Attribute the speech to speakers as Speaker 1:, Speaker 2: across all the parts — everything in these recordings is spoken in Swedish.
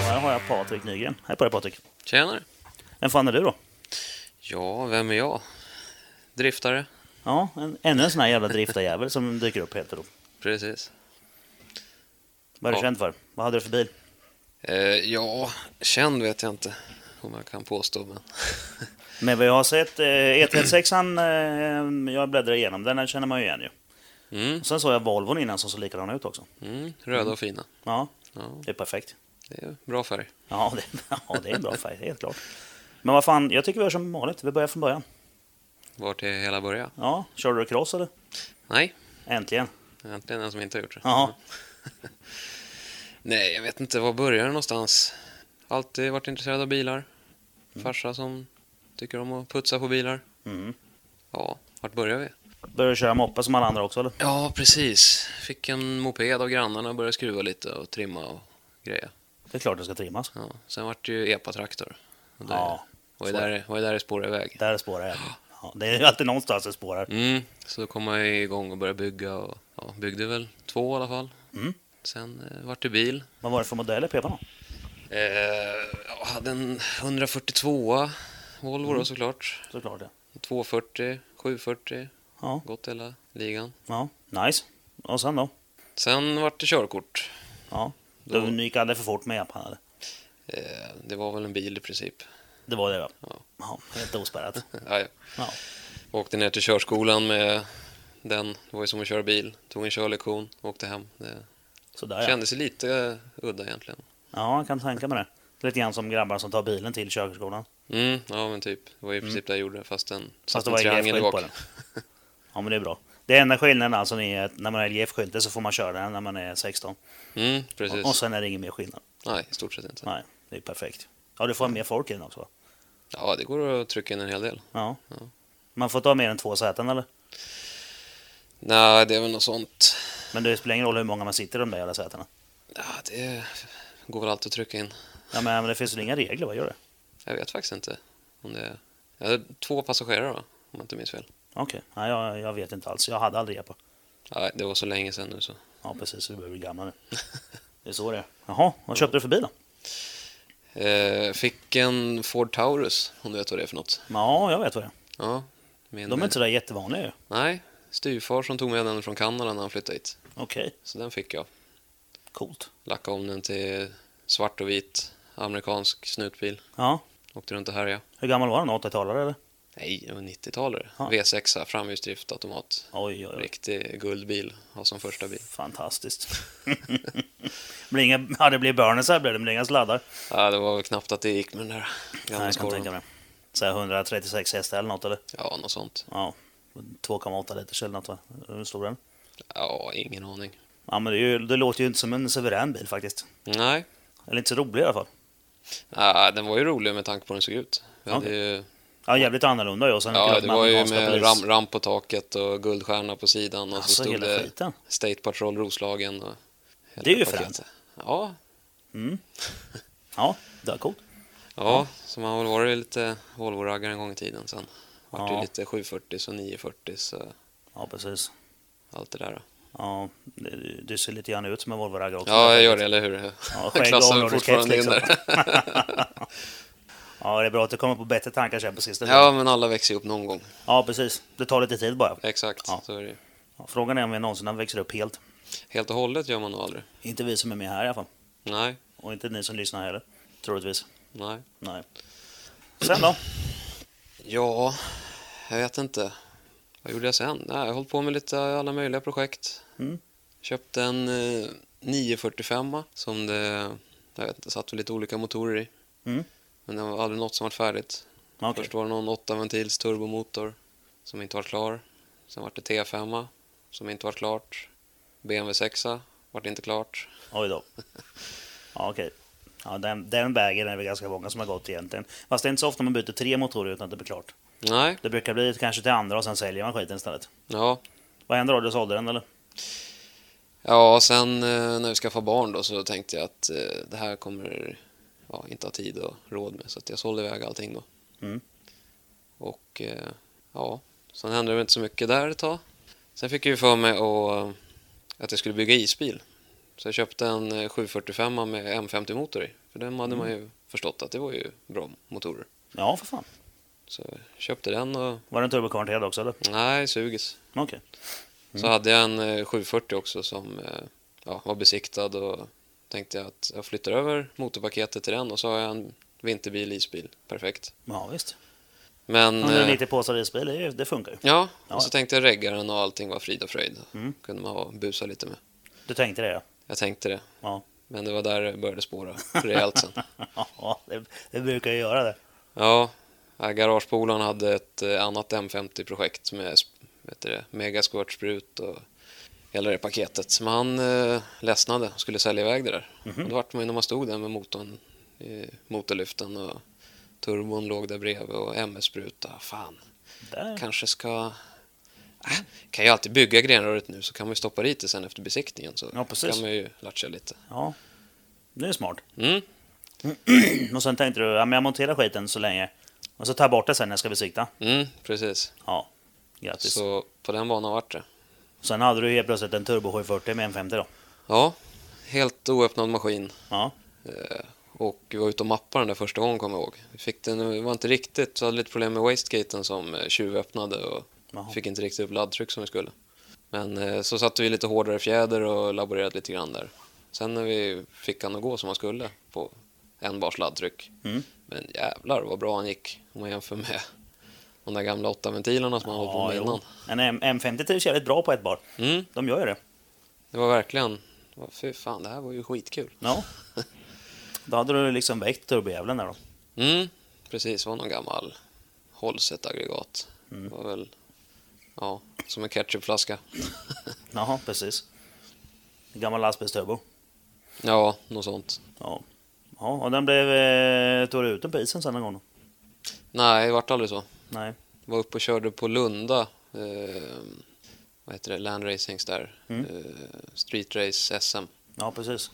Speaker 1: Här har jag Patrik Nygren. Hej på dig Patrik.
Speaker 2: Tjenare!
Speaker 1: Vem fan är du då?
Speaker 2: Ja, vem är jag? Driftare,
Speaker 1: Ja, en, ännu en sån här jävla driftarjävel som dyker upp helt då.
Speaker 2: precis.
Speaker 1: Vad är du
Speaker 2: Ja.
Speaker 1: känd för? Vad hade du för bil?
Speaker 2: Eh, ja, känd vet jag inte om jag kan påstå, men
Speaker 1: Men vad jag har sett, eh, E36, han, eh, jag bläddrar igenom den, den känner man ju igen ju.
Speaker 2: mm,
Speaker 1: Sen såg jag Volvon innan som såg likadan ut också.
Speaker 2: mm, röda och fina.
Speaker 1: Ja,
Speaker 2: Ja,
Speaker 1: det är perfekt.
Speaker 2: det är bra färg.
Speaker 1: Ja, det, ja, det är en bra färg, helt klart. Men vad fan, jag tycker vi gör som vanligt, vi börjar från början.
Speaker 2: Vart det hela började?
Speaker 1: Ja, körde du cross eller?
Speaker 2: Nej,
Speaker 1: Äntligen.
Speaker 2: äntligen en som inte har gjort det.
Speaker 1: Ja,
Speaker 2: Nej, jag vet inte. Var börjar det någonstans? Alltid varit intresserad av bilar. Farsa som tycker om att putsa på bilar.
Speaker 1: Mm.
Speaker 2: Ja, vart börjar vi?
Speaker 1: började du köra moppe som alla andra också eller?
Speaker 2: Ja, precis. Fick en moped av grannarna, började skruva lite och trimma och greja.
Speaker 1: Det är klart det ska trimmas.
Speaker 2: Ja, sen vart det ju epa-traktor. Och det
Speaker 1: Ja,
Speaker 2: var ju
Speaker 1: så är
Speaker 2: där, var ju där det spårade iväg.
Speaker 1: där spårar jag. Ja, det är ju alltid någonstans det spårar.
Speaker 2: Mm, så då kom jag ju igång och började bygga och ja, byggde väl två i alla fall.
Speaker 1: Mm.
Speaker 2: Sen eh, vart det bil.
Speaker 1: Vad var det för modell i pepan då?
Speaker 2: Eh, jag hade en 142 Volvo
Speaker 1: Mm.
Speaker 2: då såklart.
Speaker 1: Såklart det.
Speaker 2: 240, 740,
Speaker 1: Ja.
Speaker 2: gått hela ligan.
Speaker 1: Ja, nice. Och sen då?
Speaker 2: Sen vart det körkort.
Speaker 1: Ja.
Speaker 2: Då-
Speaker 1: Du gick aldrig för fort med japan eller?
Speaker 2: Eh, det var väl en bil i princip.
Speaker 1: Det var det va?
Speaker 2: Ja.
Speaker 1: Ja, helt ospärrat.
Speaker 2: Ja, ja.
Speaker 1: Ja.
Speaker 2: Åkte ner till körskolan med den. Det var ju som att köra bil. Tog en körlektion, åkte hem. Det
Speaker 1: Sådär ja.
Speaker 2: kändes ju lite eh, udda egentligen.
Speaker 1: Ja, jag kan tänka mig det. Lite grann som grabbar som tar bilen till körskolan.
Speaker 2: Mm, ja men typ. Det var ju i princip det jag gjorde fast den
Speaker 1: Mm. Fast
Speaker 2: satt
Speaker 1: det
Speaker 2: en
Speaker 1: var
Speaker 2: triangel i
Speaker 1: LGF-skylt på den.
Speaker 2: bak.
Speaker 1: Ja, men det är bra. Det enda skillnaden alltså är att när man är LGF-skyltar så får man köra den när man är 16.
Speaker 2: Mm, precis.
Speaker 1: Och, och sen är det ingen mer skillnad.
Speaker 2: Nej, i stort sett inte.
Speaker 1: Nej, det är perfekt. Ja, du får ha mer folk i den också va?
Speaker 2: Ja, det går att trycka in en hel del.
Speaker 1: Ja.
Speaker 2: Ja.
Speaker 1: Man får ta mer än två säten eller?
Speaker 2: Nej, det är väl något sånt.
Speaker 1: Men det spelar ingen roll hur många man sitter i de där jävla sätena.
Speaker 2: Ja, det går väl alltid att trycka in.
Speaker 1: Ja, men men det finns väl inga regler, vad gör det?
Speaker 2: Jag vet faktiskt inte om det är... Jag hade två passagerare va? Om jag inte minns fel.
Speaker 1: Okej, nej jag, jag vet inte alls. Jag hade aldrig repa.
Speaker 2: Nej, det var så länge sedan nu så.
Speaker 1: Ja, precis. Vi börjar bli gamla nu. Det är så det är. Jaha, vad köpte du för bil då?
Speaker 2: Eh, fick en Ford Taurus, om du vet vad det är för något.
Speaker 1: Ja, jag vet vad det är.
Speaker 2: Ja. Min,
Speaker 1: De är inte så där jättevanliga ju.
Speaker 2: Nej, styvfar som tog med den från Kanada när han flyttade hit.
Speaker 1: Okej,
Speaker 2: Så den fick jag.
Speaker 1: coolt.
Speaker 2: Lackade om den till svart och vit amerikansk snutbil.
Speaker 1: Ja,
Speaker 2: Åkte runt och härjade.
Speaker 1: hur gammal var den? 80-talare eller?
Speaker 2: Nej, det var 90-talare.
Speaker 1: Ja.
Speaker 2: V6, framhjulsdrift, automat.
Speaker 1: Oj, oj, oj.
Speaker 2: Riktig guldbil, ha som första bil.
Speaker 1: Fantastiskt. blir inga, ja, det blir burners här blir det, men det är inga sladdar.
Speaker 2: Ja, det var väl knappt att det gick med den där
Speaker 1: Nej,
Speaker 2: gamla
Speaker 1: jag kan tänka
Speaker 2: skorven.
Speaker 1: mig. Så här 136 hästar eller något eller?
Speaker 2: Ja, något sånt.
Speaker 1: Ja, 2,8 liters eller något va? Hur stor är den?
Speaker 2: Ja, ingen aning.
Speaker 1: Ja, men det, är ju, det låter ju inte som en suverän bil faktiskt.
Speaker 2: Nej,
Speaker 1: Eller inte så rolig i alla fall.
Speaker 2: ja, den var ju rolig med tanke på hur den såg ut. Vi hade ju,
Speaker 1: Ja, jävligt annorlunda ju. Och sen
Speaker 2: ja,
Speaker 1: klart
Speaker 2: det
Speaker 1: med
Speaker 2: var ju
Speaker 1: amerikanska
Speaker 2: med
Speaker 1: polis.
Speaker 2: ram, ramp på taket och guldstjärna på sidan och
Speaker 1: Alltså,
Speaker 2: så stod
Speaker 1: hela
Speaker 2: det
Speaker 1: skiten.
Speaker 2: State Patrol Roslagen. Och hela
Speaker 1: Det är ju
Speaker 2: paketet.
Speaker 1: fränt.
Speaker 2: Ja,
Speaker 1: Mm. Ja, det var coolt.
Speaker 2: ja, så man har väl varit lite Volvo-raggare en gång i tiden sen. Vart
Speaker 1: Ja.
Speaker 2: ju lite 740 och 940 så
Speaker 1: Ja, precis.
Speaker 2: allt det där.
Speaker 1: Ja, det- du ser lite grann ut som en Volvo-raggare också.
Speaker 2: Ja, jag gör det, eller hur?
Speaker 1: Ja,
Speaker 2: Jag
Speaker 1: skägg
Speaker 2: klassar
Speaker 1: och
Speaker 2: väl fortfarande in
Speaker 1: liksom.
Speaker 2: där.
Speaker 1: Ja, det är bra att du kommer på bättre tankar sen på sista.
Speaker 2: Ja, men alla växer ju upp någon gång.
Speaker 1: ja, precis. Det tar lite tid bara.
Speaker 2: Exakt,
Speaker 1: Ja.
Speaker 2: så är det ju.
Speaker 1: Ja, Frågan är om vi någonsin växer upp helt.
Speaker 2: Helt och hållet gör man nog aldrig.
Speaker 1: Inte vi som är med här i alla fall.
Speaker 2: Nej,
Speaker 1: Och inte ni som lyssnar heller. Troligtvis.
Speaker 2: nej.
Speaker 1: Nej. Sen då?
Speaker 2: Ja, jag vet inte. Vad gjorde jag sen? Nej, jag höll på med lite alla möjliga projekt.
Speaker 1: Mm.
Speaker 2: Köpte en eh, 945 som det jag vet inte, satt väl lite olika motorer i.
Speaker 1: Mm.
Speaker 2: Men det var aldrig något som var färdigt.
Speaker 1: Okej.
Speaker 2: Först var det någon 8-ventils turbomotor som inte var klar. Sen var det T5 som inte var klart. BMW 6 var inte klart.
Speaker 1: Oj då. Ja, okej. Ja, den, den vägen är vi ganska många som har gått egentligen. Fast det är inte så ofta man byter tre motorer utan att det blir klart.
Speaker 2: Nej,
Speaker 1: Det brukar bli kanske till andra och sen säljer man skiten istället.
Speaker 2: ja.
Speaker 1: Vad hände då? Du sålde den eller?
Speaker 2: Ja, och sen eh, när vi skaffade barn då så tänkte jag att eh, det här kommer ja, inte ha tid och råd med. Så att jag sålde iväg allting då.
Speaker 1: Mm.
Speaker 2: Och eh, ja, sen hände det väl inte så mycket där ett tag. Sen fick jag ju för mig att, att jag skulle bygga isbil. Så jag köpte en eh, 745 med M50-motor i. För den hade man ju förstått att det var ju bra motorer.
Speaker 1: Ja, för fan.
Speaker 2: Så jag köpte den och
Speaker 1: Var den turbokonverterad också eller?
Speaker 2: nej, suges.
Speaker 1: Okej.
Speaker 2: Så hade jag en eh, 740 också som eh, ja, var besiktad och tänkte jag att jag flyttar över motorpaketet till den och så har jag en vinterbil, isbil. Perfekt.
Speaker 1: Ja, visst.
Speaker 2: Men... eh,
Speaker 1: 190 Mm. påsar isbil, det, är ju- det funkar ju.
Speaker 2: Ja,
Speaker 1: Ja.
Speaker 2: och så tänkte jag regga den och allting var frid och fröjd.
Speaker 1: Mm.
Speaker 2: kunde man ha- busa lite med.
Speaker 1: Du tänkte det ja.
Speaker 2: Jag tänkte det.
Speaker 1: Ja.
Speaker 2: Men det var där det började spåra rejält sen.
Speaker 1: Ja, det, det brukar ju göra det.
Speaker 2: Ja, ja, garagepolaren hade ett eh, annat M50-projekt med sp- vet du det, megasquirtsprut och hela det paketet. Men han eh, ledsnade och skulle sälja iväg det där.
Speaker 1: Mhm.
Speaker 2: Och då vart man ju när man stod där med motorn, i motorlyften och turbon låg där bredvid och MS-spruta. Fan,
Speaker 1: Där.
Speaker 2: kanske ska... Äh, kan ju alltid bygga grenröret nu så kan man ju stoppa dit det sen efter besiktningen så
Speaker 1: Ja, precis.
Speaker 2: kan man ju latcha lite.
Speaker 1: Ja. Det är smart.
Speaker 2: Mm.
Speaker 1: Och sen tänkte du, ja men jag monterar skiten så länge. Och så tar jag bort det sen när jag ska besikta.
Speaker 2: Mm, precis.
Speaker 1: Ja, grattis.
Speaker 2: Så på den banan vart det.
Speaker 1: Sen hade du helt plötsligt en Turbo 740 med en 50 då.
Speaker 2: Ja, helt oöppnad maskin.
Speaker 1: Ja,
Speaker 2: Eh, Och vi var ute och mappade den där första gången kommer jag ihåg. Vi fick den, det var inte riktigt, så hade lite problem med wastegaten som eh, tjuvöppnade och
Speaker 1: Jaha.
Speaker 2: fick inte riktigt upp laddtryck som vi skulle. Men eh, så satte vi lite hårdare fjäder och laborerade lite grann där. Sen när vi fick han att gå som han skulle på en bars laddtryck.
Speaker 1: Mm.
Speaker 2: Men jävlar vad bra han gick om man jämför med de där gamla åtta ventilerna som han hållit på
Speaker 1: ja
Speaker 2: med
Speaker 1: jo.
Speaker 2: innan.
Speaker 1: En M- M50 trivs jävligt bra på ett bar.
Speaker 2: Mm,
Speaker 1: De gör ju det.
Speaker 2: det var verkligen, fy fan det här var ju skitkul.
Speaker 1: Ja. Då hade du liksom väckt turbojävlen där då.
Speaker 2: Mm, precis. Det var någon gammal Holset-aggregat. Det var väl ja, som en ketchupflaska.
Speaker 1: Jaha, precis. En Gammal lastbilsturbo.
Speaker 2: Ja, något sånt.
Speaker 1: Ja. ja, och den blev... Eh, tog du ut den på isen sen en gång då?
Speaker 2: Nej, det vart aldrig så.
Speaker 1: Nej.
Speaker 2: Var uppe och körde på Lunda. Eh, vad heter det? Land Racings där.
Speaker 1: Mm.
Speaker 2: Eh, Street Race SM.
Speaker 1: Ja, precis.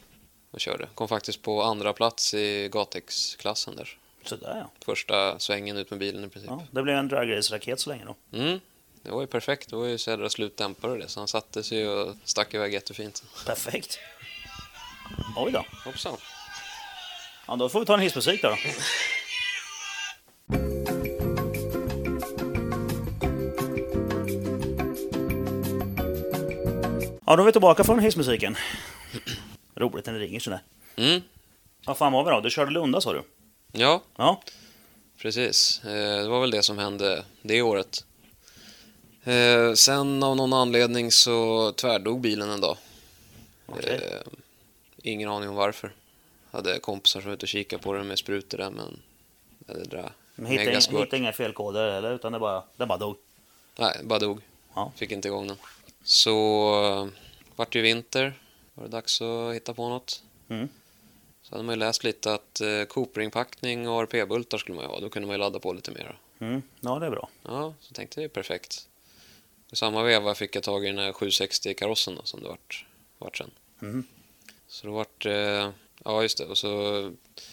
Speaker 2: Och körde. Kom faktiskt på andra plats i Gatex-klassen där.
Speaker 1: Sådär ja.
Speaker 2: Första svängen ut med bilen i princip.
Speaker 1: ja. Det blev en dragrace-raket så länge då.
Speaker 2: Mm. Det var ju perfekt. Det var ju södra slutdämpare och det. Så han satte sig ju och stack iväg jättefint.
Speaker 1: Perfekt. Oj då.
Speaker 2: Hoppsan.
Speaker 1: Ja, då får vi ta en hissmusik då. då. Ja, då är vi tillbaka från hissmusiken. Roligt när det ringer sådär.
Speaker 2: Mm.
Speaker 1: Vad fan var vi då? Du körde Lunda sa du?
Speaker 2: Ja,
Speaker 1: Ja.
Speaker 2: Precis, Eh, det var väl det som hände det året. Eh, Sen av någon anledning så tvärdog bilen en dag.
Speaker 1: Okej.
Speaker 2: Eh, Ingen aning om varför. Hade kompisar som var ute och kikade på den med sprutor där men... ja, Det där.
Speaker 1: Men hittade,
Speaker 2: mega squirt.
Speaker 1: hittade inga felkoder eller? Utan det bara, det bara dog.
Speaker 2: Nej, bara dog.
Speaker 1: Ja.
Speaker 2: Fick inte igång den. Så eh, vart det ju vinter. Var det dags att hitta på något.
Speaker 1: Mm.
Speaker 2: Så hade man ju läst lite att eh, Cooper-inpackning och ARP-bultar skulle man ju ha. Då kunde man ju ladda på lite mer.
Speaker 1: Mm. Ja, det är bra.
Speaker 2: Ja, så tänkte jag det är perfekt. I samma veva fick jag tag i den här 760-karossen då, som det vart, vart sen.
Speaker 1: Mm.
Speaker 2: Så då vart eh, Ja, just det. Och så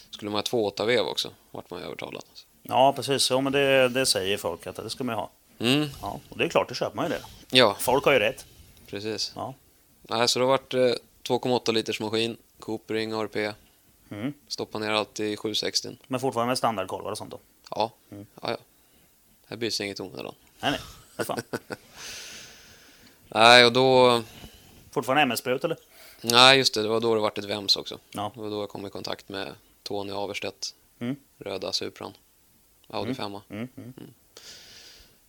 Speaker 2: skulle man ha två åtta vev också, vart man ju övertalad.
Speaker 1: Ja, precis. Ja, men det, det säger folk att det ska man ju ha.
Speaker 2: Mm,
Speaker 1: Ja, och det är klart, då köper man ju det.
Speaker 2: ja,
Speaker 1: Folk har ju rätt.
Speaker 2: precis.
Speaker 1: Ja.
Speaker 2: Nej, så då vart det 2,8 liters maskin, Coopering, ARP.
Speaker 1: Mm.
Speaker 2: Stoppa ner allt i 760.
Speaker 1: Men fortfarande med standardkolvar och sånt då.
Speaker 2: Ja,
Speaker 1: Mm.
Speaker 2: ja, ja. Här byts inget onödan.
Speaker 1: Nej, nej. Vad fan.
Speaker 2: Nej, och då...
Speaker 1: Fortfarande MS-sprut eller?
Speaker 2: Nej, just det. Det var då det vart ett VEMS också.
Speaker 1: Ja.
Speaker 2: Det var då jag kom i kontakt med Tony Averstedt.
Speaker 1: Mm.
Speaker 2: Röda Supran. Audi 5.
Speaker 1: Mm, mm.
Speaker 2: Så han
Speaker 1: Just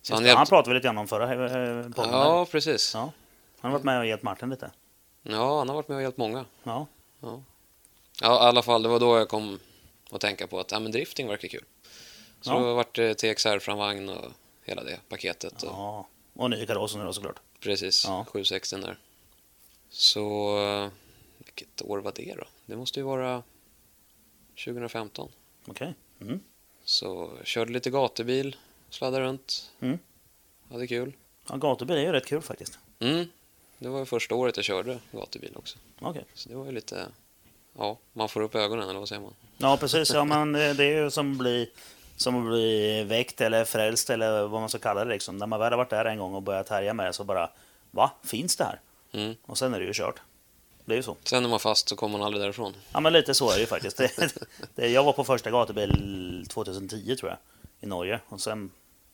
Speaker 1: det, han
Speaker 2: hjälpte...
Speaker 1: pratade vi lite grann om förra eh, podden. här.
Speaker 2: Ja, precis.
Speaker 1: Ja.
Speaker 2: Ja.
Speaker 1: Han har varit med och hjälpt Martin lite.
Speaker 2: han har varit med och hjälpt många.
Speaker 1: Ja,
Speaker 2: Ja, i alla fall, det var då jag kom att tänka på att ja, men drifting verkar kul. Så
Speaker 1: Ja.
Speaker 2: då vart eh, det TXR-framvagn och hela det paketet. Och,
Speaker 1: ja. och ny kaross nu då såklart.
Speaker 2: precis,
Speaker 1: Ja.
Speaker 2: 760 där. Så... eh, Vilket år var det då? Det måste ju vara 2015.
Speaker 1: Okej. Mm.
Speaker 2: Så körde lite gatubil, sladdade runt,
Speaker 1: Mm.
Speaker 2: hade kul.
Speaker 1: Ja, gatubil är ju rätt kul faktiskt.
Speaker 2: Mm. Det var ju första året jag körde gatubil också.
Speaker 1: Okej.
Speaker 2: Så det var ju lite... Ja, man får upp ögonen, eller vad säger man?
Speaker 1: Ja, precis. Ja, men eh, det är ju som att bli, som att bli väckt eller frälst eller vad man ska kalla det. Liksom. När man väl har varit där en gång och börjat härja med det så bara, va? Finns det här?
Speaker 2: Mm.
Speaker 1: Och sen är det ju kört. Det är ju så.
Speaker 2: Sen är man fast så kommer man aldrig därifrån.
Speaker 1: Ja, men lite så är det ju faktiskt. Det, det, jag var på första gatubil 2010 tror jag, i Norge. Och sen,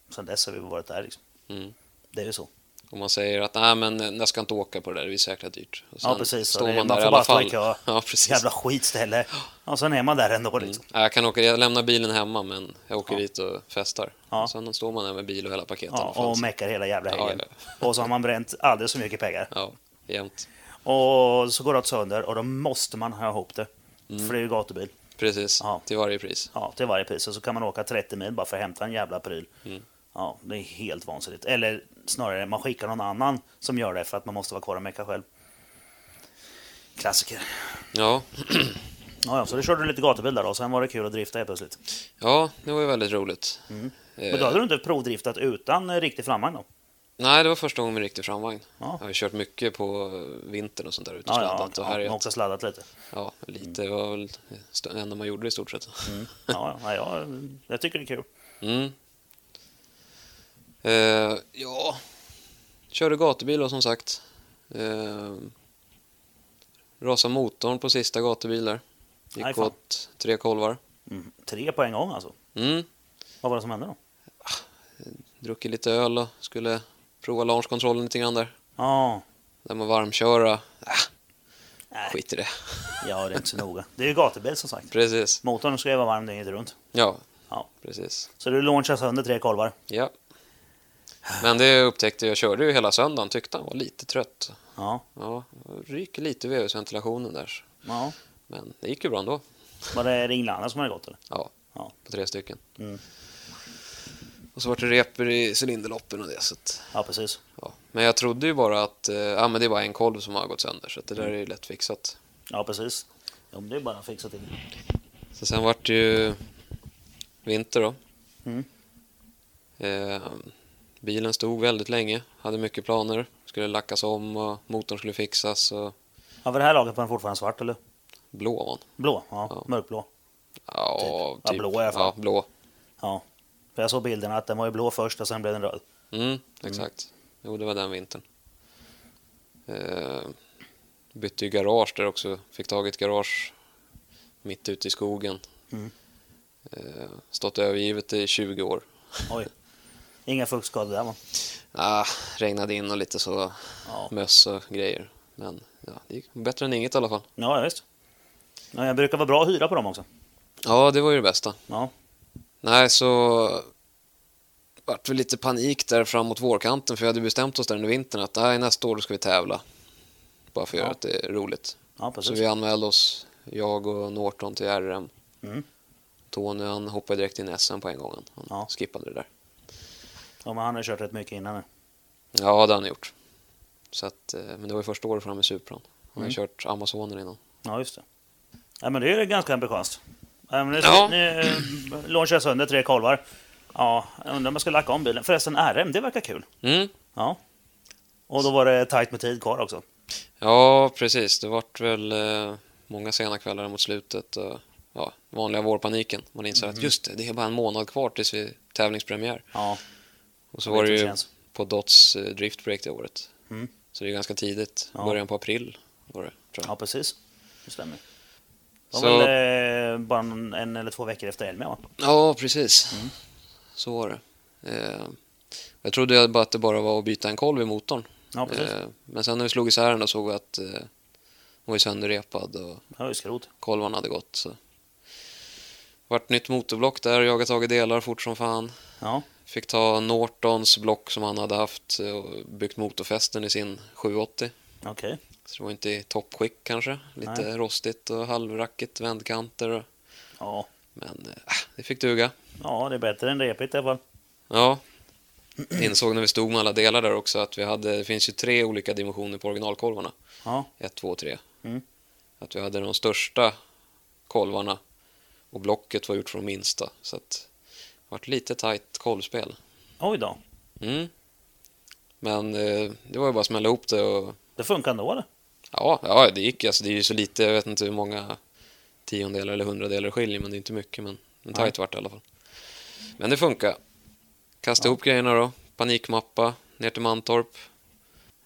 Speaker 1: sen dess har vi varit där liksom.
Speaker 2: Mm.
Speaker 1: Det är ju så.
Speaker 2: Om man säger att nej men eh, jag ska inte åka på det där, det är säkert dyrt. Och
Speaker 1: Ja,
Speaker 2: sen
Speaker 1: precis. Så
Speaker 2: Står
Speaker 1: det-
Speaker 2: man,
Speaker 1: man
Speaker 2: där
Speaker 1: får
Speaker 2: i
Speaker 1: bara
Speaker 2: alla
Speaker 1: stå i
Speaker 2: fall.
Speaker 1: kö.
Speaker 2: Ja, precis. Mm.
Speaker 1: Jävla skitställe. Och sen är man där ändå liksom.
Speaker 2: Ja, Jag kan åka, jag lämnar bilen hemma men jag åker
Speaker 1: Ja.
Speaker 2: dit och festar.
Speaker 1: Ja.
Speaker 2: Sen står man där med bil och hela paketet.
Speaker 1: Ja,
Speaker 2: Fan,
Speaker 1: och
Speaker 2: så-
Speaker 1: meckar hela jävla
Speaker 2: Ja,
Speaker 1: helgen. Och så har man bränt alldeles för mycket pengar.
Speaker 2: ja, jämt.
Speaker 1: Och så går det åt sönder och då måste man ha ihop det.
Speaker 2: Mm.
Speaker 1: För det är ju gatubil.
Speaker 2: Precis,
Speaker 1: Ja.
Speaker 2: till varje pris.
Speaker 1: Ja, till varje pris. Och så kan man åka 30 mil bara för att hämta en jävla pryl.
Speaker 2: Mm.
Speaker 1: Ja, det är helt vansinnigt. Eller snarare, man skickar någon annan som gör det för att man måste vara kvar och mecka själv. Klassiker.
Speaker 2: Ja.
Speaker 1: Ja, ja, så du körde lite gatubil där då, och sen var det kul att drifta helt plötsligt.
Speaker 2: Eh. ja, det var ju väldigt roligt. Eh,
Speaker 1: Men då hade Mm. du inte provdriftat utan eh, riktig framvagn då?
Speaker 2: Nej, det var första gången med riktig framvagn.
Speaker 1: Ja.
Speaker 2: Jag har ju kört mycket på eh, vintern och sånt där ute och
Speaker 1: Ja, ja,
Speaker 2: sladdat och
Speaker 1: ja, ja
Speaker 2: härjat.
Speaker 1: också sladdat lite.
Speaker 2: Ja, lite Det var väl det enda man gjorde i stort sett.
Speaker 1: Mm. Ja, ja, ja, jag tycker det är kul.
Speaker 2: Mm. Eh, ja, körde gatubil då som sagt. Eh, rasade motorn på sista gatubilar. Gick
Speaker 1: Aj, fan.
Speaker 2: åt tre kolvar.
Speaker 1: Mm. Tre på en gång alltså.
Speaker 2: Mm.
Speaker 1: Vad var det som hände då?
Speaker 2: Druckit lite öl och skulle prova launchkontrollen lite grann där.
Speaker 1: Ja,
Speaker 2: Där man varmköra.
Speaker 1: Nej.
Speaker 2: Äh, skit i det.
Speaker 1: ja, det är inte så noga. Det är ju gatubil som sagt.
Speaker 2: Precis.
Speaker 1: Motorn ska ju vara varm dygnet runt.
Speaker 2: Ja,
Speaker 1: Ja.
Speaker 2: precis.
Speaker 1: Så du launchar sönder tre kolvar.
Speaker 2: Ja. Men det upptäckte jag körde ju hela söndagen. Tyckte han var lite trött.
Speaker 1: Ja,
Speaker 2: Ja, ryker lite vevhusventilationen där.
Speaker 1: ja.
Speaker 2: Men det gick ju bra ändå.
Speaker 1: Var det ringlarna som hade gått eller?
Speaker 2: Ja,
Speaker 1: Ja.
Speaker 2: på tre stycken.
Speaker 1: Mm.
Speaker 2: Och så var det repor i cylinderloppen och det. Så att,
Speaker 1: Ja, precis.
Speaker 2: ja. Men jag trodde ju bara att eh, ja, men det är bara en kolv som har gått sönder, så att det där
Speaker 1: Mm.
Speaker 2: är ju lätt fixat.
Speaker 1: Ja, precis. Ja, men det är bara att fixa till.
Speaker 2: Så sen vart det ju vinter då.
Speaker 1: Mm.
Speaker 2: Eh, bilen stod väldigt länge, hade mycket planer. Skulle lackas om och motorn skulle fixas och
Speaker 1: Ja, för det här laget var den fortfarande svart eller?
Speaker 2: blå var den.
Speaker 1: Blå? Ja,
Speaker 2: Ja.
Speaker 1: mörkblå.
Speaker 2: Ja,
Speaker 1: Typ.
Speaker 2: typ.
Speaker 1: Ja, blå i alla fall.
Speaker 2: Ja, blå.
Speaker 1: Ja. För jag såg bilderna att den var ju blå först och sen blev den röd.
Speaker 2: Mm, exakt. Jo, det var den vintern. Eh, bytte ju garage där också. Fick tag i ett garage mitt ute i skogen.
Speaker 1: Mm.
Speaker 2: Eh, stått övergivet i 20 år.
Speaker 1: Oj. Inga fuktskador där va?
Speaker 2: Ah, regnade in och lite så
Speaker 1: Ja,
Speaker 2: möss och grejer. Men ja, det gick bättre än inget i alla fall.
Speaker 1: ja visst. Ja, jag brukar vara bra att hyra på dem också.
Speaker 2: Ja, det var ju det bästa.
Speaker 1: Ja,
Speaker 2: Nej, så vart väl lite panik där framåt vårkanten för vi hade bestämt oss där under vintern att nej, nästa år då ska vi tävla. Bara för
Speaker 1: Ja.
Speaker 2: att göra att det är roligt.
Speaker 1: ja
Speaker 2: Så
Speaker 1: precis.
Speaker 2: vi anmälde oss, jag och Norton till RM.
Speaker 1: Mm.
Speaker 2: Tony han hoppade direkt in i SM på en gång. Han
Speaker 1: Ja.
Speaker 2: skippade det där.
Speaker 1: Ja, men han har ju kört rätt mycket innan nu.
Speaker 2: Ja, det har han gjort. Så att, eh, men det var ju första året fram i Supran. Han har ju
Speaker 1: Mm.
Speaker 2: kört Amazonen innan.
Speaker 1: Ja, just det. Ja, men det är ju ganska ambitiöst. Ja, men nu
Speaker 2: Ja.
Speaker 1: nu eh, launchar jag sönder tre kolvar. Ja, jag undrar om jag ska lacka om bilen. Förresten, RM, det verkar kul.
Speaker 2: Mm.
Speaker 1: Ja. Och då var det tajt med tid kvar också.
Speaker 2: Ja, precis. Det vart väl eh, många sena kvällar mot slutet. Och, ja, vanliga vårpaniken. Man inser
Speaker 1: Mm.
Speaker 2: att just det, det är bara en månad kvar tills vi tävlingspremiär.
Speaker 1: Ja,
Speaker 2: Och så
Speaker 1: Jag
Speaker 2: var
Speaker 1: vet
Speaker 2: det
Speaker 1: hur det
Speaker 2: ju
Speaker 1: känns.
Speaker 2: på Dots eh, Drift Break det året.
Speaker 1: Mm.
Speaker 2: Så det är ganska tidigt.
Speaker 1: Ja.
Speaker 2: Början på april var det, tror jag.
Speaker 1: ja precis. Det stämmer. Det var
Speaker 2: Så-
Speaker 1: väl eh, bara en, en eller två veckor efter Elmia, va?
Speaker 2: Ja, precis.
Speaker 1: Mm.
Speaker 2: Så var det. Eh, jag trodde ju bara att det bara var att byta en kolv i motorn.
Speaker 1: Ja, precis.
Speaker 2: Eh, men sen när vi slog isär den då såg vi att eh, den var ju sönderrepad och
Speaker 1: Det var ju skrot.
Speaker 2: kolvarna hade gått. Så. Vart nytt motorblock där, jagat tag i delar fort som fan.
Speaker 1: Ja,
Speaker 2: Fick ta Nortons block som han hade haft eh, och byggt motorfästen i sin 780.
Speaker 1: okej.
Speaker 2: Så det var inte i toppskick kanske. Lite
Speaker 1: Nej.
Speaker 2: rostigt och halvrackigt, vändkanter. och-
Speaker 1: Ja.
Speaker 2: Men eh, det fick duga.
Speaker 1: ja, det är bättre än repigt i alla fall.
Speaker 2: Ja. Insåg när vi stod med alla delar där också att vi hade, det finns ju tre olika dimensioner på originalkolvarna.
Speaker 1: Ja,
Speaker 2: 1, 2, 3.
Speaker 1: Mm.
Speaker 2: Att vi hade de största kolvarna Och blocket var gjort från minsta. Så att det vart lite tajt kolvspel.
Speaker 1: Oj då.
Speaker 2: Mm. Men eh, det var ju bara att smälla ihop det och
Speaker 1: Det funkar ändå eller?
Speaker 2: ja, ja det gick. Alltså, det är ju så lite, jag vet inte hur många tiondelar eller hundradelar det skiljer, men det är inte mycket. Men, men tajt vart det i alla fall. Men det funkar. Kasta ihop grejerna då. Panikmappa, ner till Mantorp.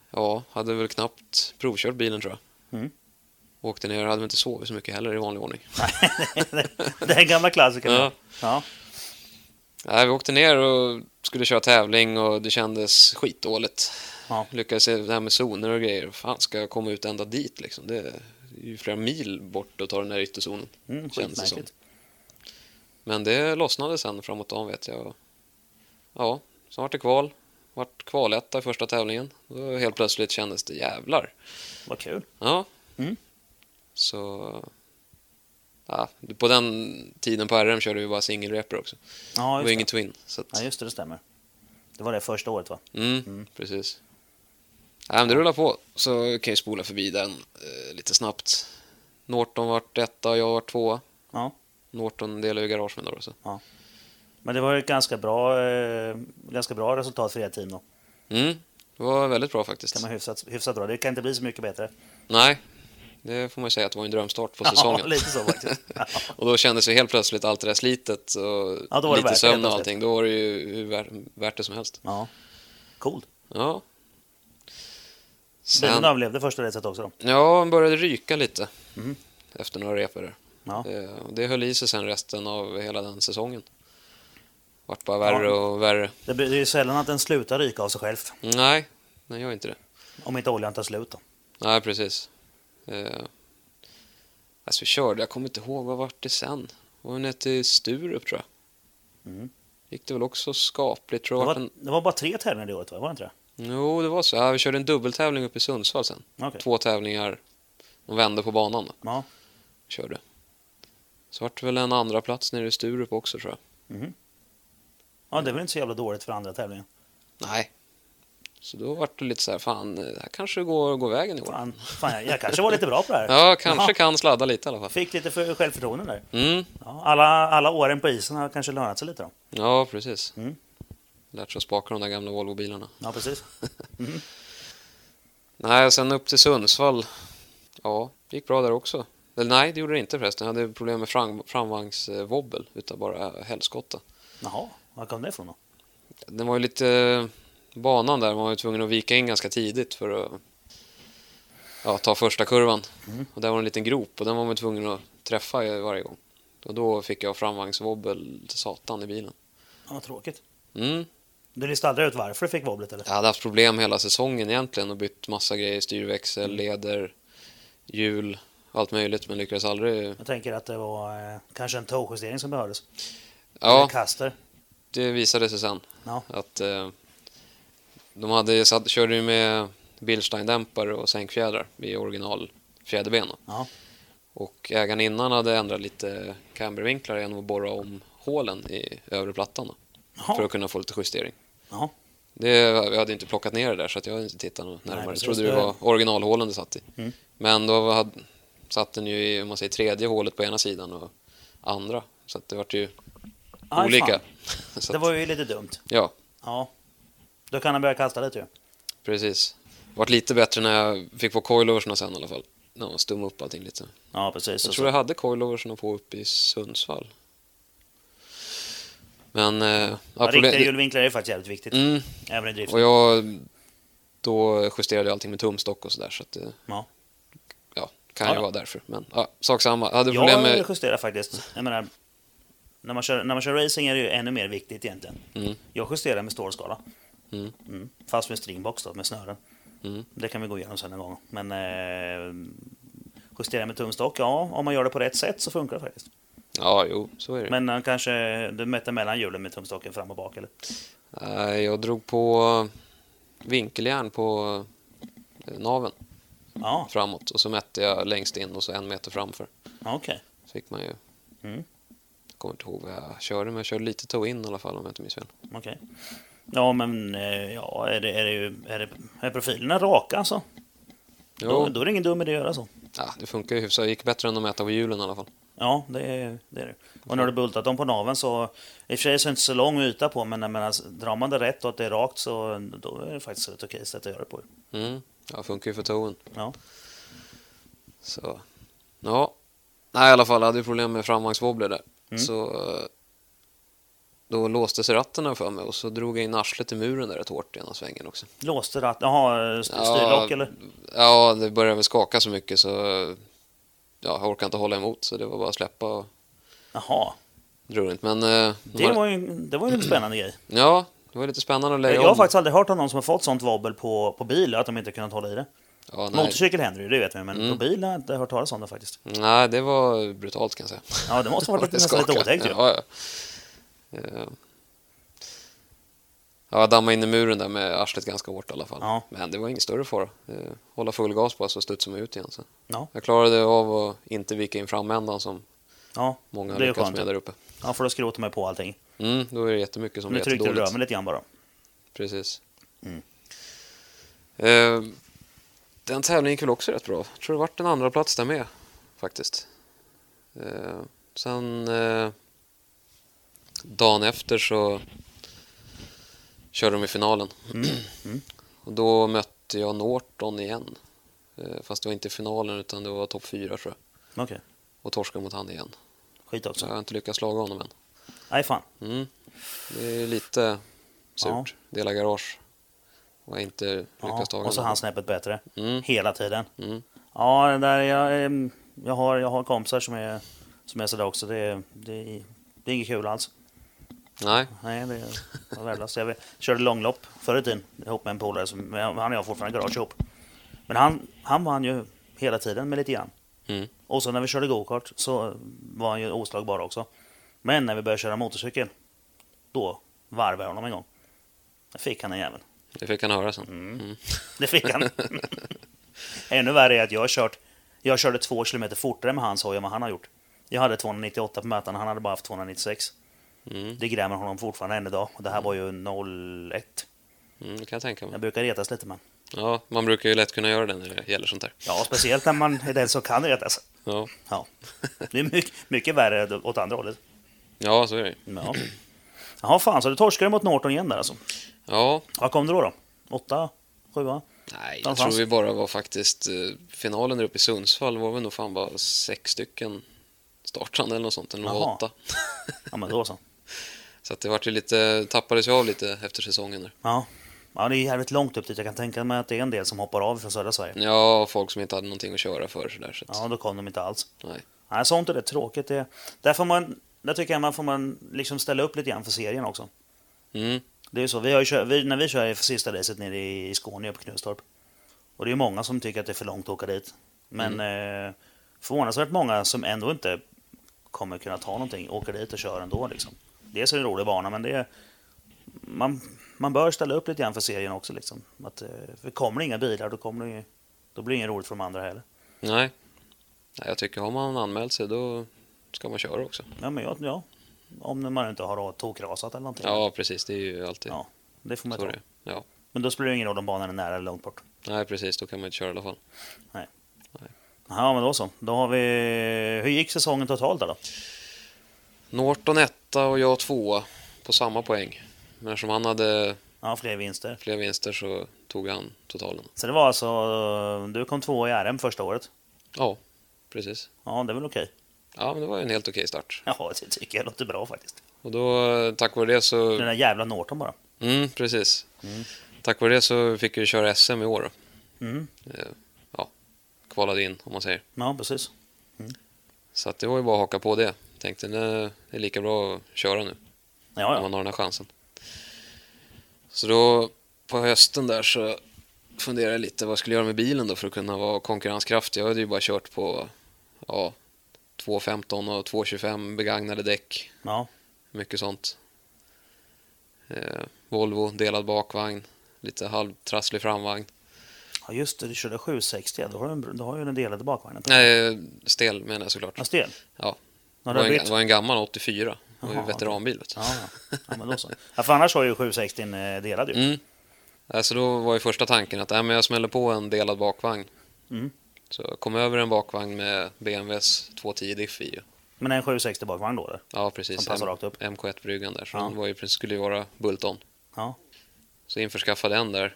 Speaker 2: Ja, hade väl knappt provkört bilen tror jag.
Speaker 1: Mm.
Speaker 2: Åkte ner och hade väl inte sovit så mycket heller i vanlig ordning.
Speaker 1: Det är en gammal klassiker.
Speaker 2: Ja.
Speaker 1: Ja.
Speaker 2: Nej, vi åkte ner och skulle köra tävling och det kändes skitdåligt.
Speaker 1: Ja.
Speaker 2: Lyckades se det här med zoner och grejer. Fan, ska jag komma ut ända dit liksom? Det är ju flera mil bort att ta den här ytterzonen.
Speaker 1: Mm,
Speaker 2: kändes det som.
Speaker 1: skitmärkligt.
Speaker 2: Men det lossnade sen framåt dagen vet jag. Och- Ja, sen vart det kval. Vart kvaletta i första tävlingen. Då helt plötsligt kändes det jävlar.
Speaker 1: Vad kul.
Speaker 2: Ja.
Speaker 1: Mm.
Speaker 2: Så... Ja, på den tiden på RM körde vi bara singelrepor också.
Speaker 1: Ja, just
Speaker 2: det var
Speaker 1: det.
Speaker 2: ingen twin. Så att...
Speaker 1: Ja, just det, det stämmer. Det var det första året va?
Speaker 2: Mm, precis. Nej, men det rullar på, så kan jag spola förbi den eh, lite snabbt. Norton vart etta och jag vart tvåa.
Speaker 1: Ja.
Speaker 2: Norton delar ju garage med några. Så.
Speaker 1: Men det var ju ett ganska bra, eh, ganska bra resultat för era team då.
Speaker 2: Mm, det var väldigt bra
Speaker 1: Kan
Speaker 2: faktiskt.
Speaker 1: man hyfsat, hyfsat bra. Det kan inte bli så mycket bättre.
Speaker 2: Nej, det får man säga att det var en drömstart på säsongen.
Speaker 1: Ja, lite så faktiskt. Ja.
Speaker 2: Och då kändes ju helt plötsligt allt det där slitet och
Speaker 1: Ja, då var det värt
Speaker 2: lite
Speaker 1: det, helt
Speaker 2: sömn och
Speaker 1: plötsligt.
Speaker 2: allting. Då var det ju hur vär- värt det som helst.
Speaker 1: ja. Cool.
Speaker 2: Ja.
Speaker 1: Bilen
Speaker 2: Sen,
Speaker 1: överlevde första racet också då.
Speaker 2: ja, den började ryka lite efter några repor där.
Speaker 1: Mm. Ja.
Speaker 2: Eh, och Det höll i sig sen resten av hela den säsongen. Vart bara värre och värre.
Speaker 1: Det blir- det är ju sällan att den slutar ryka av sig självt.
Speaker 2: Nej, den gör inte det.
Speaker 1: Om inte oljan tar slut då.
Speaker 2: Nej, precis. Eh, Alltså vi körde, jag kommer inte ihåg, vad vart det sen? Var vi ner till Sturup tror jag?
Speaker 1: Mm.
Speaker 2: Gick det väl också skapligt tror
Speaker 1: Det
Speaker 2: jag. Vart
Speaker 1: var, det var bara tre tävlingar det året va? Var det inte det?
Speaker 2: en... Jo, det var så. Ja, vi körde en dubbeltävling uppe i Sundsvall sen.
Speaker 1: Okej.
Speaker 2: Två tävlingar, de vände på banan då.
Speaker 1: Ja.
Speaker 2: körde. Så vart det väl en andra plats nere i Sturup också tror jag.
Speaker 1: ja, det är väl inte så jävla dåligt för andra tävlingen.
Speaker 2: Nej. Så då vart det lite så här, fan, det här kanske går, går vägen i år.
Speaker 1: Fan, fan jag, jag kanske var lite bra på det här.
Speaker 2: Ja, kanske
Speaker 1: Ja.
Speaker 2: kan sladda lite i alla fall.
Speaker 1: Fick lite för självförtroende där.
Speaker 2: Mm.
Speaker 1: Ja, alla, alla åren på isen har kanske lönat sig lite då.
Speaker 2: Ja, precis.
Speaker 1: Mm.
Speaker 2: Lärt sig att spaka de där gamla Volvo-bilarna.
Speaker 1: Ja, precis.
Speaker 2: Nej, sen upp till Sundsvall. Ja, det gick bra där också. Eller nej, det gjorde det inte förresten. Jag hade problem med fram, framvagnsvobbel utan bara helskotta.
Speaker 1: Jaha, var kom det ifrån då?
Speaker 2: Den var ju lite... eh, Banan där man var ju tvungen att vika in ganska tidigt för att ja, ta första kurvan. Och där var en liten grop och den var man tvungen att träffa i varje gång. Och då fick jag framvagnsvobbel till satan i bilen.
Speaker 1: Ja, tråkigt.
Speaker 2: Mm.
Speaker 1: Du listade aldrig ut varför du fick wobblet eller?
Speaker 2: Jag hade haft problem hela säsongen egentligen och bytt massa grejer, styrväxel, leder, hjul, allt möjligt men lyckades aldrig.
Speaker 1: Jag tänker att det var eh, kanske en tåjustering som behövdes. Eller
Speaker 2: Ja,
Speaker 1: kaster.
Speaker 2: det visade sig sen
Speaker 1: Ja.
Speaker 2: att eh, de hade satt, körde ju med Bilstein-dämpare och sänkfjädrar i original fjäderben. då.
Speaker 1: Ja.
Speaker 2: Och ägaren innan hade ändrat lite cambervinklar genom att borra om hålen i övre plattan då, för
Speaker 1: Jaha.
Speaker 2: att kunna få lite justering.
Speaker 1: Jaha.
Speaker 2: Det, jag hade inte plockat ner det där så att jag hade inte tittat något
Speaker 1: Nej,
Speaker 2: närmare. jag
Speaker 1: precis.
Speaker 2: trodde det var originalhålen det satt i.
Speaker 1: Mm.
Speaker 2: Men då hade, satt den ju i om man säger, tredje hålet på ena sidan och andra. Så att det vart ju
Speaker 1: Aj,
Speaker 2: olika.
Speaker 1: fan.
Speaker 2: så
Speaker 1: Det
Speaker 2: att,
Speaker 1: var ju lite dumt.
Speaker 2: Ja,
Speaker 1: Ja. Då kan han börja kasta lite ju.
Speaker 2: precis. Det vart lite bättre när jag fick på coiloversen sen i alla fall. När man stummade upp allting lite.
Speaker 1: Ja, precis.
Speaker 2: Jag
Speaker 1: Och
Speaker 2: tror
Speaker 1: så,
Speaker 2: jag hade coiloversen på uppe i Sundsvall. Men... Eh, ja,
Speaker 1: ja,
Speaker 2: problem-
Speaker 1: riktiga hjulvinklar är faktiskt jävligt viktigt.
Speaker 2: Mm,
Speaker 1: Även i drift.
Speaker 2: och jag... Då justerade jag allting med tumstock och sådär så att det...
Speaker 1: Ja.
Speaker 2: ja, kan
Speaker 1: Ja,
Speaker 2: ju
Speaker 1: ja.
Speaker 2: vara därför. Men ja, sak samma. Jag hade problem
Speaker 1: Jag
Speaker 2: med...
Speaker 1: justerar faktiskt. Jag menar, när man, kör, när man kör racing är det ju ännu mer viktigt egentligen.
Speaker 2: Mm.
Speaker 1: Jag justerar med stålskala.
Speaker 2: Mm.
Speaker 1: Fast med stringbox då, med snören.
Speaker 2: Mm.
Speaker 1: Det kan vi gå igenom sen en gång. Men eh, justera med tumstock, ja, om man gör det på rätt sätt så funkar det faktiskt.
Speaker 2: Ja, jo, så är det.
Speaker 1: Men eh, kanske du mäter mellan hjulen med tumstocken fram och bak eller?
Speaker 2: Nej, Jag drog på vinkeljärn på eh, naven
Speaker 1: Ja,
Speaker 2: framåt och så mätte jag längst in och så en meter framför.
Speaker 1: okej.
Speaker 2: Så fick man ju...
Speaker 1: Mm.
Speaker 2: Jag kommer inte ihåg vad jag körde, men jag körde lite toe-in i alla fall om jag inte minns fel.
Speaker 1: Okej. Ja, men eh, ja, är, det, är, det ju, är, det, är profilerna raka alltså?
Speaker 2: Jo,
Speaker 1: Då, då är det ingen dum idé att göra så.
Speaker 2: Ja, det funkar ju hyfsat. Det gick bättre än att mäta på hjulen i alla fall.
Speaker 1: Ja, det är det. Är det. Och när du bultat dem på naven så... I och för sig så är det inte så lång yta på, men jag menar, drar man det rätt och att det är rakt så då är det faktiskt ett okej sätt att göra det på.
Speaker 2: Mm. Ja, funkar ju för toen.
Speaker 1: Ja.
Speaker 2: Så. Ja. Nej, i alla fall. Jag hade ju problem med framvagnswobbler där.
Speaker 1: Mm.
Speaker 2: Så eh, då låste sig ratterna för mig och så drog jag in arslet i muren där rätt hårt i ena svängen också.
Speaker 1: Låste ratt... Jaha, st- styrlock eller?
Speaker 2: Ja, det började väl skaka så mycket så eh, ja, jag orkade inte hålla emot så det var bara att släppa och
Speaker 1: Jaha.
Speaker 2: dra runt. Men eh, de
Speaker 1: Det
Speaker 2: hade-
Speaker 1: var ju, det var ju en lite spännande grej.
Speaker 2: ja, det var lite spännande att lägga
Speaker 1: Jag har
Speaker 2: om.
Speaker 1: faktiskt aldrig hört om någon som har fått sånt wobbel på, på bil, att de inte kunnat hålla i det.
Speaker 2: Ja, nej. Mm.
Speaker 1: Motorcykel händer ju, det vet vi, men på bil har jag inte hört talas om det faktiskt.
Speaker 2: nej, det var brutalt kan jag säga.
Speaker 1: Ja, det måste ha varit
Speaker 2: Det
Speaker 1: lite, nästan lite
Speaker 2: skakar.
Speaker 1: otäckt ju.
Speaker 2: Ja, ja. Eh, Ja, jag dammade in i muren där med arslet ganska hårt i alla fall.
Speaker 1: Ja.
Speaker 2: Men det var ingen större fara. Eh, Hålla full gas bara så studsade man ut igen sen.
Speaker 1: Ja,
Speaker 2: Jag klarade av att inte vika in framändan som
Speaker 1: ja.
Speaker 2: många har
Speaker 1: det är ju
Speaker 2: lyckats
Speaker 1: skönt.
Speaker 2: med där uppe.
Speaker 1: Ja, för då skrotar man ju på allting.
Speaker 2: Mm, då är det jättemycket som
Speaker 1: Nu
Speaker 2: blir
Speaker 1: tryckte du
Speaker 2: jättedåligt.
Speaker 1: röven lite grann bara.
Speaker 2: Precis.
Speaker 1: Mm.
Speaker 2: Eh, den tävlingen gick väl också rätt bra. Jag tror det vart en andra plats där med faktiskt. Eh, sen eh, dagen efter så körde de i finalen.
Speaker 1: Mm.
Speaker 2: Och då mötte jag Norton igen. Eh, fast det var inte i finalen utan det var topp fyra tror jag.
Speaker 1: Okej,
Speaker 2: Och torskade mot han igen.
Speaker 1: skit
Speaker 2: Så
Speaker 1: också.
Speaker 2: jag har inte lyckats slaga honom än.
Speaker 1: Nej, fan.
Speaker 2: Mm. Det är lite surt. Dela garage. Och jag har inte
Speaker 1: Ja,
Speaker 2: lyckats ta
Speaker 1: och så
Speaker 2: honom.
Speaker 1: han snäppet bättre.
Speaker 2: Mm.
Speaker 1: Hela tiden.
Speaker 2: Mm.
Speaker 1: Ja, det där, jag, ehm, jag, har, jag har kompisar som är, som är sådär också. Det, är- det, är- det är inget kul alls.
Speaker 2: Nej,
Speaker 1: Nej, det var värdelöst. Jag körde långlopp förr i tiden ihop med en polare. som- men Han och jag har fortfarande garage ihop. Men han, han vann ju hela tiden med lite grann.
Speaker 2: Mm.
Speaker 1: Och så när vi körde gokart så var han ju oslagbar också. Men när vi började köra motorcykel, då varvade jag honom en gång. Då fick han en jävel.
Speaker 2: det fick han höra sen. Mm.
Speaker 1: Det fick han. Ännu värre är att jag har kört, jag körde två kilometer fortare med hans hoj än vad han har gjort. Jag hade 298 på mötena, han hade bara haft 296.
Speaker 2: Mm.
Speaker 1: Det grämer honom fortfarande än idag. Och det här var ju 01.
Speaker 2: Mm, det kan jag tänka mig.
Speaker 1: Jag brukar retas lite men...
Speaker 2: Ja, man brukar ju lätt kunna göra det när det gäller sånt här.
Speaker 1: Ja, speciellt när man är den som kan retas.
Speaker 2: Ja,
Speaker 1: Ja. Det är mycket, mycket värre åt andra hållet.
Speaker 2: ja så är det ju.
Speaker 1: Ja. Jaha, fan, så du torskade mot Norton igen där alltså.
Speaker 2: Ja,
Speaker 1: Vad kom du då? då? Åtta? Sjua?
Speaker 2: nej, jag
Speaker 1: Någonstans.
Speaker 2: tror vi bara var faktiskt... eh, Finalen där uppe i Sundsvall var vi nog fan bara sex stycken startande eller något sånt. Eller
Speaker 1: Jaha.
Speaker 2: åtta.
Speaker 1: Ja, men då så.
Speaker 2: Så att det vart ju lite... Tappades ju av lite efter säsongen där.
Speaker 1: Ja. ja, det är jävligt långt upp dit. Jag kan tänka mig att det är en del som hoppar av från södra Sverige.
Speaker 2: Ja, folk som inte hade någonting att köra för sådär. Så att,
Speaker 1: Ja, då kom de inte alls.
Speaker 2: nej.
Speaker 1: Nej, sånt är det tråkigt. Det, där, får man, där tycker jag man får man liksom ställa upp lite grann för serien också.
Speaker 2: Mm,
Speaker 1: Det är ju så, vi har ju kö- vi, när vi kör i sista racet nere i, i Skåne uppe i Knutstorp. Och det är ju många som tycker att det är för långt att åka dit. Men eh, förvånansvärt många som ändå inte kommer kunna ta någonting åker dit och kör ändå. Liksom. Dels är det en rolig bana, men det är, man, man bör ställa upp lite grann för serien också. Liksom. Att, eh, för kommer det inga bilar, då, kommer det, ju- då blir det inget roligt för de andra heller.
Speaker 2: nej. Nej, jag tycker har man anmält sig då ska man köra också.
Speaker 1: Ja, men jag, ja, om man inte har tokrasat eller någonting.
Speaker 2: Ja, precis. Det är ju alltid
Speaker 1: Ja, det får man
Speaker 2: så
Speaker 1: ta.
Speaker 2: det är. Ja.
Speaker 1: Men då spelar det ingen roll om banan är nära eller långt bort.
Speaker 2: Nej, precis. Då kan man inte köra i alla fall.
Speaker 1: Ja, men då så. Då har vi... Hur gick säsongen totalt där då?
Speaker 2: Norton etta och jag tvåa på samma poäng. Men eftersom han hade
Speaker 1: Ja, fler vinster.
Speaker 2: fler vinster så tog han totalen.
Speaker 1: Så det var alltså... Du kom två i RM första året.
Speaker 2: Ja, precis.
Speaker 1: Ja, det är väl okej.
Speaker 2: Ja, men det var ju en helt okej start.
Speaker 1: Ja, det tycker jag låter bra faktiskt.
Speaker 2: Och då, eh, tack vare det
Speaker 1: Den
Speaker 2: så...
Speaker 1: där jävla Norton bara.
Speaker 2: Mm, precis. Tack vare det så fick jag ju köra SM i år.
Speaker 1: Mm.
Speaker 2: Eh, Ja, kvalade in om man säger.
Speaker 1: Ja, precis.
Speaker 2: Så att det var ju bara att haka på det. Tänkte, nej, det är lika bra att köra nu.
Speaker 1: Ah, Ja,
Speaker 2: om
Speaker 1: ja.
Speaker 2: man har den här chansen. Så då på hösten där så funderade jag lite vad jag skulle göra med bilen då för att kunna vara konkurrenskraftig. Jag hade ju bara kört på ja, 2.15 och 2.25 begagnade däck,
Speaker 1: ja.
Speaker 2: mycket sånt. Eh, Volvo, delad bakvagn, lite halvtrasslig framvagn.
Speaker 1: Ja, just det. Du körde 760. Då har du, en, då har ju den delade bakvagnen.
Speaker 2: Nej, stel menar jag såklart.
Speaker 1: Ja, stel.
Speaker 2: Ja.
Speaker 1: Ja, det
Speaker 2: Det var
Speaker 1: har
Speaker 2: en, det
Speaker 1: blivit.
Speaker 2: var en gammal 84, det var ju
Speaker 1: Jaha, okej.
Speaker 2: veteranbil. Vet du.
Speaker 1: Ja, ja. ja, men då så. Ja, för annars har ju 760 en, eh, delad ju.
Speaker 2: Mm. Alltså då var ju första tanken att äh, men jag smäller på en delad bakvagn.
Speaker 1: Mm.
Speaker 2: Så jag kom över en bakvagn med BMWs 210 diff i.
Speaker 1: Men en 760 bakvagn då eller?
Speaker 2: Ja, precis.
Speaker 1: Som passar rakt upp.
Speaker 2: MK1-bryggan där. Så
Speaker 1: Ja.
Speaker 2: den var ju, skulle ju vara Bulton.
Speaker 1: Ja.
Speaker 2: Så införskaffa den där.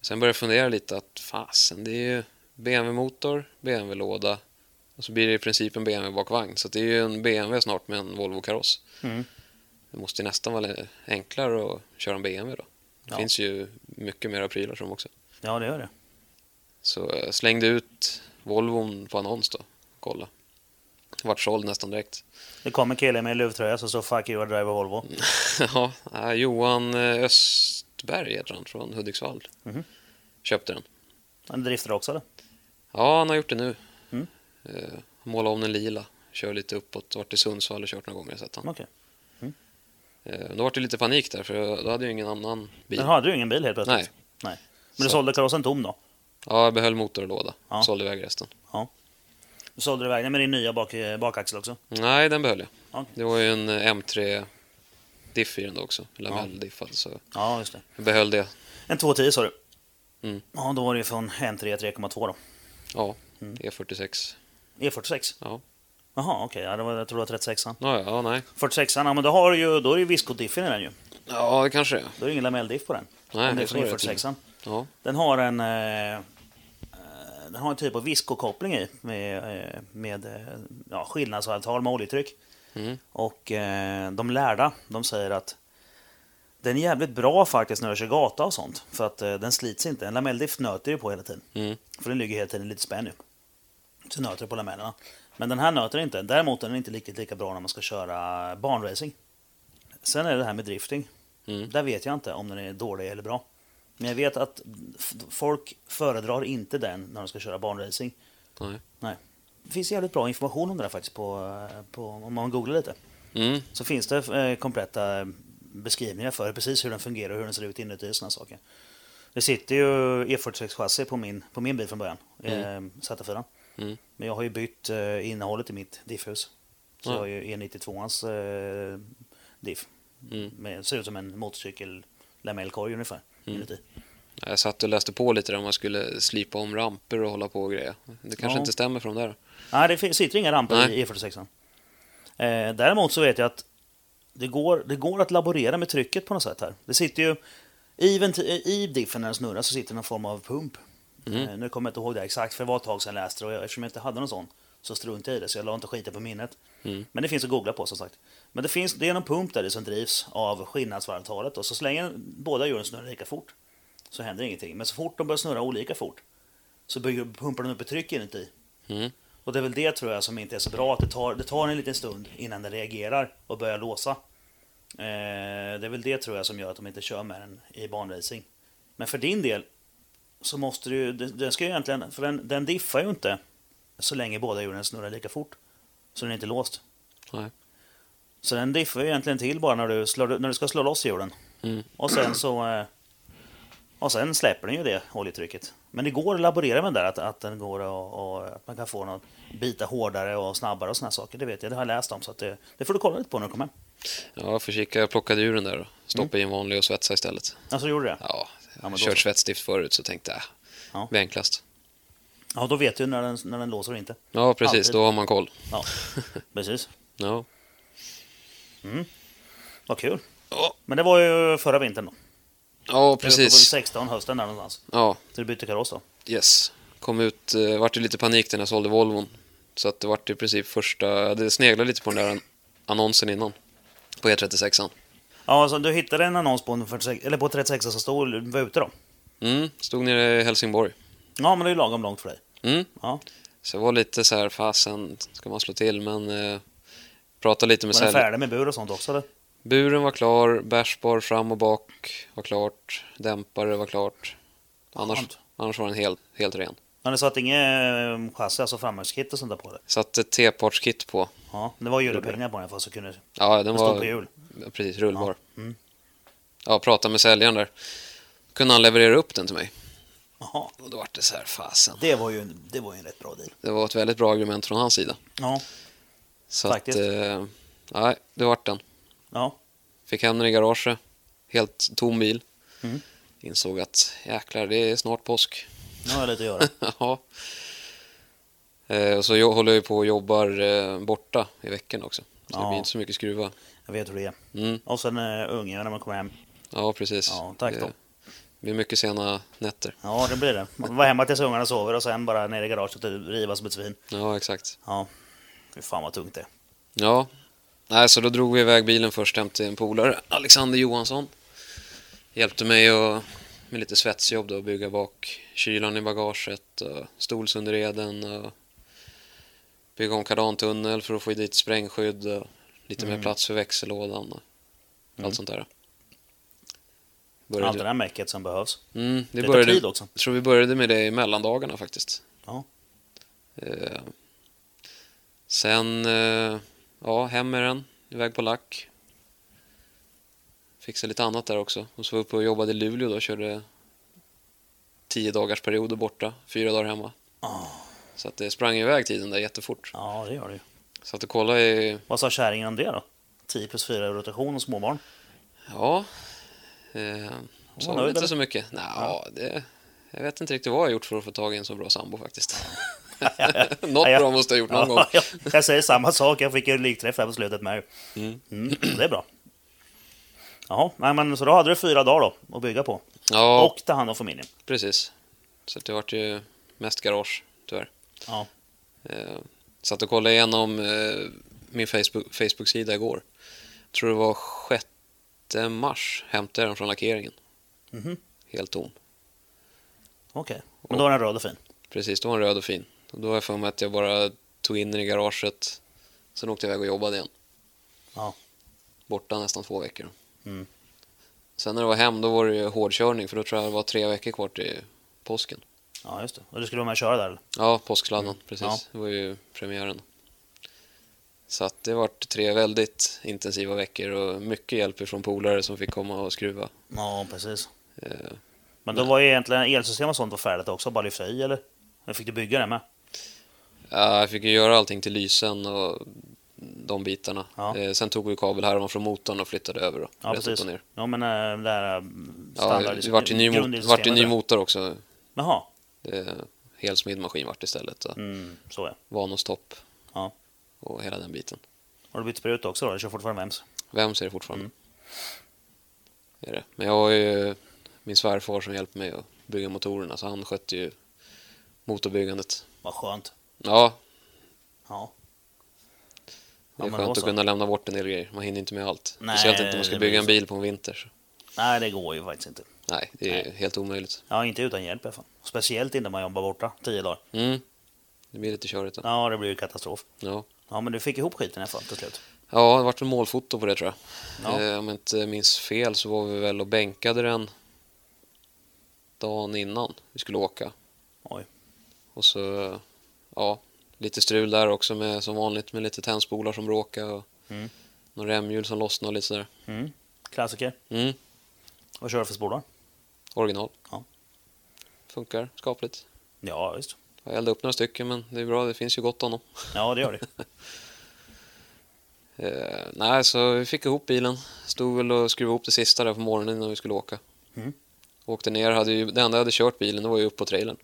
Speaker 2: Sen började jag fundera lite att fasen, det är ju BMW-motor, BMW-låda och så blir det i princip en BMW-bakvagn. Så det är ju en BMW snart med en Volvo-kaross.
Speaker 1: Mm.
Speaker 2: Det måste ju nästan vara lite enklare att köra en BMW då. Det
Speaker 1: Ja.
Speaker 2: finns ju mycket mera prylar som också.
Speaker 1: ja, det gör det.
Speaker 2: Så jag slängde ut Volvon på annons då. Kolla. Vart såld nästan direkt.
Speaker 1: Det kom en kille med en luvtröja som står “Fuck you, I drive a Volvo”.
Speaker 2: ja, eh, Johan eh, Östberg heter han från Hudiksvall.
Speaker 1: Mhm.
Speaker 2: Köpte den.
Speaker 1: En drifter också eller?
Speaker 2: Ja, han har gjort det nu.
Speaker 1: Mm.
Speaker 2: Eh, måla om den lila. Kör lite uppåt. Vart i Sundsvall och kört några gånger. Sett han.
Speaker 1: Okej.
Speaker 2: Eh, då var det lite panik där för då hade jag ingen annan bil.
Speaker 1: Men hade du ingen bil helt plötsligt?
Speaker 2: Nej.
Speaker 1: Nej. Men du
Speaker 2: Så-
Speaker 1: sålde karossen tom då?
Speaker 2: Ja, jag behöll motor och låda.
Speaker 1: Ja.
Speaker 2: Sålde iväg resten.
Speaker 1: Du sålde du iväg den med din nya bak, eh, bakaxel också?
Speaker 2: Nej, den behöll jag.
Speaker 1: Ja.
Speaker 2: Det var ju en eh, M3 diff i den då också. Lamell-diffad. Så
Speaker 1: Ja, just det.
Speaker 2: jag behöll det.
Speaker 1: En 210 sa du?
Speaker 2: Mm.
Speaker 1: Ja, då var det ju från M3 3,2 då.
Speaker 2: Ja, E E46.
Speaker 1: E46?
Speaker 2: Ja.
Speaker 1: Jaha, okej. Ja, det var- jag tror det var 36an.
Speaker 2: Ja, ja, nej.
Speaker 1: 46an, ja men då, har du ju, då är det ju viscodiffen i den ju.
Speaker 2: Ja, det kanske det är.
Speaker 1: Då är det ingen lamelldiff på den.
Speaker 2: Nej,
Speaker 1: om det är
Speaker 2: jag
Speaker 1: från E
Speaker 2: såg det
Speaker 1: E46an.
Speaker 2: Ja,
Speaker 1: Den har en... Eh, eh, den har en typ av viskokoppling i med, eh, med eh, ja, skillnadsavtal med oljetryck.
Speaker 2: Mm.
Speaker 1: Och eh, de lärda, de säger att den är jävligt bra faktiskt när du kör gata och sånt. För att eh, den slits inte. En lamelldiff nöter ju på hela tiden.
Speaker 2: Mm.
Speaker 1: För den ligger hela tiden lite spänd ju. Så nöter det på lamellerna. Men den här nöter inte. Däremot är den inte lika, lika bra när man ska köra barnracing. Sen är det det här med drifting.
Speaker 2: Mm.
Speaker 1: Där vet jag inte om den är dålig eller bra. Men jag vet att f- folk föredrar inte den när de ska köra barnracing.
Speaker 2: nej.
Speaker 1: Det finns jävligt bra information om det där faktiskt på, eh, på, om man googlar lite.
Speaker 2: Mm.
Speaker 1: Så finns det eh, kompletta beskrivningar för precis hur den fungerar och hur den ser ut inuti och sådana saker. Det sitter ju E46-chassi på min, på min bil från början, mm. eh, Z4.
Speaker 2: Mm.
Speaker 1: Men jag har ju bytt eh, innehållet i mitt diffhus. Så
Speaker 2: Ja.
Speaker 1: jag har ju E92-ans eh, diff.
Speaker 2: Mm.
Speaker 1: Men det ser ut som en motorcykel lamellkorg ungefär. Inuti.
Speaker 2: Jag satt och läste på lite där om man skulle slipa om ramper och hålla på och grejer. Det kanske
Speaker 1: Ja.
Speaker 2: inte stämmer för de där.
Speaker 1: Nej, det fin- sitter inga ramper
Speaker 2: Nej.
Speaker 1: i E46. Eh, däremot så vet jag att det går, det går att laborera med trycket på något sätt här. Det sitter ju i, venti- i diffen när den snurrar så sitter någon form av pump. Eh, nu kommer jag inte ihåg det exakt för det var ett tag sedan jag läste det och jag, eftersom jag inte hade någon sån så struntade jag i det så jag la inte skita på minnet. Men det finns att googla på som sagt. Men det, finns, det är någon pump där det som drivs av skillnadsvarvtalet och så länge båda hjulen snurrar lika fort så händer ingenting. Men så fort de börjar snurra olika fort så bygger, pumpar de upp ett tryck inuti
Speaker 2: Mm.
Speaker 1: och det är väl det tror jag som inte är så bra, att det tar, det tar en liten stund innan den reagerar och börjar låsa. Eh, det är väl det tror jag som gör att de inte kör med den i banracing. Men för din del så måste du, den- den ska ju egentligen, för den, den diffar ju inte så länge båda hjulen snurrar lika fort. Så den är inte låst.
Speaker 2: Nej.
Speaker 1: Så den diffar ju egentligen till bara när du, slår, när du ska slå loss hjulen.
Speaker 2: Mm.
Speaker 1: Och sen så... eh, Och sen släpper den ju det oljetrycket. Men det går att laborera med det där, att, att den går och, och att man kan få den att bita hårdare och snabbare och såna här saker. Det vet jag, det har jag läst om. Så att det, det får du kolla lite på när du kommer hem.
Speaker 2: Ja, jag får kika. Jag plockade ur den där och stoppade i en vanlig och svetsa istället.
Speaker 1: Alltså, du gjorde det?
Speaker 2: Ja,
Speaker 1: Mm. men
Speaker 2: jag
Speaker 1: då
Speaker 2: har
Speaker 1: så.
Speaker 2: kört svetsstift förut så tänkte jag,
Speaker 1: Ja.
Speaker 2: äh, det är enklast.
Speaker 1: Ja, då vet du när den, när den låser och inte.
Speaker 2: Ja, precis.
Speaker 1: Alltid.
Speaker 2: Då har man koll.
Speaker 1: Ja, precis.
Speaker 2: Ja.
Speaker 1: Vad kul.
Speaker 2: Ja,
Speaker 1: Men det var ju förra vintern då. Det
Speaker 2: ja
Speaker 1: var på
Speaker 2: precis.
Speaker 1: 16, hösten där någonstans.
Speaker 2: Ja,
Speaker 1: Så du bytte kaross då?
Speaker 2: yes. Kom ut, eh, vart det lite panik när jag sålde Volvon. Så att det vart i princip första, det sneglade lite på den där an- annonsen innan. På E E36an.
Speaker 1: Ja, alltså du hittade en annons på, en 46, eller på 36 som stod var ute då?
Speaker 2: Mm, stod nere i Helsingborg.
Speaker 1: Ja, men det är ju lagom långt för dig.
Speaker 2: Mm.
Speaker 1: Ja.
Speaker 2: Så jag var lite så här, fasen, ska man slå till? Men eh, prata lite med
Speaker 1: Var den
Speaker 2: sälj-
Speaker 1: färdig med bur och sånt också eller?
Speaker 2: Buren var klar, bärsbar fram och bak var klart, dämpare var klart. Annars,
Speaker 1: Skönt.
Speaker 2: annars var den helt, helt ren.
Speaker 1: Men det satt inget eh, chassi, alltså framhjulskit och sånt där på det?
Speaker 2: Satte T-partskit på.
Speaker 1: Ja, det var julepingar på den för så kunde...
Speaker 2: Ja, den
Speaker 1: Den
Speaker 2: var
Speaker 1: stod på hjul.
Speaker 2: Ja, precis rullbar.
Speaker 1: Ja, mm.
Speaker 2: Ja, pratade med säljaren där. Kunde han leverera upp den till mig?
Speaker 1: Jaha,
Speaker 2: Och då var det så här, fasen.
Speaker 1: det var ju en, det var ju en rätt bra deal.
Speaker 2: Det var ett väldigt bra argument från hans sida.
Speaker 1: Ja,
Speaker 2: Så
Speaker 1: Faktiskt.
Speaker 2: att, eh, nej, det vart den.
Speaker 1: ja.
Speaker 2: Fick hem den i garaget. Helt tom bil.
Speaker 1: Mm.
Speaker 2: Insåg att jäklar, det är snart påsk.
Speaker 1: Nu har jag lite att göra.
Speaker 2: ja. Eh, och så jo- håller jag ju på och jobbar eh, borta i veckan också. Så det
Speaker 1: Ja.
Speaker 2: blir inte så mycket skruva.
Speaker 1: Jag vet hur det är.
Speaker 2: Mm.
Speaker 1: Och sen uh, ungarna när man kommer hem.
Speaker 2: Ja, precis. Eh,
Speaker 1: Ja, tack då.
Speaker 2: Det blir mycket sena nätter.
Speaker 1: Ja, det blir det. Man var hemma tills ungarna sover och sen bara ner i garaget och typ riva som ett svin.
Speaker 2: Ja, exakt.
Speaker 1: Ja, fy fan vad tungt det är.
Speaker 2: Ja, Nej, så då drog vi iväg bilen först hem till en polare, Alexander Johansson. Hjälpte mig och, med lite svetsjobb då, att bygga bak kylan i bagaget och stolsunderreden och bygga om kardantunnel för att få dit sprängskydd och lite mer plats för växellådan och
Speaker 1: Mm.
Speaker 2: allt sånt där.
Speaker 1: Allt det
Speaker 2: Började,
Speaker 1: där mäcket som behövs.
Speaker 2: mm, det
Speaker 1: Det tar
Speaker 2: började,
Speaker 1: tid också.
Speaker 2: jag tror vi började med det i mellandagarna faktiskt.
Speaker 1: Ja.
Speaker 2: Eh, sen, eh, ja, hem med den, iväg på lack. Fixade lite annat där också. Och så var vi uppe och jobbade i Luleå då, körde tio dagars perioder borta, fyra dagar hemma.
Speaker 1: Ah.
Speaker 2: Så att det sprang iväg tiden där jättefort.
Speaker 1: Ja, det gör det ju.
Speaker 2: Satt och kollade i,
Speaker 1: Vad sa kärringen om det då? 10 plus 4 i rotation och småbarn.
Speaker 2: ja, eh, sa
Speaker 1: nöjd,
Speaker 2: väl inte
Speaker 1: eller?
Speaker 2: så mycket. Nej, ja. det, jag vet inte riktigt vad jag har gjort för att få tag i en så bra sambo faktiskt. Något
Speaker 1: Ja, ja.
Speaker 2: bra måste jag ha gjort någon gång.
Speaker 1: Ja, jag säger samma sak, jag fick ju likträff här på slutet med.
Speaker 2: Mm.
Speaker 1: Mm, det är bra. Jaha, nej, men så då hade du fyra dagar då att bygga på.
Speaker 2: Ja.
Speaker 1: Och ta hand om familjen.
Speaker 2: Precis. Så att det vart ju mest garage, tyvärr.
Speaker 1: Ja.
Speaker 2: Eh, satt och kollade igenom eh, min Facebook- Facebook-sida igår. Jag tror det var 6 mars hämtade jag den från lackeringen.
Speaker 1: Mhm.
Speaker 2: Helt tom.
Speaker 1: Okej, men då var den röd och fin.
Speaker 2: Precis, då var den röd och fin. Och då har jag för mig att jag bara tog in den i garaget. Sen åkte jag iväg och jobbade igen.
Speaker 1: Ja.
Speaker 2: Borta nästan två veckor.
Speaker 1: Mm.
Speaker 2: Sen när det var hem, då var det ju hårdkörning. För då tror jag det var tre veckor kvar till påsken.
Speaker 1: Ja, just det. Och du skulle vara med och köra där? eller?
Speaker 2: Ja, påsksladden, precis.
Speaker 1: Mm. Ja.
Speaker 2: Det var ju premiären. Så att det vart tre väldigt intensiva veckor och mycket hjälp från polare som fick komma och skruva.
Speaker 1: Ja, precis.
Speaker 2: Eh,
Speaker 1: Men då var ju egentligen elsystem och sånt var färdigt också, bara lyfta i eller? Men fick du bygga det med?
Speaker 2: ja, jag fick ju göra allting till lysen och de bitarna.
Speaker 1: Ja.
Speaker 2: Eh, sen tog vi kabelhärvan från motorn och flyttade över då,
Speaker 1: Ja,
Speaker 2: rätt upp
Speaker 1: precis. liksom
Speaker 2: och ner.
Speaker 1: Ja, men äh, det här
Speaker 2: Ja, det vart ju ny, mot- vart ju ny motor också.
Speaker 1: Jaha,
Speaker 2: Eh, helsmidd maskin vart det istället. Så.
Speaker 1: mm, så ja.
Speaker 2: Vanos-topp
Speaker 1: Ja.
Speaker 2: och hela den biten.
Speaker 1: Har du bytt sprut också då? Du kör fortfarande vems?
Speaker 2: Vem ser det fortfarande?
Speaker 1: Mm.
Speaker 2: Är det. Men jag har ju min svärfar som hjälper mig att bygga motorerna, så han skötte ju motorbyggandet.
Speaker 1: Vad skönt.
Speaker 2: Ja,
Speaker 1: Ja.
Speaker 2: det
Speaker 1: Ja, men
Speaker 2: är
Speaker 1: då
Speaker 2: skönt att
Speaker 1: så.
Speaker 2: kunna lämna bort en del grejer. Man hinner inte med allt.
Speaker 1: Nej,
Speaker 2: Speciellt inte om man
Speaker 1: det
Speaker 2: ska
Speaker 1: blir
Speaker 2: bygga en
Speaker 1: så.
Speaker 2: bil på en vinter. Så.
Speaker 1: Nej, det går ju faktiskt inte.
Speaker 2: Nej, det är
Speaker 1: Nej.
Speaker 2: helt omöjligt.
Speaker 1: Ja, inte utan hjälp i alla fall. Speciellt inte när man jobbar borta tio dagar.
Speaker 2: Mm. Det blir lite körigt. Då.
Speaker 1: Ja, det blir ju katastrof.
Speaker 2: Ja.
Speaker 1: Ja, men du fick ihop skiten i alla fall till slut.
Speaker 2: ja, det vart en målfoto på det tror jag.
Speaker 1: Ja.
Speaker 2: Eh, om jag inte minns fel så var vi väl och bänkade den dagen innan vi skulle åka.
Speaker 1: Oj.
Speaker 2: Och så, ja, lite strul där också med, som vanligt med lite tändspolar som bråkade och
Speaker 1: Mm.
Speaker 2: några remhjul som lossnade och lite sådär.
Speaker 1: Mm. Klassiker.
Speaker 2: Mm,
Speaker 1: Vad kör du för spolar?
Speaker 2: original.
Speaker 1: Ja.
Speaker 2: Funkar skapligt.
Speaker 1: Ja, visst.
Speaker 2: Jag eldade upp några stycken men det är bra, det finns ju gott om dem.
Speaker 1: Ja, det gör det.
Speaker 2: Eh, nej, så vi fick ihop bilen. Stod väl och skruvade ihop det sista där på morgonen innan vi skulle åka.
Speaker 1: Mm.
Speaker 2: Åkte ner, hade ju, det enda jag hade kört bilen det var ju upp på trailern.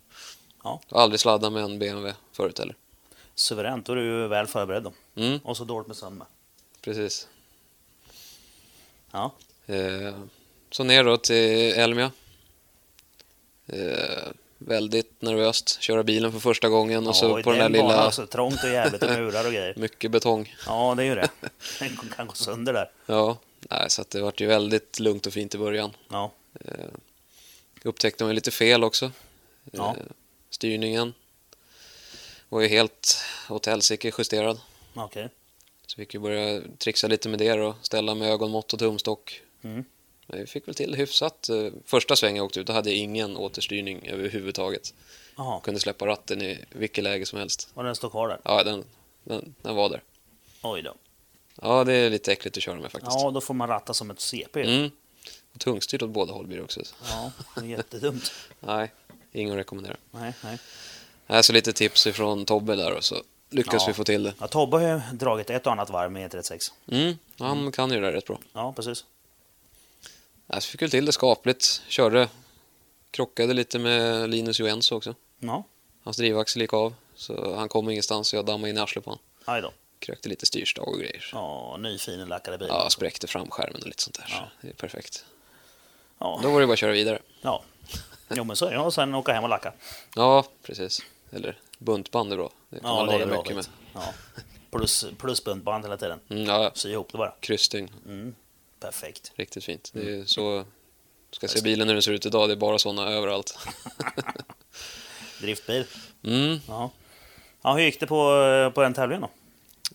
Speaker 1: Ja.
Speaker 2: Jag har aldrig sladdat med en BMW förut heller.
Speaker 1: Suveränt, då är du ju väl förberedd då.
Speaker 2: Mm,
Speaker 1: Och så dåligt med sömn med.
Speaker 2: precis.
Speaker 1: Ja.
Speaker 2: Eh, Så ner då till Elmia. Eh, Väldigt nervöst, köra bilen för första gången och så
Speaker 1: i
Speaker 2: på den där
Speaker 1: banan,
Speaker 2: lilla,
Speaker 1: Alltså, trångt och jävligt och murar och grejer.
Speaker 2: mycket betong.
Speaker 1: Ja, det är ju det. Den kan gå sönder där.
Speaker 2: Ja, nej, så att det vart ju väldigt lugnt och fint i början.
Speaker 1: Ja,
Speaker 2: Upptäckte man ju lite fel också.
Speaker 1: Ja.
Speaker 2: Eh, Styrningen var ju helt åt helsike justerad.
Speaker 1: okej.
Speaker 2: Så vi fick ju börja trixa lite med det då, ställa med ögonmått och tumstock.
Speaker 1: Mm.
Speaker 2: Men vi fick väl till hyfsat. Eh, Första svängen jag åkte ut, då hade jag ingen återstyrning överhuvudtaget.
Speaker 1: Jaha,
Speaker 2: Jag kunde släppa ratten i vilket läge som helst.
Speaker 1: och den står kvar där.
Speaker 2: Ja, den, den, den var där.
Speaker 1: Oj då.
Speaker 2: Ja, det är lite äckligt att köra med faktiskt.
Speaker 1: Ja, då får man ratta som ett CP.
Speaker 2: Mm. Och tungstyrt åt båda håll blir det också.
Speaker 1: Ja, det är jättedumt.
Speaker 2: Nej, ingen att rekommendera.
Speaker 1: Nej, nej.
Speaker 2: Nej, så lite tips ifrån Tobbe där och så lyckas
Speaker 1: Ja.
Speaker 2: vi få till det.
Speaker 1: Ja, Tobbe har ju dragit ett och annat varv med 136.
Speaker 2: Mm. Han kan ju det där rätt bra.
Speaker 1: Ja, precis.
Speaker 2: Nej, så fick vi till det skapligt. Körde. Krockade lite med Linus Joensuu också.
Speaker 1: Ja,
Speaker 2: Hans drivaxel gick av. Så han kom ingenstans så jag dammade in i arslet på honom.
Speaker 1: Aj då.
Speaker 2: Krökte lite styrstag och grejer. Ja,
Speaker 1: Ja, ny fin lackade bil.
Speaker 2: spräckte framskärmen och lite sånt där.
Speaker 1: Ja.
Speaker 2: Så det är perfekt.
Speaker 1: Ja.
Speaker 2: Då var det bara att köra vidare.
Speaker 1: ja. Jo men så är det. Och sen åka hem och lacka.
Speaker 2: Ja, precis. Eller buntband är bra. Det kan
Speaker 1: Ja,
Speaker 2: man
Speaker 1: det är
Speaker 2: hålla
Speaker 1: bra.
Speaker 2: mycket med.
Speaker 1: vet. Ja. Plus, plus buntband hela tiden.
Speaker 2: Mm, ja,
Speaker 1: Sy ihop det bara.
Speaker 2: kryssstygn.
Speaker 1: Perfekt.
Speaker 2: Riktigt fint. Det är
Speaker 1: Mm.
Speaker 2: ju så... Ska se bilen hur den ser ut idag, det är bara sådana överallt.
Speaker 1: Driftbil.
Speaker 2: Mm.
Speaker 1: Ja. ja hur gick det på, eh, på den tävlingen då?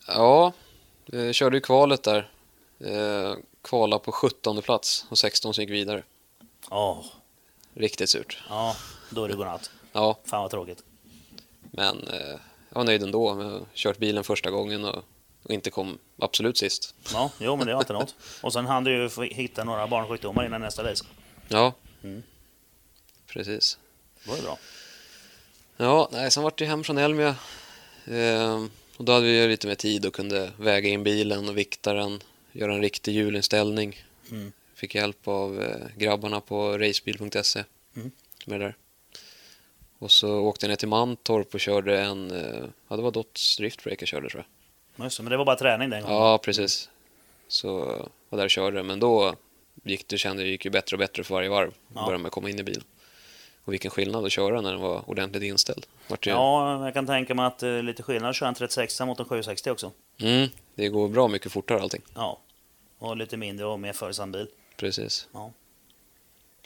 Speaker 2: Ja, eh, körde ju kvalet där. Eh, Kvala på 17 plats och 16 som gick vidare.
Speaker 1: Åh,
Speaker 2: Riktigt surt.
Speaker 1: ja. Då är det godnatt.
Speaker 2: Ja,
Speaker 1: Fan vad tråkigt.
Speaker 2: men eh, jag var nöjd ändå. Jag har kört bilen första gången och, och inte kom absolut sist.
Speaker 1: Ja, jo men det var inte något. Och sen hann du ju få hitta några barnsjukdomar innan nästa race.
Speaker 2: Ja,
Speaker 1: Mm.
Speaker 2: precis.
Speaker 1: Då är det bra.
Speaker 2: Ja, nej, sen vart det hem från Elmia. Eh, och då hade vi ju lite mer tid och kunde väga in bilen och vikta den, göra en riktig hjulinställning.
Speaker 1: Mm.
Speaker 2: Fick hjälp av eh, grabbarna på racebil.se
Speaker 1: Mm.
Speaker 2: med det där. Och så åkte jag ner till Mantorp och körde en, eh, ja det var Dots driftbreak jag körde tror jag.
Speaker 1: Ja, Just det, men det var bara träning den gången.
Speaker 2: Ja, precis. Så eh, var där och körde, men då gick det, kände jag gick ju bättre och bättre för varje varv.
Speaker 1: Ja.
Speaker 2: Började med att komma in i bilen. Och vilken skillnad att köra när den var ordentligt inställd. Vart det,
Speaker 1: Ja, jag kan tänka mig att eh, lite skillnad att köra en 36 mot en 760 också.
Speaker 2: Mm, det går bra mycket fortare allting.
Speaker 1: Ja. Och lite mindre och mer följsam bil.
Speaker 2: Precis.
Speaker 1: Ja.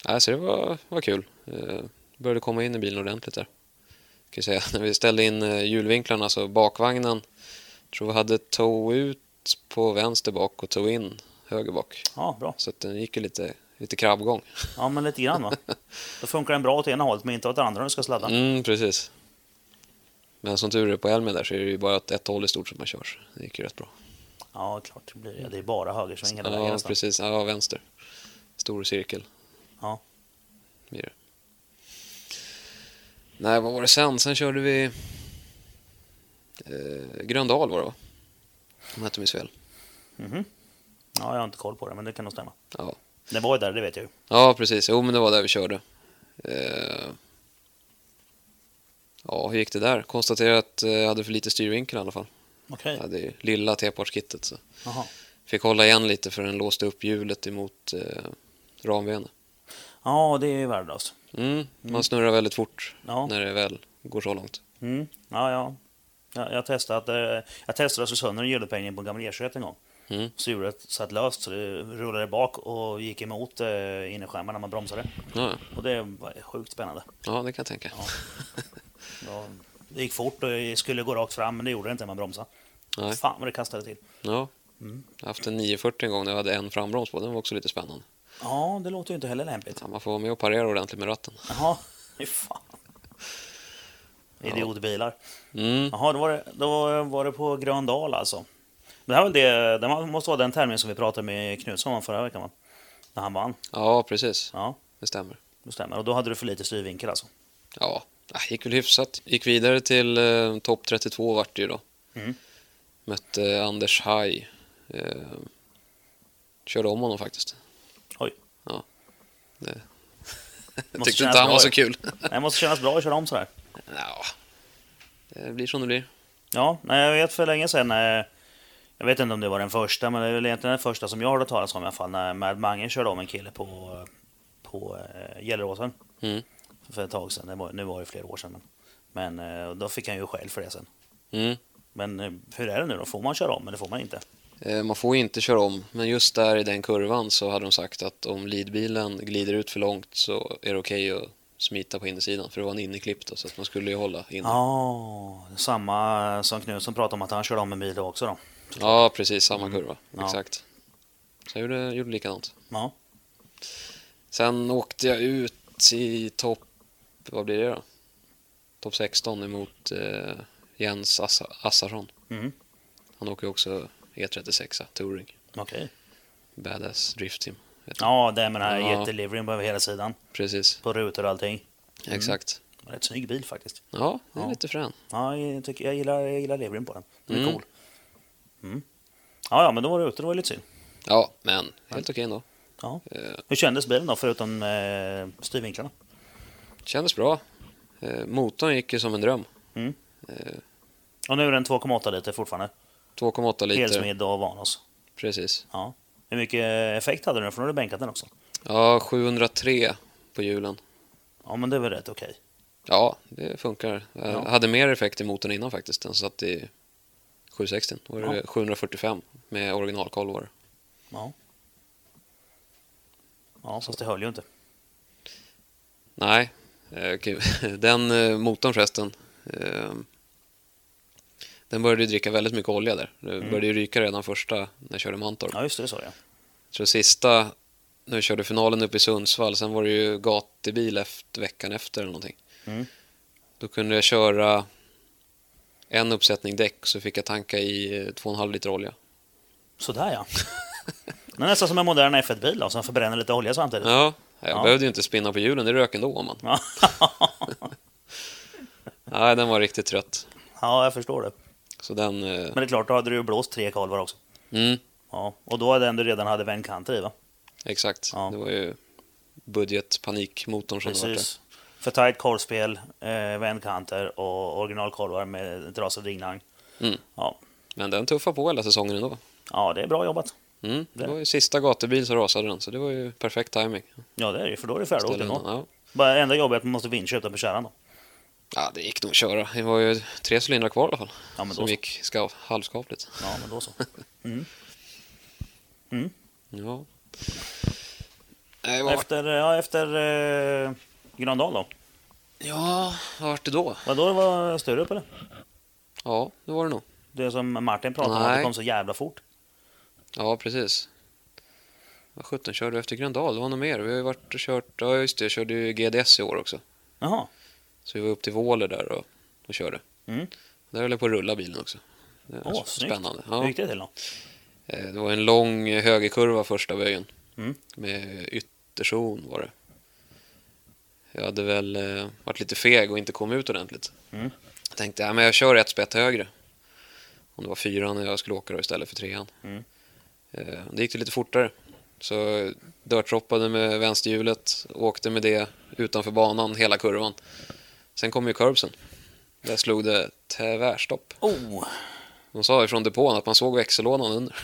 Speaker 2: Nej, så det var, var kul. Eh, började komma in i bilen ordentligt där. Kan jag säga. När vi ställde in eh, hjulvinklarna så bakvagnen, tror vi hade tog ut på vänster bak och tog in höger bak.
Speaker 1: Ja, bra.
Speaker 2: Så att den gick ju lite, lite krabbgång.
Speaker 1: Ja, men lite grann va. Då funkar den bra åt ena hållet, men inte åt andra när du ska sladda.
Speaker 2: Mm, precis. Men som tur är på Elmia där så är det ju bara ett, ett håll i stort som man kör. Det gick ju rätt bra.
Speaker 1: Ja, klart det blir det. Det är bara högersväng hela vägen
Speaker 2: Ja,
Speaker 1: nästan.
Speaker 2: precis. Ja, vänster. Stor cirkel.
Speaker 1: Ja.
Speaker 2: Blir det. Nej, vad var det sen? Sen körde vi... Eh, Gröndal var det va? Om jag inte minns fel.
Speaker 1: Mhm. Ja, jag har inte koll på det, men det kan nog stämma.
Speaker 2: Ja.
Speaker 1: Det var ju där, det vet jag ju.
Speaker 2: ja, precis. Jo, men det var där vi körde. Eh, ja, hur gick det där? Konstaterade att eh, jag hade för lite styrvinkel i alla fall.
Speaker 1: Okej.
Speaker 2: Jag hade ju lilla T-partskittet så
Speaker 1: Jaha.
Speaker 2: fick hålla igen lite för den låste upp hjulet emot eh, ramvenen.
Speaker 1: Ja, det är ju värdelöst.
Speaker 2: Mm, man snurrar väldigt fort
Speaker 1: Ja.
Speaker 2: när det väl går så långt.
Speaker 1: Mm. Ja, ja. Jag, jag testade att eh, jag testade att slå sönder en hjulupphängning på en gammal E21 en gång.
Speaker 2: Mm.
Speaker 1: Så hjulet satt löst så det rullade bak och gick emot eh, innerskärmen när man bromsade.
Speaker 2: Ja, ja.
Speaker 1: Och det var sjukt spännande.
Speaker 2: ja det kan jag tänka.
Speaker 1: Ja, Det gick fort och jag skulle gå rakt fram men det gjorde det inte när man bromsade.
Speaker 2: Nej.
Speaker 1: Fan vad det kastade till.
Speaker 2: Ja.
Speaker 1: Mm.
Speaker 2: Jag har haft en 940 en gång när jag hade en frambroms på. Den var också lite spännande.
Speaker 1: Ja, det låter ju inte heller lämpligt.
Speaker 2: Ja, man får vara med och parera ordentligt med ratten.
Speaker 1: Jaha, fy fan. Idiotbilar.
Speaker 2: Mm.
Speaker 1: Jaha, då var det, då var det på Gröndal alltså. Det här var det, det var- måste vara den tävlingen som vi pratade med Knutsson om förra veckan va? När han vann.
Speaker 2: Ja, precis.
Speaker 1: Ja,
Speaker 2: Det stämmer.
Speaker 1: det stämmer. Och då hade du för lite styrvinkel alltså.
Speaker 2: Ja, det gick väl hyfsat. Gick vidare till eh, topp 32 vart det ju då.
Speaker 1: Mm.
Speaker 2: Mötte Anders Haj. Eh, körde om honom faktiskt.
Speaker 1: Oj.
Speaker 2: Ja. Det.
Speaker 1: Måste
Speaker 2: Jag
Speaker 1: kännas
Speaker 2: tyckte inte
Speaker 1: bra
Speaker 2: han var
Speaker 1: ju.
Speaker 2: så kul.
Speaker 1: Det måste kännas bra att köra om sådär.
Speaker 2: ja. Det blir som det blir.
Speaker 1: Ja, nej, jag vet för länge sedan. eh, Jag vet inte om det var den första, men det är väl egentligen den första som jag har hört talas om i alla fall. När Mad Mange körde om en kille på, på eh, Gelleråsen.
Speaker 2: Mm.
Speaker 1: För ett tag sedan. Det var, nu var det flera år sedan. Men, men eh, då fick han ju skäll för det sen.
Speaker 2: Mm.
Speaker 1: Men eh, hur är det nu då? Får man köra om eller får man inte?
Speaker 2: Eh, Man får ju inte köra om, men just där i den kurvan så hade de sagt att om leadbilen glider ut för långt så är det okej att smita på insidan, för det var en inneklipp då, så att man skulle ju hålla inne. Ja,
Speaker 1: Ja, samma som Knutsson pratade om att han körde om en bil då också då.
Speaker 2: precis, samma kurva.
Speaker 1: Mm. Ja.
Speaker 2: Exakt. Så jag gjorde, gjorde likadant.
Speaker 1: Ja,
Speaker 2: Sen åkte jag ut i topp, vad blir det då? Topp 16 emot eh, Jens Assa, Assarsson.
Speaker 1: Mm.
Speaker 2: Han åker ju också E36 Touring,
Speaker 1: okej.
Speaker 2: Badass Drift Team.
Speaker 1: Ja, det är med den här
Speaker 2: Ja.
Speaker 1: jätteliveryn på hela sidan.
Speaker 2: Precis,
Speaker 1: På rutor och allting.
Speaker 2: exakt.
Speaker 1: Rätt snygg bil faktiskt.
Speaker 2: Ja, det är
Speaker 1: Ja.
Speaker 2: lite frän.
Speaker 1: Ja, jag, tycker, jag gillar, jag gillar leveryn på den. Den är
Speaker 2: Mm.
Speaker 1: cool. Mm. Ja, ja, men då var du ute. Det var lite synd.
Speaker 2: Ja, men helt okej ändå.
Speaker 1: Ja.
Speaker 2: Eh,
Speaker 1: Hur kändes bilen då, förutom eh, styrvinklarna?
Speaker 2: kändes bra. Eh, motorn gick ju som en dröm.
Speaker 1: Mm.
Speaker 2: Eh,
Speaker 1: Och nu är den 2,8 liter fortfarande.
Speaker 2: 2,8 liter.
Speaker 1: Helt som vi då van oss.
Speaker 2: Precis.
Speaker 1: Ja. Hur mycket effekt hade den? För nu har du bänkat den också.
Speaker 2: Ja, 703 på hjulen.
Speaker 1: Ja, men det var rätt okej.
Speaker 2: Ja, det funkar. Jag
Speaker 1: Ja.
Speaker 2: hade mer effekt i motorn innan faktiskt. Den satt i 760. Då var det 745 med originalkolv var det.
Speaker 1: Ja. Ja, fast det höll ju inte.
Speaker 2: Nej, eh, okej. den eh, motorn förresten. eh, Den började ju dricka väldigt mycket olja där. Det
Speaker 1: Mm.
Speaker 2: började ju ryka redan första när jag körde Mantorp.
Speaker 1: Ja, just det, det sa jag.
Speaker 2: Så sista, när vi körde finalen uppe i Sundsvall, sen var det ju gatubil efter, veckan efter eller någonting.
Speaker 1: Mm.
Speaker 2: Då kunde jag köra en uppsättning däck så fick jag tanka i eh, 2,5 liter olja.
Speaker 1: Sådär ja. Den är nästan som en modern F1-bil då, som förbränner lite olja samtidigt.
Speaker 2: Ja, jag
Speaker 1: Ja.
Speaker 2: behövde ju inte spinna på hjulen, det rök ändå om man.
Speaker 1: Ja.
Speaker 2: Nej, den var riktigt trött.
Speaker 1: ja, jag förstår det.
Speaker 2: Så den... eh,
Speaker 1: Men det är klart, då hade du ju blåst tre kalvar också.
Speaker 2: Mm,
Speaker 1: Ja, och då är den du redan hade vänd kanter i va?
Speaker 2: exakt.
Speaker 1: Ja.
Speaker 2: Det var ju budgetpanikmotorn som var där.
Speaker 1: Precis. För tajt korvspel, eh, vänd kanter och originalkorvar med ett rasad ringlagn.
Speaker 2: Mm.
Speaker 1: Ja.
Speaker 2: Men den tuffade på hela säsongen ändå.
Speaker 1: ja, det är bra jobbat.
Speaker 2: Mm, det
Speaker 1: Det.
Speaker 2: var ju sista gatubil som rasade den, så det var ju perfekt timing.
Speaker 1: Ja, det är det ju, för då är det färdigt
Speaker 2: Ställde
Speaker 1: ändå.
Speaker 2: undan, ja.
Speaker 1: Bara enda jobbet är att man måste vincha utanför kärran då.
Speaker 2: Ja, det gick nog att köra. Det var ju tre cylindrar kvar i alla fall.
Speaker 1: Ja, men då
Speaker 2: som
Speaker 1: så.
Speaker 2: gick skav, halvskapligt.
Speaker 1: Ja, men då så.
Speaker 2: Ja. Nej, vad, vart-
Speaker 1: Efter, ja, efter eh, Gröndal då?
Speaker 2: ja, vad vart det då?
Speaker 1: Var då det var Sturup eller?
Speaker 2: Ja, det var det nog.
Speaker 1: Det som Martin pratade om, att
Speaker 2: Nej.
Speaker 1: det kom så jävla fort.
Speaker 2: Ja, precis. Vad sjutton körde du efter Gröndal? Det var nog mer. Vi har ju varit och kört... Ja, just det. Jag körde ju GDS i år också.
Speaker 1: Jaha.
Speaker 2: Så vi var upp till Våler där och, och körde.
Speaker 1: Mm.
Speaker 2: Där höll jag på att rulla bilen också. Det var
Speaker 1: Åh,
Speaker 2: så
Speaker 1: snyggt.
Speaker 2: spännande.
Speaker 1: Hur
Speaker 2: Ja.
Speaker 1: gick det till då?
Speaker 2: Eh, Det var en lång eh, högerkurva första böjen.
Speaker 1: Mm.
Speaker 2: Med ytterzon var det. Jag hade väl eh, varit lite feg och inte kom ut ordentligt.
Speaker 1: Mm.
Speaker 2: Jag tänkte, ja, men jag kör ett spett högre. Om det var fyran jag skulle åka då istället för trean.
Speaker 1: Mm.
Speaker 2: Eh, Det gick det lite fortare. Så dörtroppade med vänsterhjulet, åkte med det utanför banan hela kurvan. Sen kom ju curbsen. Där slog det tvärstopp.
Speaker 1: Oh,
Speaker 2: De sa ju från depån att man såg växellådan under.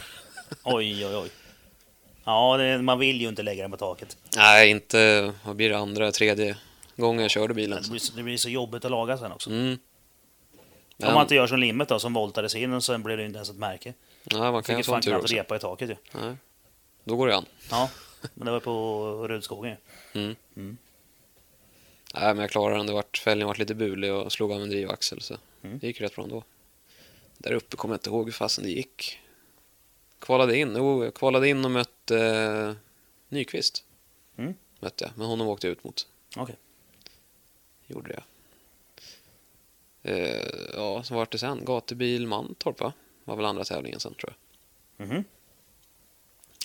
Speaker 1: oj, oj, oj. Ja, det, man vill ju inte lägga den på taket.
Speaker 2: Nej, inte vad blir det andra, tredje gången jag körde bilen.
Speaker 1: Det blir, så- det blir så jobbigt att laga sen också.
Speaker 2: Mm.
Speaker 1: Om man
Speaker 2: Men,
Speaker 1: inte gör som limmet då, som voltades in och sen blir det ju inte ens ett märke.
Speaker 2: nej, man kan
Speaker 1: Fick
Speaker 2: ju
Speaker 1: ju
Speaker 2: få en
Speaker 1: fan
Speaker 2: tur
Speaker 1: knappt
Speaker 2: också.
Speaker 1: repa i taket ju.
Speaker 2: Nej. Då går det an.
Speaker 1: Ja, men det var på Rudskogen ju.
Speaker 2: Nej, men jag klarade den. Det vart, fälgen vart lite bulig och slog av en drivaxel. Så
Speaker 1: Mm.
Speaker 2: det gick rätt bra ändå. Där uppe kommer jag inte ihåg hur fasen det gick. Kvalade in, jo, jag kvalade in och mötte eh, Nyqvist.
Speaker 1: Mm.
Speaker 2: Mötte jag, men honom åkte jag ut mot.
Speaker 1: Okej.
Speaker 2: Gjorde jag. Eh, ja, så vart det sen? Gatubil Mantorp va? Var väl andra tävlingen sen tror jag.
Speaker 1: Mhm.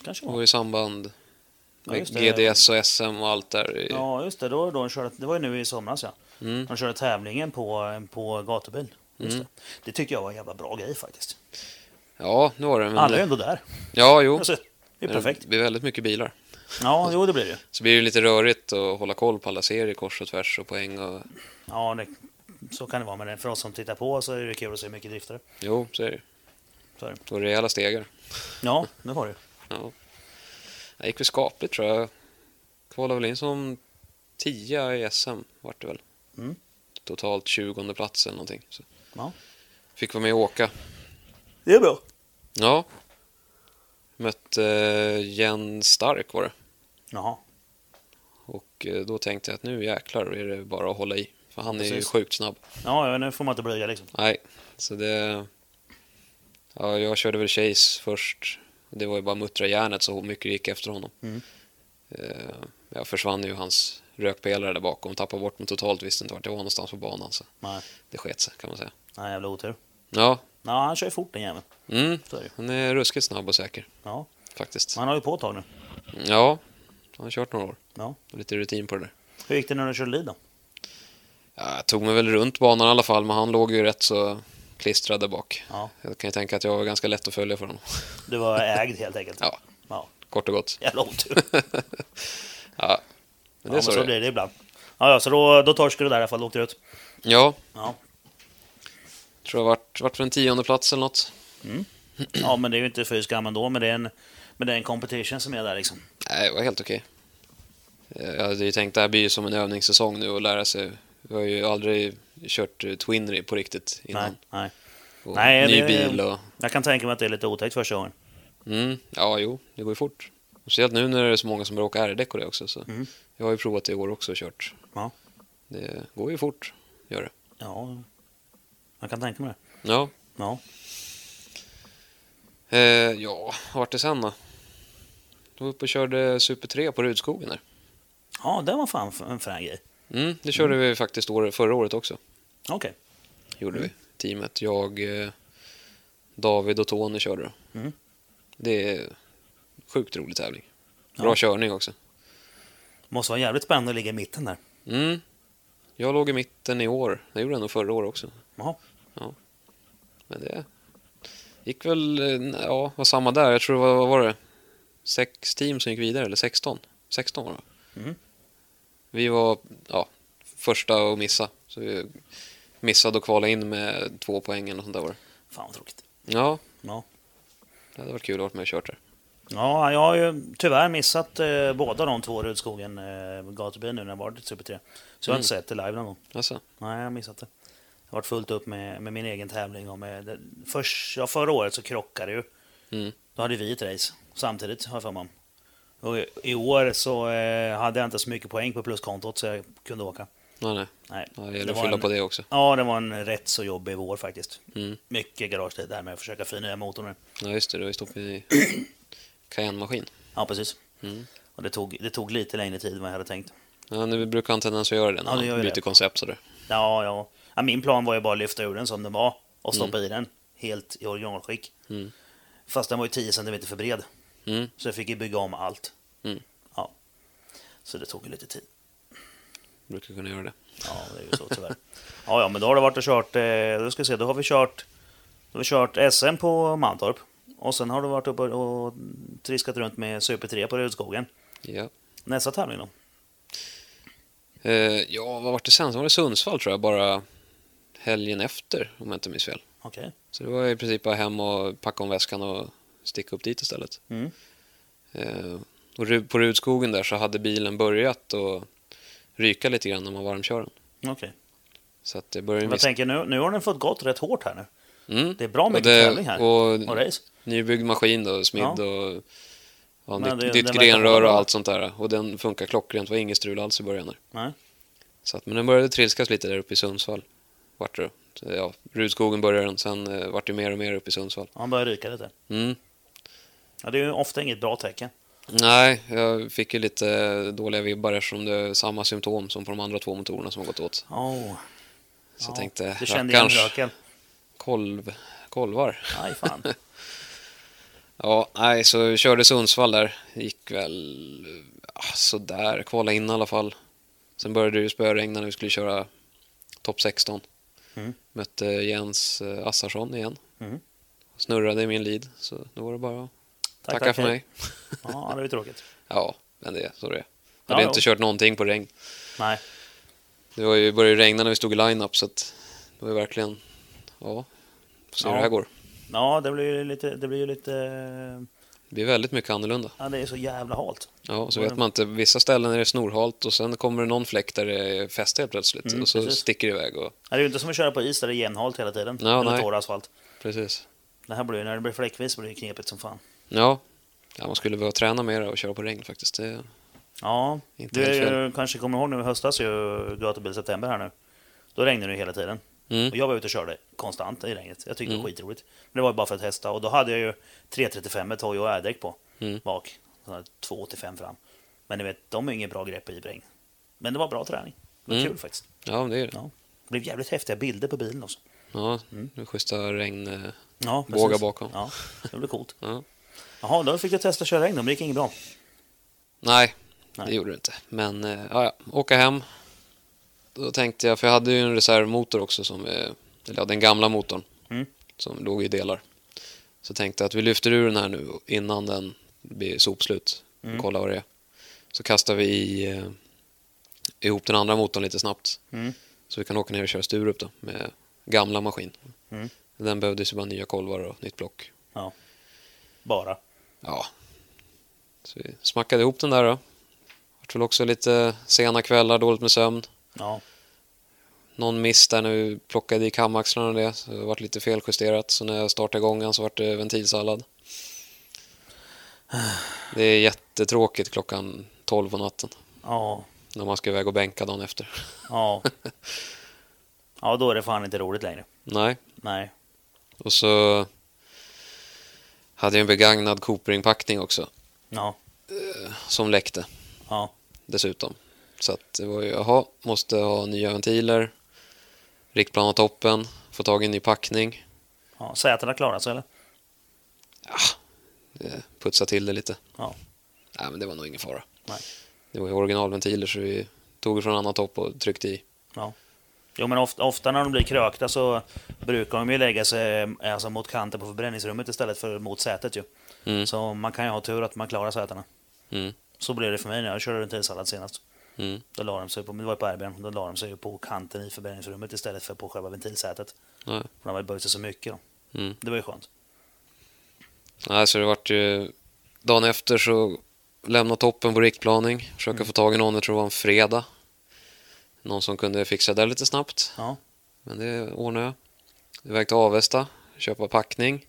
Speaker 1: Kanske
Speaker 2: Det
Speaker 1: var.
Speaker 2: var i samband
Speaker 1: Ja,
Speaker 2: med
Speaker 1: just det.
Speaker 2: GDS och SM och allt där. i-
Speaker 1: Ja, just det. Då, då de körde, det var ju nu i somras ja.
Speaker 2: Mm.
Speaker 1: De körde tävlingen på, på gatubil. Just
Speaker 2: Mm.
Speaker 1: det. det tyckte jag var en jävla bra grej faktiskt.
Speaker 2: Ja, nu var det. Men
Speaker 1: Alla är
Speaker 2: det...
Speaker 1: ändå där.
Speaker 2: Ja, jo.
Speaker 1: Alltså, det är
Speaker 2: Men
Speaker 1: perfekt.
Speaker 2: Eh, Det blir väldigt mycket bilar.
Speaker 1: Ja, jo det blir det ju.
Speaker 2: Så blir det lite rörigt att hålla koll på alla serier kors och tvärs och poäng. Och...
Speaker 1: Ja, det, så kan det vara. Men det- för oss som tittar på så är det kul att se mycket driftare.
Speaker 2: Jo, så är det.
Speaker 1: Så är det.
Speaker 2: Och rejäla stegar.
Speaker 1: Ja, det var det ju.
Speaker 2: Ja. Det gick väl skapligt tror jag. Kvalade väl in som tia i SM vart det väl.
Speaker 1: Mm.
Speaker 2: Totalt 20 plats eller någonting. Så.
Speaker 1: Ja.
Speaker 2: Fick vara med och åka.
Speaker 1: Det är bra.
Speaker 2: Ja. Mötte eh, Jen Stark var det.
Speaker 1: Jaha.
Speaker 2: Och eh, då tänkte jag att nu jäklar är det bara att hålla i. För han är ju
Speaker 1: Precis.
Speaker 2: sjukt snabb.
Speaker 1: Ja, ja, nu får man inte blyga liksom.
Speaker 2: Nej, så det... Ja, jag körde väl Chase först. Det var ju bara muttra järnet så mycket det gick efter honom.
Speaker 1: Mm.
Speaker 2: Eh, Jag försvann ju hans rökpelare där bakom. Tappade bort mig totalt, visste inte vart jag var någonstans på banan. Så
Speaker 1: Nej,
Speaker 2: det sket sig kan man säga.
Speaker 1: nej jävla otur.
Speaker 2: Ja,
Speaker 1: Ja, han kör ju fort den jäveln.
Speaker 2: mm,
Speaker 1: Så är det ju.
Speaker 2: han är ruskigt snabb och säker
Speaker 1: Ja,
Speaker 2: faktiskt.
Speaker 1: han har ju på ett tag nu.
Speaker 2: Ja, han har kört några år.
Speaker 1: Ja.
Speaker 2: Lite rutin på det där.
Speaker 1: Hur gick det när du körde lead då?
Speaker 2: Ja, jag tog mig väl runt banan i alla fall, men han låg ju rätt så klistrad där bak.
Speaker 1: Ja,
Speaker 2: Jag kan ju tänka att jag var ganska lätt att följa för honom.
Speaker 1: du var ägd helt enkelt.
Speaker 2: Ja.
Speaker 1: ja.
Speaker 2: Kort och gott.
Speaker 1: Jävla otur. Ja,
Speaker 2: Ja, men det
Speaker 1: men
Speaker 2: är så det är.
Speaker 1: blir det ibland. Ja, ja så då, då torskade du där i alla fall och åkte ut.
Speaker 2: Ja,
Speaker 1: Ja.
Speaker 2: Tror jag vart, vart för en tionde plats eller något.
Speaker 1: Ja, men det är ju inte för skam ändå, men det är en, men det är en competition som är där liksom.
Speaker 2: Nej, det var helt okej. Eh, Jag hade ju tänkt det här blir ju som en övningssäsong nu och lära sig. Vi har ju aldrig kört eh, Twinry på riktigt
Speaker 1: Nej,
Speaker 2: innan.
Speaker 1: nej.
Speaker 2: Och
Speaker 1: Nej,
Speaker 2: ny
Speaker 1: det-
Speaker 2: bil och...
Speaker 1: Jag kan tänka mig att det är lite otäckt första gången.
Speaker 2: Mm, ja, jo, det går ju fort. Och Speciellt nu när det är så många som börjar åka R-däck och det också. Så.
Speaker 1: Mm.
Speaker 2: Jag har ju provat det i år också och kört.
Speaker 1: Ja.
Speaker 2: Det går ju fort, gör det.
Speaker 1: Ja, jag kan tänka mig det.
Speaker 2: Ja,
Speaker 1: Ja.
Speaker 2: eh, ja vart det sen då? Då var vi uppe och körde Super 3 på Rudskogen där.
Speaker 1: ja, det var fan en frän grej.
Speaker 2: Mm, det körde vi faktiskt år, förra året också.
Speaker 1: Okej.
Speaker 2: gjorde
Speaker 1: Mm.
Speaker 2: vi, teamet. Jag, eh, David och Tony körde då.
Speaker 1: Mm.
Speaker 2: Det är sjukt rolig tävling. Bra
Speaker 1: Ja.
Speaker 2: körning också.
Speaker 1: Måste vara jävligt spännande att ligga i mitten där.
Speaker 2: Mm. Jag låg i mitten i år. Det gjorde jag nog förra året också.
Speaker 1: Jaha.
Speaker 2: Men det gick väl, eh, ja, var samma där. Jag tror, det var- vad var det? Sex team som gick vidare, eller 16? 16 var det.
Speaker 1: Mm.
Speaker 2: Vi var, ja, första och missa. Så vi missade att kvala in med två poäng eller något sånt där var det.
Speaker 1: Fan vad tråkigt.
Speaker 2: Ja,
Speaker 1: Ja.
Speaker 2: det hade varit kul att ha varit med och kört där.
Speaker 1: Ja, jag har ju tyvärr missat eh, båda de två Rudskogen eh, gatubilen nu när jag varit i Super 3. Så jag har inte
Speaker 2: Mm.
Speaker 1: sett det live någon gång.
Speaker 2: Alltså.
Speaker 1: Nej, jag har missat det. Jag har varit fullt upp med, med min egen tävling. Och med, det, först, ja, förra året så krockade det ju.
Speaker 2: Mm.
Speaker 1: Då hade vi ett race samtidigt, har jag för mig. Och i, I år så eh, hade jag inte så mycket poäng på pluskontot så jag kunde åka.
Speaker 2: Nej, nej.
Speaker 1: Nej,
Speaker 2: Ja, det gäller
Speaker 1: det
Speaker 2: att
Speaker 1: var
Speaker 2: fylla
Speaker 1: en-
Speaker 2: på det också.
Speaker 1: Ja, det var en rätt så jobbig vår faktiskt.
Speaker 2: Mm.
Speaker 1: Mycket garagetid där med att försöka förnya motorn. nu.
Speaker 2: Ja, just det. Du har ju stoppat i Cayenne-maskin.
Speaker 1: Ja, precis.
Speaker 2: Mm.
Speaker 1: Och det tog, det tog lite längre tid än vad jag hade tänkt.
Speaker 2: Ja, nu brukar han tendens att göra det när
Speaker 1: Ja, det gör
Speaker 2: han
Speaker 1: ju
Speaker 2: byter
Speaker 1: det.
Speaker 2: koncept sådär.
Speaker 1: Ja, ja. ja. Min plan var ju bara att lyfta ur den som den var och stoppa i den helt i originalskick.
Speaker 2: Mm.
Speaker 1: Fast den var ju 10 cm för bred,
Speaker 2: Mm.
Speaker 1: så jag fick ju bygga om allt.
Speaker 2: Mm.
Speaker 1: Ja. Så det tog ju lite tid.
Speaker 2: Brukar kunna göra det.
Speaker 1: Ja, det är ju så tyvärr. ja, ja, men då har det varit och kört, eh, då ska vi se, då har vi kört, då har vi kört SM på Mantorp. Och sen har du varit uppe och och triskat runt med Super 3 på Rudskogen.
Speaker 2: Ja.
Speaker 1: Nästa tävling då?
Speaker 2: Eh, ja, vad var det sen? Sen var det Sundsvall tror jag, bara helgen efter om jag inte minns fel.
Speaker 1: Okej.
Speaker 2: Så det var i princip bara hem och packa om väskan och sticka upp dit istället.
Speaker 1: Mm.
Speaker 2: Eh, och Ru- på Rudskogen där så hade bilen börjat och ryka lite grann när man varmkör den.
Speaker 1: Okej.
Speaker 2: Så att det började
Speaker 1: Men Jag tänker nu, nu har den fått gått rätt hårt här nu.
Speaker 2: Mm.
Speaker 1: Det är bra
Speaker 2: Och
Speaker 1: mycket
Speaker 2: det-
Speaker 1: tävling här.
Speaker 2: och-
Speaker 1: Och race.
Speaker 2: Nybyggd maskin då, smidd
Speaker 1: Ja.
Speaker 2: och ja,
Speaker 1: Men
Speaker 2: nytt,
Speaker 1: det-
Speaker 2: nytt
Speaker 1: den verkar
Speaker 2: grenrör
Speaker 1: hålla.
Speaker 2: och allt sånt där. Och den funkar klockrent, det var inget strul alls i början. Där.
Speaker 1: Nej.
Speaker 2: Så att, men den började trilskas lite där uppe i Sundsvall. Vart det då. Så, ja, Rudskogen började den, sen eh, vart det mer och mer uppe i Sundsvall.
Speaker 1: Han börjar ryka lite.
Speaker 2: Mm.
Speaker 1: Ja, det är ju ofta inget bra tecken.
Speaker 2: Nej, jag fick ju lite dåliga vibbar eftersom det är samma symptom som på de andra två motorerna som har gått åt.
Speaker 1: Oh,
Speaker 2: Så jag tänkte,
Speaker 1: Du kände igen
Speaker 2: rackarns
Speaker 1: röken?
Speaker 2: kolv, kolvar.
Speaker 1: Aj, fan.
Speaker 2: Ja, nej, så vi körde Sundsvall där. Gick väl ah, sådär, kvala in i alla fall. Sen började det ju spöregna när vi skulle köra topp 16.
Speaker 1: Mm.
Speaker 2: Mötte Jens eh, Assarsson igen.
Speaker 1: Mm.
Speaker 2: Snurrade i min lead, så då var det bara att
Speaker 1: Tack,
Speaker 2: tacka
Speaker 1: tack,
Speaker 2: för
Speaker 1: hej.
Speaker 2: mig.
Speaker 1: Ja, det var ju tråkigt.
Speaker 2: Ja, men det är så det är.
Speaker 1: Ja,
Speaker 2: Hade
Speaker 1: ja.
Speaker 2: inte kört någonting på regn.
Speaker 1: Nej.
Speaker 2: Det var ju, började ju regna när vi stod i line-up, så att det var ju verkligen... Ja, får se
Speaker 1: Ja.
Speaker 2: hur det här går.
Speaker 1: Ja, det blir ju lite... Det blir ju lite... eh,
Speaker 2: Det blir väldigt mycket annorlunda.
Speaker 1: Ja, det är så jävla halt.
Speaker 2: Ja, så
Speaker 1: Var
Speaker 2: vet
Speaker 1: det-
Speaker 2: man inte. Vissa ställen är det snorhalt och sen kommer det någon fläkt där det är fäste helt plötsligt
Speaker 1: Mm,
Speaker 2: och så
Speaker 1: precis.
Speaker 2: sticker det iväg. Och...
Speaker 1: Ja, Det är ju inte som att köra på is där det är jämnhalt hela tiden.
Speaker 2: Ja,
Speaker 1: eller
Speaker 2: nej.
Speaker 1: torr asfalt.
Speaker 2: Precis.
Speaker 1: Det här blir ju, när det blir fläckvis blir det knepigt som fan.
Speaker 2: Ja. ja, man skulle behöva träna mer och köra på regn faktiskt. Det...
Speaker 1: Ja,
Speaker 2: Inte
Speaker 1: du
Speaker 2: helt
Speaker 1: är ju, kanske kommer ihåg nu i höstas, ju gatubil september här nu. Då regnade det ju hela tiden.
Speaker 2: Mm.
Speaker 1: Och jag var ute och körde konstant i regnet. Jag tyckte det var skitroligt. Men det var ju bara för att testa. Och då hade jag ju 335 med Toyo och ädäck på.
Speaker 2: Mm.
Speaker 1: Bak. Så här 285 fram. Men ni vet, de är ju inget bra grepp i regn. Men det var bra träning. Det var
Speaker 2: Mm.
Speaker 1: kul faktiskt.
Speaker 2: Ja, men det är det.
Speaker 1: Ja. Det blev jävligt häftiga bilder på bilen också.
Speaker 2: Ja, mm. schyssta regn. eh,
Speaker 1: Ja,
Speaker 2: Båga bakom.
Speaker 1: Ja, det blev coolt.
Speaker 2: Ja.
Speaker 1: Jaha, då fick jag testa att köra regn. Men det gick inget bra.
Speaker 2: Nej,
Speaker 1: Nej.
Speaker 2: det gjorde det inte. Men eh, ja, ja, åka hem. Då tänkte jag, för jag hade ju en reservmotor också, som, eh, eller ja, den gamla motorn
Speaker 1: Mm.
Speaker 2: som låg i delar. Så tänkte jag att vi lyfter ur den här nu innan den blir sopslut.
Speaker 1: Mm.
Speaker 2: och Kolla vad det är. Så kastar vi i, eh, ihop den andra motorn lite snabbt
Speaker 1: Mm.
Speaker 2: så vi kan åka ner och köra Sturup då med gamla maskin.
Speaker 1: Mm.
Speaker 2: Den behövdes ju bara nya kolvar och nytt block.
Speaker 1: Ja. Bara.
Speaker 2: Ja. Så vi smackade ihop den där då. Vart väl också lite sena kvällar, dåligt med sömn.
Speaker 1: Ja.
Speaker 2: Någon miss där när vi plockade i kamaxlarna och det. Så det vart lite feljusterat. Så när jag startade igång den så vart det ventilsallad. Det är jättetråkigt klockan 12 på natten.
Speaker 1: Ja.
Speaker 2: När man ska iväg och bänka dagen efter.
Speaker 1: Ja. Ja, då är det fan inte roligt längre.
Speaker 2: Nej.
Speaker 1: Nej.
Speaker 2: Och så hade jag en begagnad Cooper-inpackning också. eh,
Speaker 1: Ja.
Speaker 2: Som läckte
Speaker 1: Ja.
Speaker 2: dessutom. Så att det var ju, jaha, måste ha nya ventiler. Riktplan av toppen. Få tag i en ny packning.
Speaker 1: ja. Sätena klarar sig eller?
Speaker 2: eh, Putsa till det lite.
Speaker 1: Ja.
Speaker 2: Nej, men det var nog ingen fara.
Speaker 1: Nej.
Speaker 2: Det var ju originalventiler så vi tog från annan topp och tryckte i.
Speaker 1: Ja. Jo, men ofta, ofta när de blir krökta så brukar de ju lägga sig eh, alltså, mot kanten på förbränningsrummet istället för mot sätet ju.
Speaker 2: Mm.
Speaker 1: Så man kan ju ha tur att man klarar sätena.
Speaker 2: Mm.
Speaker 1: Så blev det för mig när jag körde ventilsallad senast.
Speaker 2: Mm.
Speaker 1: Då la de sig på, det var ju på RBn, då la de sig ju på kanten i förbränningsrummet istället för på själva ventilsätet.
Speaker 2: Nej.
Speaker 1: För de hade böjt sig så mycket då.
Speaker 2: Mm.
Speaker 1: Det var ju skönt.
Speaker 2: Nej, så det vart ju... Dagen efter så lämnade toppen på riktplaning. Försöka
Speaker 1: Mm.
Speaker 2: få tag i någon, jag tror det var en fredag. Någon som kunde fixa det lite snabbt.
Speaker 1: Ja.
Speaker 2: Men det ordnade jag. Iväg till Avesta, köpa packning.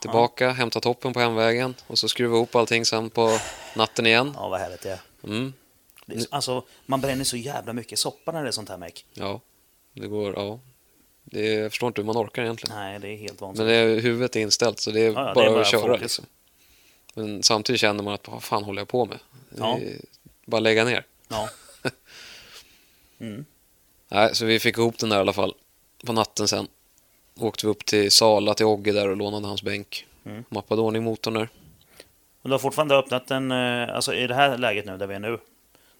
Speaker 2: Tillbaka, hämta toppen på hemvägen och så skruva ihop allting sen på natten igen.
Speaker 1: Ja, vad härligt det är.
Speaker 2: Mm.
Speaker 1: Det är så- Alltså, man bränner så jävla mycket soppa när det är sånt här meck.
Speaker 2: Ja, det går... Ja. Det, jag förstår inte hur man orkar egentligen.
Speaker 1: Nej, det är helt
Speaker 2: Men
Speaker 1: vansinnigt.
Speaker 2: det är, huvudet är inställt så det är,
Speaker 1: ja, det är
Speaker 2: bara,
Speaker 1: bara
Speaker 2: att köra.
Speaker 1: fokus.
Speaker 2: Liksom. Men samtidigt känner man att vad fan håller jag på med? Det
Speaker 1: Ja.
Speaker 2: är, bara lägga ner.
Speaker 1: Ja.
Speaker 2: Nej, så vi fick ihop den där i alla fall. På natten sen åkte vi upp till Sala till Ogge där och lånade hans bänk.
Speaker 1: Mm.
Speaker 2: Mappade ordning motorn där.
Speaker 1: Men du har fortfarande öppnat den, eh, alltså i det här läget nu där vi är nu,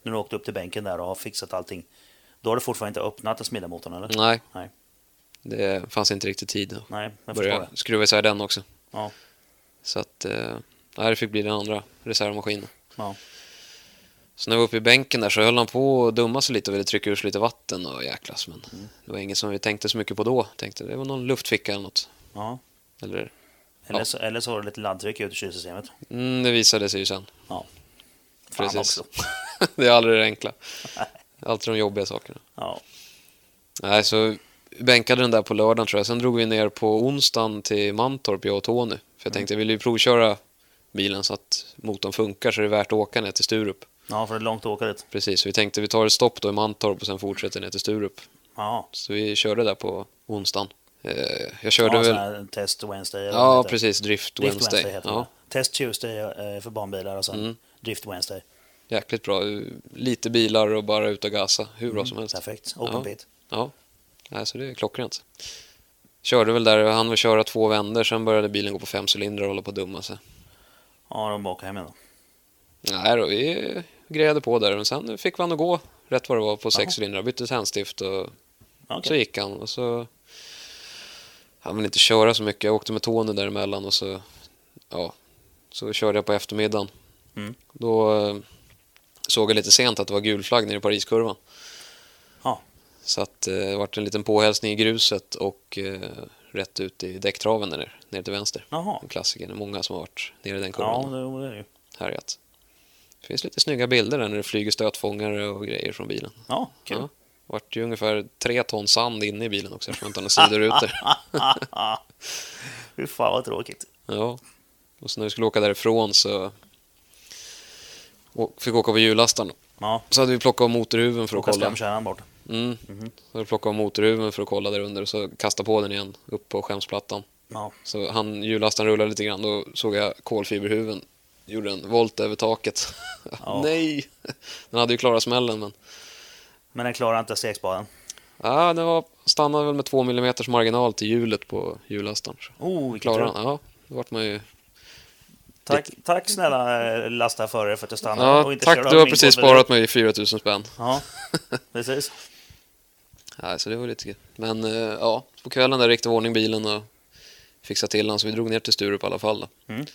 Speaker 1: när du åkte upp till bänken där och har fixat allting, då har du fortfarande inte öppnat den smidda motorn eller?
Speaker 2: Nej,
Speaker 1: Nej,
Speaker 2: det fanns inte riktigt tid att
Speaker 1: nej, jag förstår
Speaker 2: börja
Speaker 1: det.
Speaker 2: skruva isär den också.
Speaker 1: Ja,
Speaker 2: Så att, eh, nej, det fick bli den andra reservmaskinen.
Speaker 1: ja,
Speaker 2: Så när vi var uppe i bänken där så höll han på att dumma sig lite och ville trycka ur sig lite vatten och jäklas. Men det var inget som vi tänkte så mycket på då. Tänkte det var någon luftficka eller något.
Speaker 1: ja.
Speaker 2: Eller,
Speaker 1: Eller,
Speaker 2: Ja.
Speaker 1: Så, eller så har du lite laddtryck ut i kylsystemet.
Speaker 2: mm, det visade sig ju sen.
Speaker 1: Ja. Fan
Speaker 2: Precis.
Speaker 1: också.
Speaker 2: det är aldrig det enkla. Alltid de jobbiga sakerna.
Speaker 1: Ja,
Speaker 2: Nej, så vi bänkade den där på lördagen tror jag. Sen drog vi ner på onsdagen till Mantorp, jag och Tony.
Speaker 1: Mm.
Speaker 2: För jag tänkte, jag vill ju provköra bilen så att motorn funkar så det är värt att åka ner till Sturup.
Speaker 1: ja för det är långt att åka dit.
Speaker 2: Precis, så vi tänkte vi tar ett stopp då i Mantorp och sen fortsätter ner till Sturup.
Speaker 1: Ja,
Speaker 2: Så vi körde där på onsdagen. Eh, Jag
Speaker 1: ja
Speaker 2: körde
Speaker 1: sån
Speaker 2: väl...
Speaker 1: här test Wednesday. eller vad det
Speaker 2: Ja,
Speaker 1: heter.
Speaker 2: precis. Drift
Speaker 1: Drift
Speaker 2: Wednesday.
Speaker 1: heter
Speaker 2: ja, Mm.
Speaker 1: ja. Test Tuesday eh, för barnbilar och sen Drift Wednesday.
Speaker 2: jäkligt bra. Lite bilar och bara ut och gasa. Hur bra som helst.
Speaker 1: Mm, Perfekt. Open
Speaker 2: Ja.
Speaker 1: pit.
Speaker 2: Ja, Nej, så det är klockrent. Körde väl där, han väl köra två vändor, sen började bilen gå på fem cylindrar och hålla på att dumma sig.
Speaker 1: Ja, de åker hem igen då.
Speaker 2: Nej då, vi grejade på där, men sen fick vi han att gå rätt vad det var på sex cylindrar, bytte tändstift och
Speaker 1: Ja,
Speaker 2: så
Speaker 1: Okej.
Speaker 2: gick han. Och så... Han ville inte köra så mycket, jag åkte med Tony däremellan och så, ja, så körde jag på eftermiddagen.
Speaker 1: Mm.
Speaker 2: Då eh, såg jag lite sent att det var gul flagg nere i Pariskurvan.
Speaker 1: Ja.
Speaker 2: Så att, eh, det vart en liten påhälsning i gruset och eh, rätt ut i däcktraven där nere, nere till vänster.
Speaker 1: Jaha.
Speaker 2: En klassiker, det är många som har varit nere i den
Speaker 1: Ja,
Speaker 2: kurvan och
Speaker 1: det det är det ju.
Speaker 2: härjat. Det finns lite snygga bilder där när det flyger stötfångare och grejer från bilen.
Speaker 1: Ja, kul.
Speaker 2: Ja. Det vart ju ungefär tre ton sand inne i bilen också eftersom jag inte har några sidorutor.
Speaker 1: Ah. Fy fan vad tråkigt.
Speaker 2: Ja, och så när vi skulle åka därifrån så och fick åka på hjullastaren.
Speaker 1: Ja,
Speaker 2: Så hade vi plockat av motorhuven för att
Speaker 1: åka Mhm.
Speaker 2: kolla.
Speaker 1: skamkärran bort.
Speaker 2: Mm. Så vi plockade av motorhuven för att kolla där under och så kastade på den igen upp på skämsplattan.
Speaker 1: Ja,
Speaker 2: Så han hjullastaren rullade lite grann, då såg jag kolfiberhuven. Gjorde en volt över taket.
Speaker 1: Ja.
Speaker 2: Nej! Den hade ju klarat smällen men...
Speaker 1: men den klarar inte stegspaden.
Speaker 2: Ja, den var, stannade väl med två millimeters marginal till hjulet på hjullastaren. Så
Speaker 1: Oh, vilken
Speaker 2: Klarade
Speaker 1: tur.
Speaker 2: han, ja. Då vart man ju
Speaker 1: Tack, tack snälla eh, lastchaufförer för att du stannade och
Speaker 2: Ja,
Speaker 1: inte
Speaker 2: tack,
Speaker 1: körde
Speaker 2: du
Speaker 1: över
Speaker 2: har
Speaker 1: min
Speaker 2: precis
Speaker 1: båt.
Speaker 2: sparat mig 4000 spänn.
Speaker 1: Ja, precis.
Speaker 2: Nej, så det var lite kul. Men eh, ja, på kvällen där riktade vi i ordning bilen och fixade till den, så vi drog ner till Sturup i alla fall. Då.
Speaker 1: Mm.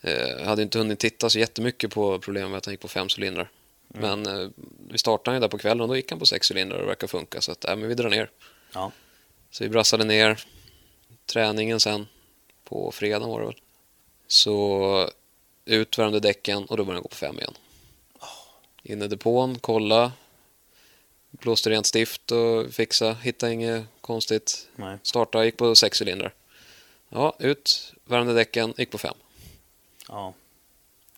Speaker 2: Eh, jag hade inte hunnit titta så jättemycket på problemet med att han gick på fem cylindrar.
Speaker 1: Mm.
Speaker 2: Men eh, vi startade ju där på kvällen och då gick han på sex cylindrar och det verkar funka, så att, nej, men vi drar ner.
Speaker 1: Ja.
Speaker 2: Så vi brassade ner träningen sen, på fredag var det väl. Så ut värmde däcken och då började den gå på fem igen. In i depån, kolla, blåste rent stift och fixa, hitta inget konstigt.
Speaker 1: Nej.
Speaker 2: Starta, gick på sex cylindrar. Ja, ut, värmde däcken, gick på fem.
Speaker 1: Ja.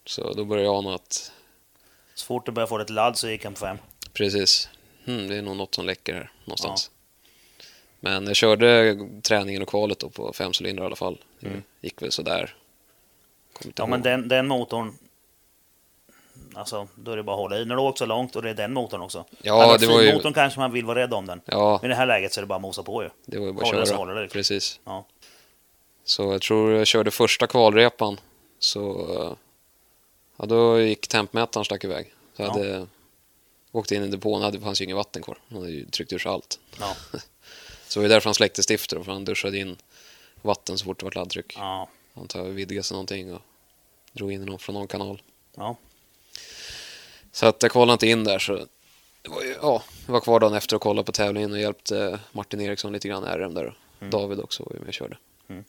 Speaker 2: Så då började jag ana att
Speaker 1: Så fort du började få lite ladd så gick han på fem.
Speaker 2: Precis. Hmm, det är nog något som läcker här någonstans. Men jag körde träningen och kvalet då på fem cylindrar i alla fall. Det gick väl sådär. Kommer inte
Speaker 1: Ja,
Speaker 2: ihåg.
Speaker 1: men den, den motorn... Alltså, då är det bara att hålla i. När du åkt så långt och det är den motorn också.
Speaker 2: Ja,
Speaker 1: Hade varit
Speaker 2: det var ju-
Speaker 1: Motorn kanske man vill vara rädd om den.
Speaker 2: Ja,
Speaker 1: Men i det här läget så är det bara att mosa på ju.
Speaker 2: det var ju bara
Speaker 1: Håller
Speaker 2: att
Speaker 1: så
Speaker 2: köra.
Speaker 1: håller det, liksom.
Speaker 2: Precis.
Speaker 1: Ja.
Speaker 2: Så jag tror jag körde första kvalrepan. Så eh, ja, då gick tempmätaren stack iväg. Så jag
Speaker 1: Ja.
Speaker 2: hade åkt in i depån. hade- Det fanns ju inget vatten kvar. Han hade ju tryckt ur sig allt.
Speaker 1: Ja.
Speaker 2: Så det var ju därför han släckte stiftet. då, För han duschade in vatten så fort det var laddtryck.
Speaker 1: Ja.
Speaker 2: antar jag vidgade sig någonting och drog in någon från någon kanal.
Speaker 1: Ja.
Speaker 2: Så att jag kollade inte in där så det var ju, ja, jag var kvar dagen efter och kollade på tävlingen och hjälpte Martin Eriksson lite grann i RM där och David också var ju med och körde.
Speaker 1: Mm.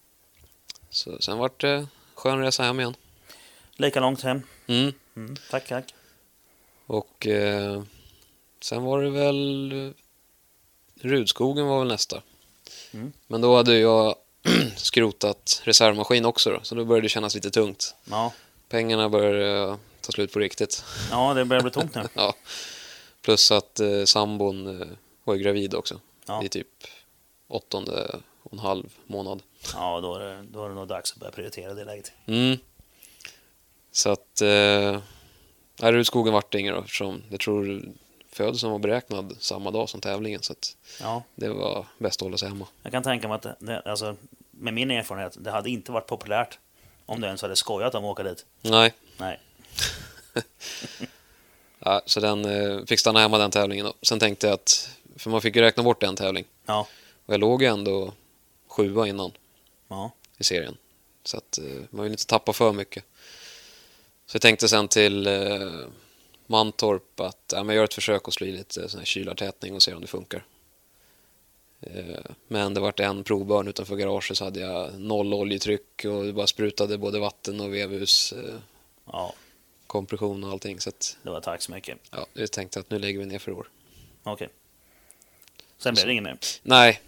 Speaker 2: Så sen vart det skön resa hem igen.
Speaker 1: Lika långt hem.
Speaker 2: Mm.
Speaker 1: Mm. Tack, tack.
Speaker 2: Och eh, sen var det väl Rudskogen var väl nästa.
Speaker 1: Mm.
Speaker 2: Men då hade jag skrotat reservmaskin också då, så då började det kännas lite tungt.
Speaker 1: Ja.
Speaker 2: Pengarna började eh, ta slut på riktigt.
Speaker 1: ja, det börjar bli tomt nu.
Speaker 2: Ja. Plus att eh, sambon eh, var ju gravid också.
Speaker 1: Ja.
Speaker 2: I typ åttonde och en halv månad.
Speaker 1: Ja, då är, det, då är det nog dags att börja prioritera det läget.
Speaker 2: Mm. Så att... Eh, här ute i skogen vart det inget då eftersom jag tror födseln var beräknad samma dag som tävlingen. Så att
Speaker 1: Ja.
Speaker 2: det var bäst att hålla sig hemma.
Speaker 1: Jag kan tänka mig att, det, alltså, med min erfarenhet, det hade inte varit populärt om du ens hade skojat om att åka dit.
Speaker 2: Nej,
Speaker 1: Nej.
Speaker 2: ja, så den eh, fick stanna hemma den tävlingen då. Sen tänkte jag att... För man fick ju räkna bort en tävling.
Speaker 1: Ja.
Speaker 2: Och jag låg ju ändå sjua innan.
Speaker 1: Ja.
Speaker 2: i serien. Så att eh, man vill inte tappa för mycket. Så jag tänkte sen till eh, Mantorp att ja, men gör ett försök och slå i lite sån här kylartätning och se om det funkar. Eh, men det vart en provbörn utanför garaget så hade jag noll oljetryck och det bara sprutade både vatten och vevhus, eh,
Speaker 1: Ja,
Speaker 2: kompression och allting. Så att,
Speaker 1: det var tack så mycket.
Speaker 2: ja, jag tänkte att nu lägger vi ner för i år.
Speaker 1: Okej. Sen blev det inget mer.
Speaker 2: Nej,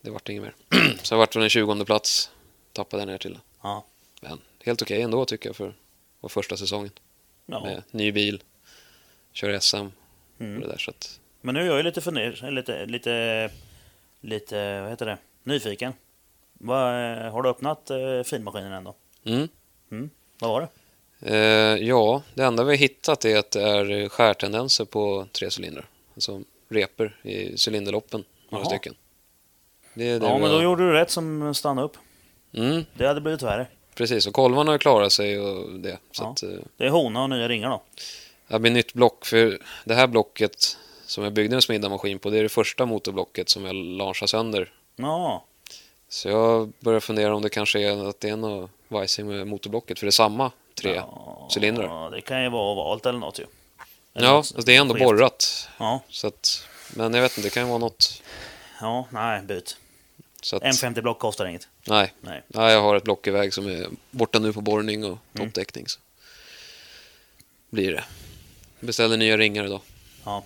Speaker 2: det vart inget mer. så jag vart väl en 20 plats, tappade jag ner till.
Speaker 1: Ja.
Speaker 2: Men helt okej ändå tycker jag för för första säsongen.
Speaker 1: Ja.
Speaker 2: med ny bil, kör SM och
Speaker 1: Mm.
Speaker 2: det där. Så att,
Speaker 1: Men nu är jag ju lite fundersam, lite, lite, lite, vad heter det, nyfiken. Vad, eh, har du öppnat eh, finmaskinen än då?
Speaker 2: mm.
Speaker 1: Vad var det?
Speaker 2: eh, ja, det enda vi har hittat är att det är skärtendenser på tre cylindrar. Alltså repor i cylinderloppen, några
Speaker 1: Jaha.
Speaker 2: stycken. Det är det
Speaker 1: Ja,
Speaker 2: vi
Speaker 1: men
Speaker 2: har-
Speaker 1: då gjorde du rätt som stannade upp.
Speaker 2: mm,
Speaker 1: Det hade blivit värre.
Speaker 2: Precis, och kolvarna har ju klarat sig och det. Så
Speaker 1: Ja.
Speaker 2: att, eh,
Speaker 1: Det är hona och nya ringar då.
Speaker 2: det blir nytt block, för det här blocket som jag byggde en smiddamaskin på, det är det första motorblocket som jag launchade sönder.
Speaker 1: Ja,
Speaker 2: Så jag börjar fundera om det kanske är att det är något vajsing med motorblocket, för det är samma tre
Speaker 1: ja,
Speaker 2: cylindrar.
Speaker 1: Ja, det kan ju vara ovalt eller något ju. Eller
Speaker 2: Ja,
Speaker 1: något
Speaker 2: alltså det är ändå
Speaker 1: skevt.
Speaker 2: borrat.
Speaker 1: Ja,
Speaker 2: Så att, men jag vet inte, det kan ju vara något.
Speaker 1: ja, nej, byt.
Speaker 2: Så att,
Speaker 1: M50 block kostar inget.
Speaker 2: nej,
Speaker 1: Nej.
Speaker 2: nej, jag har ett block i väg som är borta nu på borrning och
Speaker 1: Mm.
Speaker 2: toppdäckning. Så. Blir det. Beställer nya ringar idag.
Speaker 1: Ja,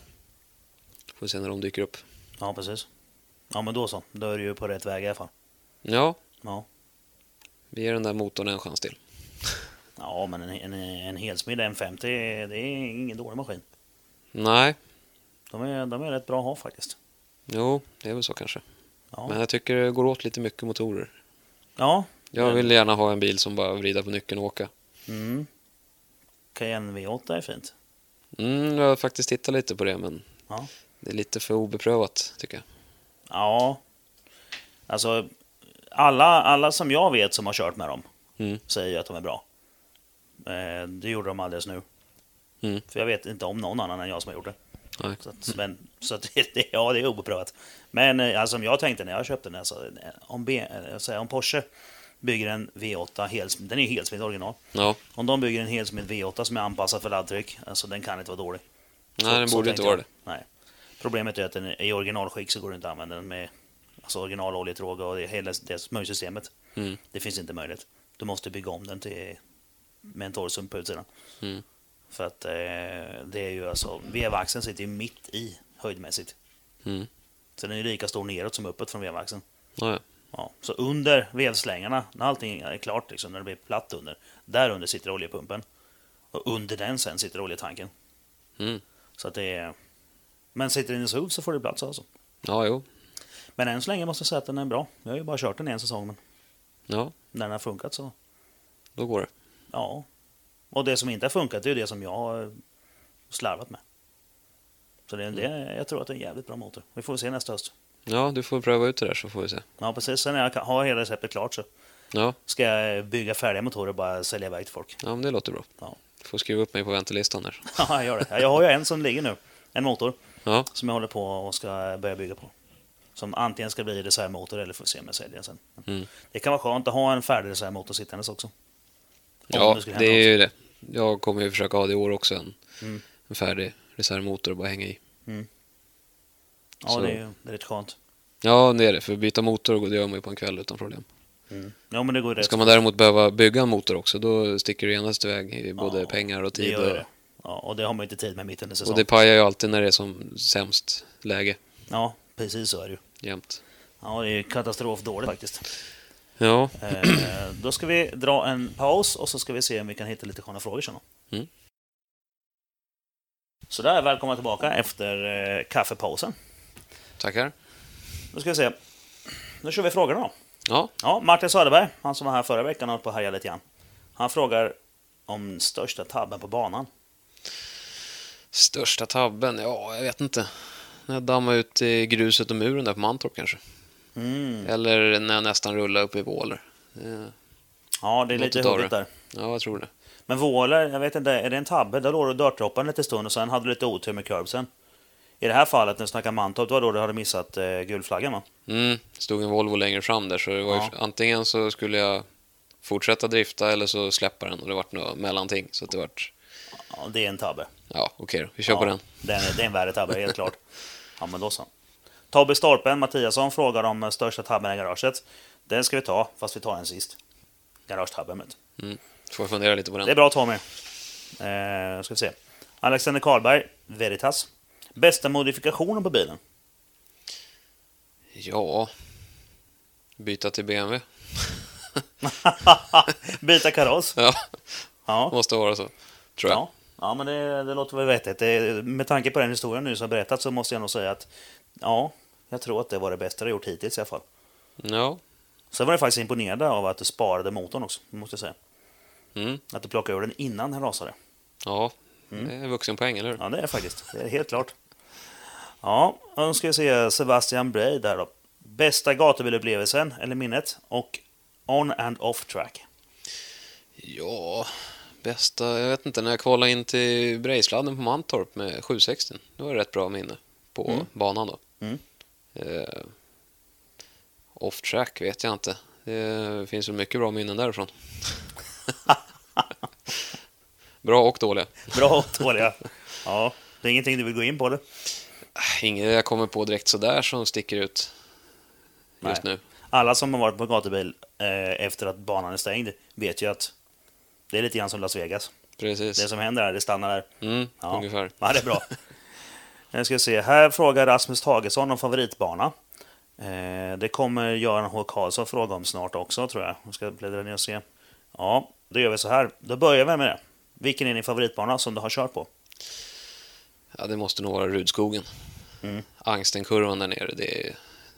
Speaker 2: Får se när de dyker upp.
Speaker 1: ja, precis. Ja, men då så. Då är du ju på rätt väg i alla fall.
Speaker 2: Ja,
Speaker 1: Ja,
Speaker 2: vi ger den där motorn en chans till.
Speaker 1: ja men en, en, en helsmidd M50, det är ingen dålig maskin.
Speaker 2: Nej,
Speaker 1: De är, de är rätt bra att ha faktiskt.
Speaker 2: jo, det är väl så kanske.
Speaker 1: Ja,
Speaker 2: Men jag tycker det går åt lite mycket motorer.
Speaker 1: ja.
Speaker 2: Jag
Speaker 1: Men-
Speaker 2: vill gärna ha en bil som bara vrida på nyckeln och åka.
Speaker 1: Mm. Cayenne V8 är fint.
Speaker 2: Mm, jag har faktiskt tittat lite på det, men
Speaker 1: Ja.
Speaker 2: det är lite för obeprövat tycker jag.
Speaker 1: Ja, alltså alla, alla som jag vet som har kört med dem
Speaker 2: Mm.
Speaker 1: säger ju att de är bra. Eh, det gjorde de alldeles nu.
Speaker 2: Mm.
Speaker 1: För jag vet inte om någon annan än jag som har gjort det.
Speaker 2: Nej.
Speaker 1: Så, att, men, så att det, det- ja, det är obeprövat. Men eh, alltså, som jag tänkte när jag köpte den, alltså, eh, om, B, eh, så här, om Porsche bygger en V8, hels, den är ju helsmidd original.
Speaker 2: Ja,
Speaker 1: Om de bygger en helsmidd V8 som är anpassad för laddtryck, alltså den kan inte vara dålig.
Speaker 2: nej, den
Speaker 1: Så
Speaker 2: borde
Speaker 1: tänkte
Speaker 2: inte
Speaker 1: jag.
Speaker 2: vara det.
Speaker 1: Nej. Problemet är att den är i originalskick så går det inte att använda den med Alltså original oljetråga och det, hela det smörjsystemet.
Speaker 2: Mm.
Speaker 1: Det finns inte möjligt. Du måste bygga om den till med en torrsump på utsidan.
Speaker 2: Mm.
Speaker 1: För att eh, det är ju alltså, vevaxeln sitter ju mitt i höjdmässigt.
Speaker 2: Mm.
Speaker 1: Så den är ju lika stor neråt som uppåt från vevaxeln.
Speaker 2: Ja, ja.
Speaker 1: Ja, så under vevslängarna, när allting är klart, liksom, när det blir platt under, där under sitter oljepumpen. Och under den sen sitter oljetanken.
Speaker 2: Mm.
Speaker 1: Så att det är... Men sitter den i SUV så får det plats alltså.
Speaker 2: ja jo.
Speaker 1: Men än så länge måste jag säga att den är bra. Jag har ju bara kört den en säsong, men
Speaker 2: Ja,
Speaker 1: när den har funkat så,
Speaker 2: då går det.
Speaker 1: ja. Och det som inte har funkat det är ju det som jag har slarvat med. Så det är det, jag tror att det är en jävligt bra motor. Vi får se nästa höst.
Speaker 2: Ja, du får pröva ut det där så får vi se.
Speaker 1: Ja, precis. Sen när jag kan- har hela receptet klart så
Speaker 2: Ja,
Speaker 1: ska jag bygga färdiga motorer och bara sälja iväg till folk.
Speaker 2: ja men det låter bra.
Speaker 1: Ja.
Speaker 2: Du får skriva upp mig på väntelistan där.
Speaker 1: Ja, jag gör det. Jag har ju en som ligger nu. En motor
Speaker 2: Ja,
Speaker 1: som jag håller på och ska börja bygga på. Som antingen ska bli reservmotor eller får se om jag säljer den sen.
Speaker 2: Mm.
Speaker 1: Det kan vara skönt att ha en färdig reservmotor sittandes också. Om
Speaker 2: ja
Speaker 1: nu skulle
Speaker 2: det
Speaker 1: hända
Speaker 2: är
Speaker 1: något.
Speaker 2: ju det. Jag kommer ju försöka ha det i år också. En,
Speaker 1: Mm.
Speaker 2: en färdig reservmotor att bara hänga i.
Speaker 1: Ja, det är,
Speaker 2: så.
Speaker 1: ju- det är rätt skönt.
Speaker 2: Ja, det är det. För att byta motor går- det gör man ju på en kväll utan problem.
Speaker 1: Ja, men det går ju rätt.
Speaker 2: Ska man däremot behöva bygga en motor också, då sticker det genast iväg i både
Speaker 1: Ja,
Speaker 2: pengar och
Speaker 1: det
Speaker 2: tid.
Speaker 1: gör ju det.
Speaker 2: Och,
Speaker 1: Ja, och det har man ju inte tid med mitt under
Speaker 2: och
Speaker 1: säsong.
Speaker 2: det pajar ju alltid när det är som sämst läge
Speaker 1: Ja, precis så är det ju.
Speaker 2: jämt.
Speaker 1: Ja, det är ju katastrofdåligt faktiskt.
Speaker 2: Ja,
Speaker 1: Eh, då ska vi dra en paus och så ska vi se om vi kan hitta lite sköna frågor sen. då.
Speaker 2: Mm.
Speaker 1: Sådär, välkomna tillbaka efter eh, kaffepausen.
Speaker 2: tackar.
Speaker 1: Nu ska vi se. Nu kör vi frågorna då.
Speaker 2: Ja,
Speaker 1: Ja, Martin Söderberg, han som var här förra veckan och höll på att härja lite grann. Han frågar om största tabben på banan.
Speaker 2: största tabben? Ja, jag vet inte. När jag dammade ut i gruset och muren där på Mantorp kanske.
Speaker 1: Mm.
Speaker 2: Eller när jag nästan rullade upp i Våler. Eh,
Speaker 1: Ja, det är
Speaker 2: Något
Speaker 1: lite
Speaker 2: utav
Speaker 1: huggigt
Speaker 2: det.
Speaker 1: där.
Speaker 2: Ja, jag tror det.
Speaker 1: Men Våler, jag vet inte, är det en tabbe? Där låg du dörtdropparen lite stund och sen hade du lite otur med curbsen. I det här fallet, när du snackar Mantorp, det var då du hade missat eh, gulflaggan va?
Speaker 2: Mm, stod en Volvo längre fram där så det var ju,
Speaker 1: Ja.
Speaker 2: antingen så skulle jag fortsätta drifta eller så släppa den och det vart något mellanting. Så att det vart,
Speaker 1: Ja, det är en tabbe.
Speaker 2: ja okej då, vi kör på
Speaker 1: ja,
Speaker 2: den.
Speaker 1: Det är, det är en värre tabbe, helt klart. Ja, men då så. Tobbe Stolpen, Mattiasson, frågar om eh, största tabben i garaget. Den ska vi ta, fast vi tar den sist. Garagetabben. vet du.
Speaker 2: Får jag fundera lite på den.
Speaker 1: Det är bra Tommy. Eh, ska vi se. Alexander Karlberg, Veritas. Bästa modifikationen på bilen?
Speaker 2: Ja, byta till BMW.
Speaker 1: Byta kaross?
Speaker 2: Ja,
Speaker 1: Ja.
Speaker 2: måste vara så. Tror jag.
Speaker 1: ja. Ja, men det, det låter väl vettigt. Det, med tanke på den historien nu som berättat så måste jag nog säga att ja, jag tror att det var det bästa du gjort hittills i alla fall.
Speaker 2: Ja,
Speaker 1: Sen var jag faktiskt imponerad av att du sparade motorn också, måste jag säga.
Speaker 2: mm.
Speaker 1: Att du plockade ur den innan den rasade.
Speaker 2: ja. det är vuxenpoäng, eller hur?
Speaker 1: Ja, det är det faktiskt. Det är helt klart. Ja, och nu ska vi se Sebastian Bray där då. Bästa gatubilupplevelsen, eller minnet, och on and off track.
Speaker 2: Ja, bästa... Jag vet inte, när jag kvalade in till Brejsladden på Mantorp med 760, det var rätt bra minne på banan då.
Speaker 1: Mm.
Speaker 2: Eh, off track vet jag inte. Det finns väl mycket bra minnen därifrån. bra och dåliga.
Speaker 1: Bra och dåliga. Ja, det är ingenting du vill gå in på det.
Speaker 2: Äh, Inget jag kommer på direkt sådär som sticker ut just nu.
Speaker 1: Alla som har varit på gatubil eh, efter att banan är stängd vet ju att det är lite grann som Las Vegas. Det
Speaker 2: Precis.
Speaker 1: som händer är det stannar där.
Speaker 2: Mm,
Speaker 1: Ja.
Speaker 2: Ungefär.
Speaker 1: Ja, det är bra. Nu ska vi se. Här frågar Rasmus Tagesson om favoritbana. Eh, det kommer Göran H. Karlsson fråga om snart också, tror jag. Jag ska bläddra ner och se. Ja, då gör vi så här. Då börjar vi med det. Vilken är din favoritbana som du har kört på?
Speaker 2: Ja, det måste nog vara Rudskogen.
Speaker 1: Mm.
Speaker 2: Angstenkurvan där nere, det är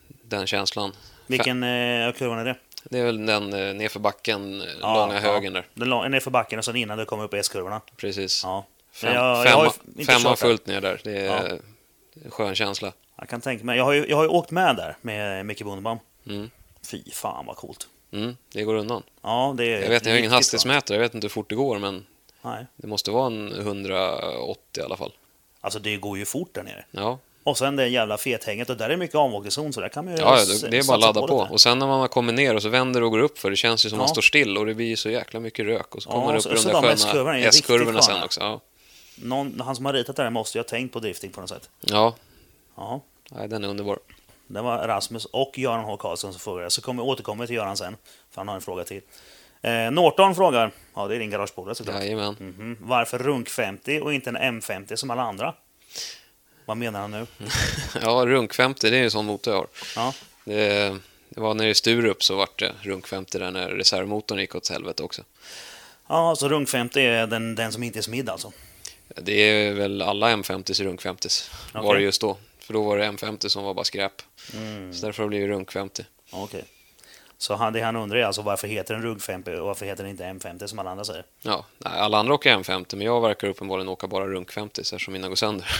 Speaker 2: den känslan.
Speaker 1: Vilken eh, kurvan är det?
Speaker 2: Det är väl den eh, nerför backen, eh,
Speaker 1: Ja,
Speaker 2: långa
Speaker 1: ja.
Speaker 2: högen där.
Speaker 1: Den la- nerför backen och sen innan du kommer upp i S-kurvorna.
Speaker 2: Precis.
Speaker 1: Ja.
Speaker 2: Fem,
Speaker 1: Men jag- jag har
Speaker 2: femma,
Speaker 1: ju inte
Speaker 2: femma
Speaker 1: kört där.
Speaker 2: fullt ner där. Det är en skön känsla.
Speaker 1: Jag kan tänka mig. Jag har ju, jag har ju åkt med där med Micke Bondebaum.
Speaker 2: Mm.
Speaker 1: Fy fan vad coolt.
Speaker 2: Mm, det går undan.
Speaker 1: Ja, det är
Speaker 2: Jag vet, jag har ingen
Speaker 1: riktigt bra.
Speaker 2: hastighetsmätare, jag vet inte hur fort det går, men
Speaker 1: Nej.
Speaker 2: det måste vara en 180 i alla fall.
Speaker 1: Alltså det går ju fort där nere.
Speaker 2: Ja,
Speaker 1: Och sen det jävla fethänget och där är mycket avåkningszon så där kan man ju
Speaker 2: ja
Speaker 1: s-
Speaker 2: det- det är bara
Speaker 1: satsa
Speaker 2: att ladda på.
Speaker 1: lite.
Speaker 2: Och sen när man har kommit ner och så vänder och går upp för det känns ju som
Speaker 1: Ja.
Speaker 2: man står still och det blir ju så jäkla mycket rök och så
Speaker 1: Ja,
Speaker 2: kommer det upp
Speaker 1: så-
Speaker 2: i de
Speaker 1: så
Speaker 2: där
Speaker 1: de
Speaker 2: sköna
Speaker 1: S-kurvorna är ju
Speaker 2: S-kurvorna
Speaker 1: riktigt
Speaker 2: sen
Speaker 1: sköna.
Speaker 2: också. Ja,
Speaker 1: Någon, han som har ritat det här måste ju ha tänkt på drifting på något sätt.
Speaker 2: ja
Speaker 1: Ja,
Speaker 2: nej, den är underbar.
Speaker 1: Det var Rasmus och Göran H Karlsson som frågade. Så kommer jag återkommer till Göran sen, för han har en fråga till. Eh, Norton frågar, ja det är din garagepolare såklart.
Speaker 2: Jajamän.
Speaker 1: Mhm. Varför Runk 50 och inte en M50 som alla andra? Vad menar han nu?
Speaker 2: Ja, Runk 50, det är ju en sån motor jag har.
Speaker 1: Ja.
Speaker 2: Det, det var nere i Sturup så vart det Runk 50 där när reservmotorn gick åt helvete också.
Speaker 1: Ja, så Runk 50 är den, den som inte är smidd alltså.
Speaker 2: Det är väl alla M50s i Runk 50s var
Speaker 1: Okej.
Speaker 2: det just då. För då var det M50 som var bara skräp.
Speaker 1: Mm.
Speaker 2: Så därför har det blivit Runk 50.
Speaker 1: Okej. Så han, det han undrar är alltså varför heter den Runk 50 och varför heter den inte M50 som alla andra säger?
Speaker 2: Ja, nej, alla andra åker M50 men jag verkar uppenbarligen åka bara Runk 50 eftersom mina går sönder.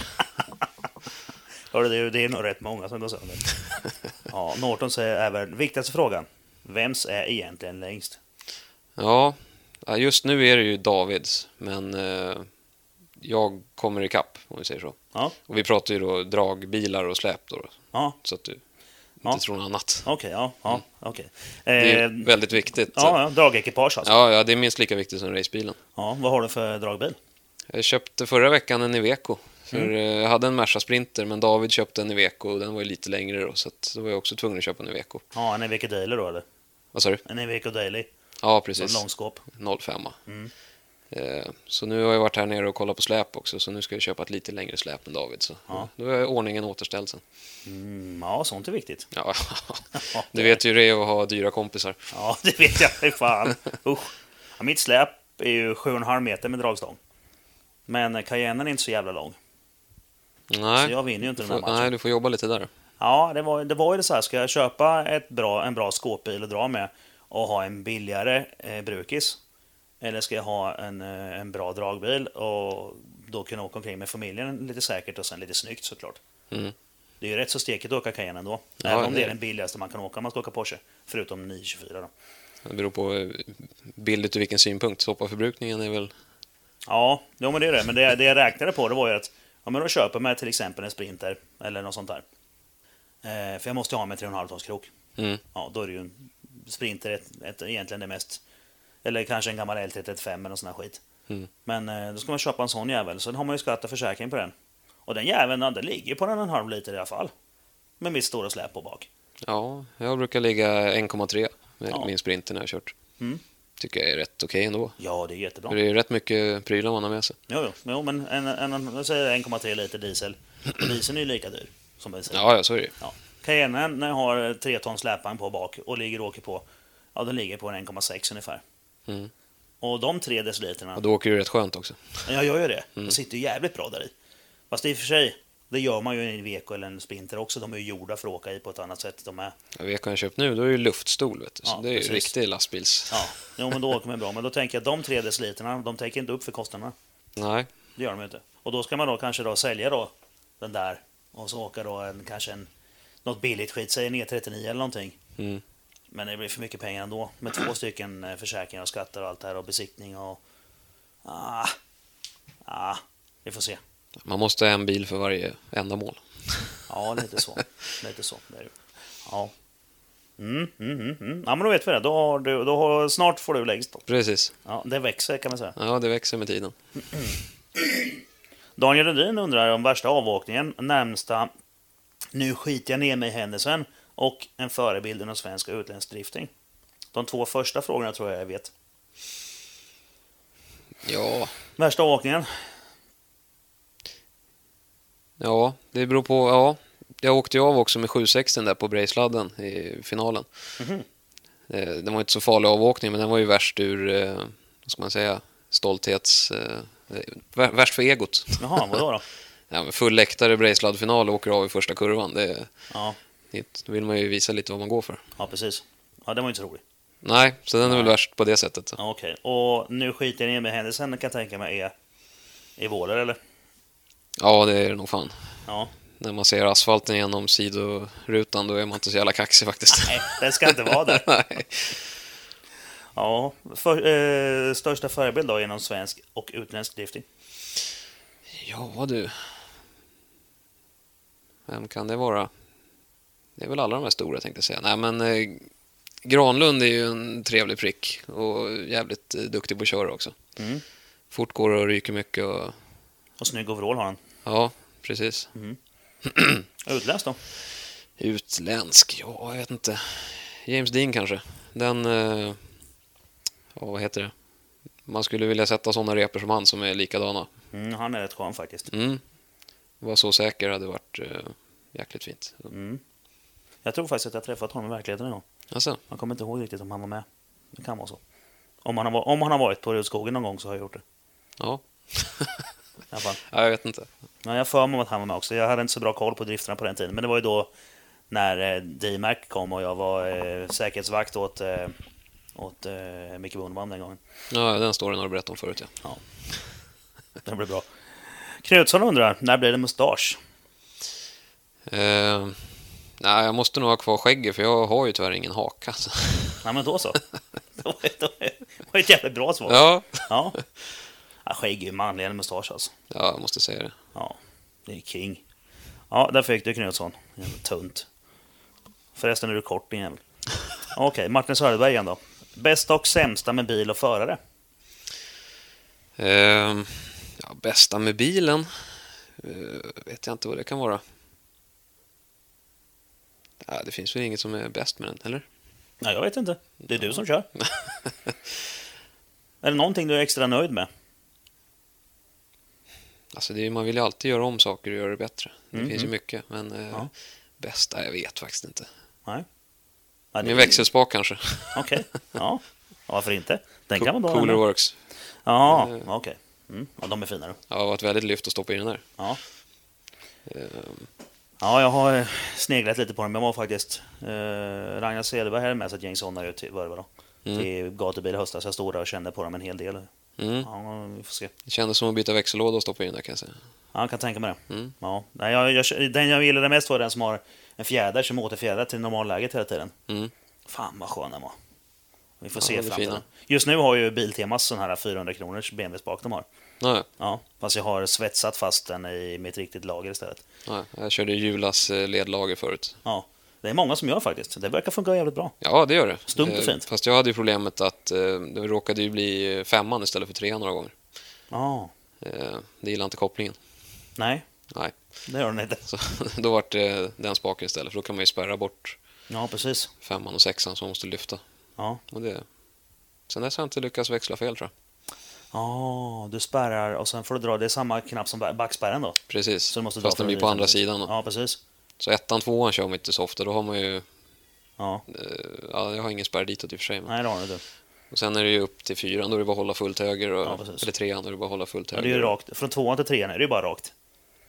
Speaker 1: Hörru, det, är- det är nog rätt många som går sönder. Ja, Norton säger även, viktigaste frågan. Vems är egentligen längst?
Speaker 2: Ja, ja, just nu är det ju Davids men eh, jag kommer ikapp om vi säger så.
Speaker 1: Ja,
Speaker 2: Och vi pratar ju då dragbilar och släp då.
Speaker 1: ja
Speaker 2: Så att du
Speaker 1: Ja.
Speaker 2: inte tror något annat.
Speaker 1: okej. ja, ja, okej.
Speaker 2: Det är
Speaker 1: Eh,
Speaker 2: ju väldigt viktigt.
Speaker 1: ja, ja, dragekipage alltså. Ja.
Speaker 2: Ja, ja, det är minst lika viktigt som racebilen.
Speaker 1: vad har du för dragbil?
Speaker 2: Jag köpte förra veckan en Iveco. För
Speaker 1: Mm.
Speaker 2: eh, Jag hade en Merca Sprinter, men David köpte en Iveco och den var ju lite längre då, så att då var jag också tvungen att köpa en Iveco.
Speaker 1: Ja, en Evico Daily då eller?
Speaker 2: Vad sa du?
Speaker 1: En Evico Daily,
Speaker 2: Ja,
Speaker 1: en
Speaker 2: precis.
Speaker 1: långskåp.
Speaker 2: 05.
Speaker 1: Mm.
Speaker 2: Eh, så nu har jag varit här nere och kollat på släp också, så nu ska jag köpa ett lite längre släp än David. Så.
Speaker 1: Ja.
Speaker 2: Då är ordningen återställd sen.
Speaker 1: Mm, ja, sånt är viktigt.
Speaker 2: Ja.
Speaker 1: Ja,
Speaker 2: Du vet ju hur det är att ha dyra kompisar.
Speaker 1: Ja, det vet jag. Fy fan. Usch. Ja, mitt släp är ju 7,5 meter med dragstång. Men Cayennen är inte så jävla lång,
Speaker 2: Nej,
Speaker 1: så jag vinner ju inte
Speaker 2: du
Speaker 1: den här
Speaker 2: får,
Speaker 1: matchen.
Speaker 2: nej du får jobba lite där.
Speaker 1: Ja, det var, det var ju det så här. Ska jag köpa ett bra, en bra skåpbil att dra med och ha en billigare eh, brukis? Eller ska jag ha en, eh, en bra dragbil och då kunna åka omkring med familjen lite säkert och sen lite snyggt såklart?
Speaker 2: Mm.
Speaker 1: Det är ju rätt så stekigt att åka Cayenne ändå.
Speaker 2: Ja,
Speaker 1: även om
Speaker 2: det
Speaker 1: det
Speaker 2: är
Speaker 1: är
Speaker 2: det.
Speaker 1: den billigaste man kan åka om man ska åka Porsche. Förutom 924 då.
Speaker 2: Det beror på eh, bildet ur vilken synpunkt. Soppaförbrukningen är väl...
Speaker 1: Ja, jo, men det är det. Men det, det jag räknade på det var ju att ja, men då köper man till exempel en Sprinter eller något sånt där. Eh, för jag måste ju ha med 3,5 tons krok.
Speaker 2: Mm.
Speaker 1: ja, då är det ju en Sprinter ett, ett, egentligen det mest. Eller kanske en gammal L335 eller nån sån här skit.
Speaker 2: Mm.
Speaker 1: Men eh, då ska man köpa en sån jävel, så har man ju skattat försäkring på den. Och den jäveln, ja, den ligger på den en halv liter i alla fall. Med mitt stora släp på bak.
Speaker 2: Ja, jag brukar ligga 1,3 med
Speaker 1: Ja.
Speaker 2: min sprinter när jag har kört.
Speaker 1: Mm.
Speaker 2: Tycker jag är rätt okej ändå.
Speaker 1: Ja, det är jättebra.
Speaker 2: För det är ju rätt mycket prylar man har med sig.
Speaker 1: Jo, jo, jo men en, en, en, jag säger 1,3 liter diesel. Och Dieseln är ju lika dyr som bensin.
Speaker 2: Ja, ja så är det ju.
Speaker 1: Ja. Cayennen den har 3 ton släpvagn på bak och ligger och åker på, ja den ligger på en 1,6 ungefär.
Speaker 2: Mm.
Speaker 1: Och de 3 deciliterna,
Speaker 2: Och då åker det ju rätt skönt också.
Speaker 1: Men jag gör ju det. De sitter ju jävligt bra där i. Fast i och för sig, det gör man ju i en Iveco eller en Sprinter också. De är ju gjorda för att åka i på ett annat sätt. De är,
Speaker 2: Jag vet vad jag köpt nu, då är det ju luftstol vet du. Så
Speaker 1: Ja,
Speaker 2: det är ju
Speaker 1: precis.
Speaker 2: riktig lastbils...
Speaker 1: ja, jo, men då åker man bra. Men då tänker jag att de 3 deciliterna, de täcker inte upp för kostnaderna.
Speaker 2: Nej.
Speaker 1: Det gör de ju inte. Och då ska man då kanske då sälja då den där och så åka då en, kanske en, något billigt skit, säg en E39 eller någonting.
Speaker 2: Mm.
Speaker 1: Men det blir för mycket pengar ändå med två stycken eh, försäkringar och skatter och allt det här och besiktning och... Ah, ah, vi får se.
Speaker 2: Man måste ha en bil för varje ändamål.
Speaker 1: Ja, lite så. lite så. Det är det. Ja. Mm, mm, mm, mm. ja, men då vet vi det. Då har du, då har, snart får du lägst. då.
Speaker 2: Precis.
Speaker 1: Ja, det växer kan man säga.
Speaker 2: Ja, det växer med tiden.
Speaker 1: Daniel Rudin undrar om värsta avåkningen, närmsta nu skiter jag ner mig händelsen och en förebild inom svensk och utländsk drifting. De två första frågorna tror jag jag vet.
Speaker 2: Ja,
Speaker 1: Värsta avåkningen?
Speaker 2: ja det beror på... Ja. Jag åkte ju av också med 760 där på Brejsladden i finalen.
Speaker 1: Mhm.
Speaker 2: Eh, Den var inte så farlig avåkning, men den var ju värst ur... eh, Vad ska man säga? Stolthets... eh, eh, vär- Värst för egot.
Speaker 1: Jaha, vadå då?
Speaker 2: Ja, men full läktare, Brejsladd-final och åker av i första kurvan. Det,
Speaker 1: Ja,
Speaker 2: det, då vill man ju visa lite vad man går för.
Speaker 1: ja precis. Ja, det var ju inte så roligt.
Speaker 2: Nej, så den är väl värst på det sättet.
Speaker 1: Ja, Okej, och nu skiter jag ner mig händelsen kan jag tänka mig är i Våler eller?
Speaker 2: Ja, det är det nog fan.
Speaker 1: Ja.
Speaker 2: När man ser asfalten genom sidorutan, då är man inte så jävla kaxig faktiskt.
Speaker 1: Nej, den ska inte vara där.
Speaker 2: Nej.
Speaker 1: Ja, för, eh, största förebild då genom svensk och utländsk drifting?
Speaker 2: Ja, du. Vem kan det vara? Det är väl alla de här stora tänkte jag säga. Nej, men eh, Granlund är ju en trevlig prick och jävligt eh, duktig på att köra också.
Speaker 1: Mm.
Speaker 2: Fort går och ryker mycket och...
Speaker 1: Och snygg overall har han.
Speaker 2: Ja, precis.
Speaker 1: Utländskt då?
Speaker 2: Utländsk? Ja, jag vet inte. James Dean kanske. Den... eh, Ja, vad heter det? Man skulle vilja sätta sådana repor som han som är likadana.
Speaker 1: Mm, han är rätt skön faktiskt.
Speaker 2: Mm. Var så säker hade varit eh, jäkligt fint.
Speaker 1: Mm. Jag tror faktiskt att jag träffat honom i verkligheten en gång.
Speaker 2: Alltså,
Speaker 1: Jag kommer inte ihåg riktigt om han var med. Det kan vara så. Om han har, va- om han har varit på Rudskogen någon gång så har jag gjort det.
Speaker 2: ja.
Speaker 1: I alla fall.
Speaker 2: ja, jag vet inte.
Speaker 1: Men jag har för mig att han var med också. Jag hade inte så bra koll på drifterna på den tiden. Men det var ju då när eh, D-Mac kom och jag var eh, säkerhetsvakt åt, eh, åt eh, Micke Bondman den gången.
Speaker 2: Ja, den storyn har du berättat om förut ja.
Speaker 1: Det blev bra. Knutsson undrar, när blir det mustasch?
Speaker 2: Eh, nej, jag måste nog ha kvar skägget för jag har ju tyvärr ingen alltså. haka. Så.
Speaker 1: Ja men då så. Det var ett, det var ett jävligt bra svar.
Speaker 2: Ja.
Speaker 1: Ja. ja skägg är ju manligare än mustasch alltså.
Speaker 2: ja, jag måste säga det.
Speaker 1: Ja, det är king. Ja, där fick du Knutsson. Jävla tunt. Förresten är du kort din jävel. Okej, Martin Söderberg igen då. Bästa och sämsta med bil och förare?
Speaker 2: Ehm, ja, bästa med bilen? Eh, vet jag inte vad det kan vara. Ja, det finns väl inget som är bäst med den, eller?
Speaker 1: Nej, jag vet inte. Det är du som kör. är det någonting du är extra nöjd med?
Speaker 2: Alltså, det är, ju- man vill ju alltid göra om saker och göra det bättre. Det
Speaker 1: Mm,
Speaker 2: finns ju
Speaker 1: mm.
Speaker 2: mycket, men eh,
Speaker 1: Ja.
Speaker 2: bästa? Jag vet faktiskt inte.
Speaker 1: Ja, det-
Speaker 2: Min växelspak kanske.
Speaker 1: Okej, ja. Varför inte? Den kan man dra.
Speaker 2: Cooler
Speaker 1: ändå.
Speaker 2: Works.
Speaker 1: Ja,
Speaker 2: Eh.
Speaker 1: okej. Mm. Ja, de är finare.
Speaker 2: Ja, det har varit väldigt lyft att stoppa in den där.
Speaker 1: Ja.
Speaker 2: Ehm,
Speaker 1: Ja, jag har eh, sneglat lite på dem. Jag var faktiskt... Eh, Ragnar Cederberg hade med sig ett gäng sådana ut till, vad det var då,
Speaker 2: Mm.
Speaker 1: till gatubil i höstas. Jag stod där och kände på dem en hel del.
Speaker 2: mm.
Speaker 1: Ja, vi får se.
Speaker 2: Det kändes som att byta växellåda och stoppa in den där kan jag säga.
Speaker 1: Ja, jag kan tänka mig det.
Speaker 2: Mm.
Speaker 1: Ja. Nej, jag, jag, den jag gillade mest var den som har en fjäder som återfjädrar till normalläget hela tiden.
Speaker 2: Mm.
Speaker 1: Fan vad skön den var. Vi får
Speaker 2: Ja,
Speaker 1: se
Speaker 2: de är
Speaker 1: fram till
Speaker 2: fina.
Speaker 1: den. Just nu har ju Biltemas sån här 400 kronors BMW-spak de har.
Speaker 2: Ja, ja.
Speaker 1: Ja, fast jag har svetsat fast den i mitt riktigt lager istället.
Speaker 2: ja, jag körde Julas eh, ledlager förut.
Speaker 1: Ja, det är många som gör faktiskt. Det verkar funka jävligt bra.
Speaker 2: Ja, det gör det.
Speaker 1: Stumt och
Speaker 2: Eh,
Speaker 1: fint.
Speaker 2: Fast jag hade ju problemet att eh, det råkade ju bli femman istället för trean några gånger.
Speaker 1: Ja,
Speaker 2: Eh, det gillade inte kopplingen.
Speaker 1: nej,
Speaker 2: Nej,
Speaker 1: det gör den inte.
Speaker 2: så då vart det den spaken istället. För då kan man ju spärra bort
Speaker 1: Ja, precis.
Speaker 2: femman och sexan som måste lyfta.
Speaker 1: Ja,
Speaker 2: Och det... Sen dess har jag inte lyckats växla fel tror jag.
Speaker 1: ja du spärrar och sen får du dra. Det är samma knapp som backspärren då.
Speaker 2: Precis,
Speaker 1: Så du måste dra
Speaker 2: fast den
Speaker 1: för
Speaker 2: blir
Speaker 1: att
Speaker 2: på
Speaker 1: visa
Speaker 2: andra
Speaker 1: den.
Speaker 2: sidan. Då.
Speaker 1: Ja, precis.
Speaker 2: Så ettan, tvåan kör man inte så ofta. Då har man ju...
Speaker 1: Ja,
Speaker 2: Eh, ja, jag har ingen spärr ditåt i och för sig. Men...
Speaker 1: nej det har du inte.
Speaker 2: Och sen är det ju upp till fyran, då är det bara att hålla fullt höger. Och...
Speaker 1: Ja, precis.
Speaker 2: Eller trean, då är det bara att hålla fullt
Speaker 1: Ja,
Speaker 2: höger.
Speaker 1: det är ju rakt. Från tvåan till trean är det ju bara rakt.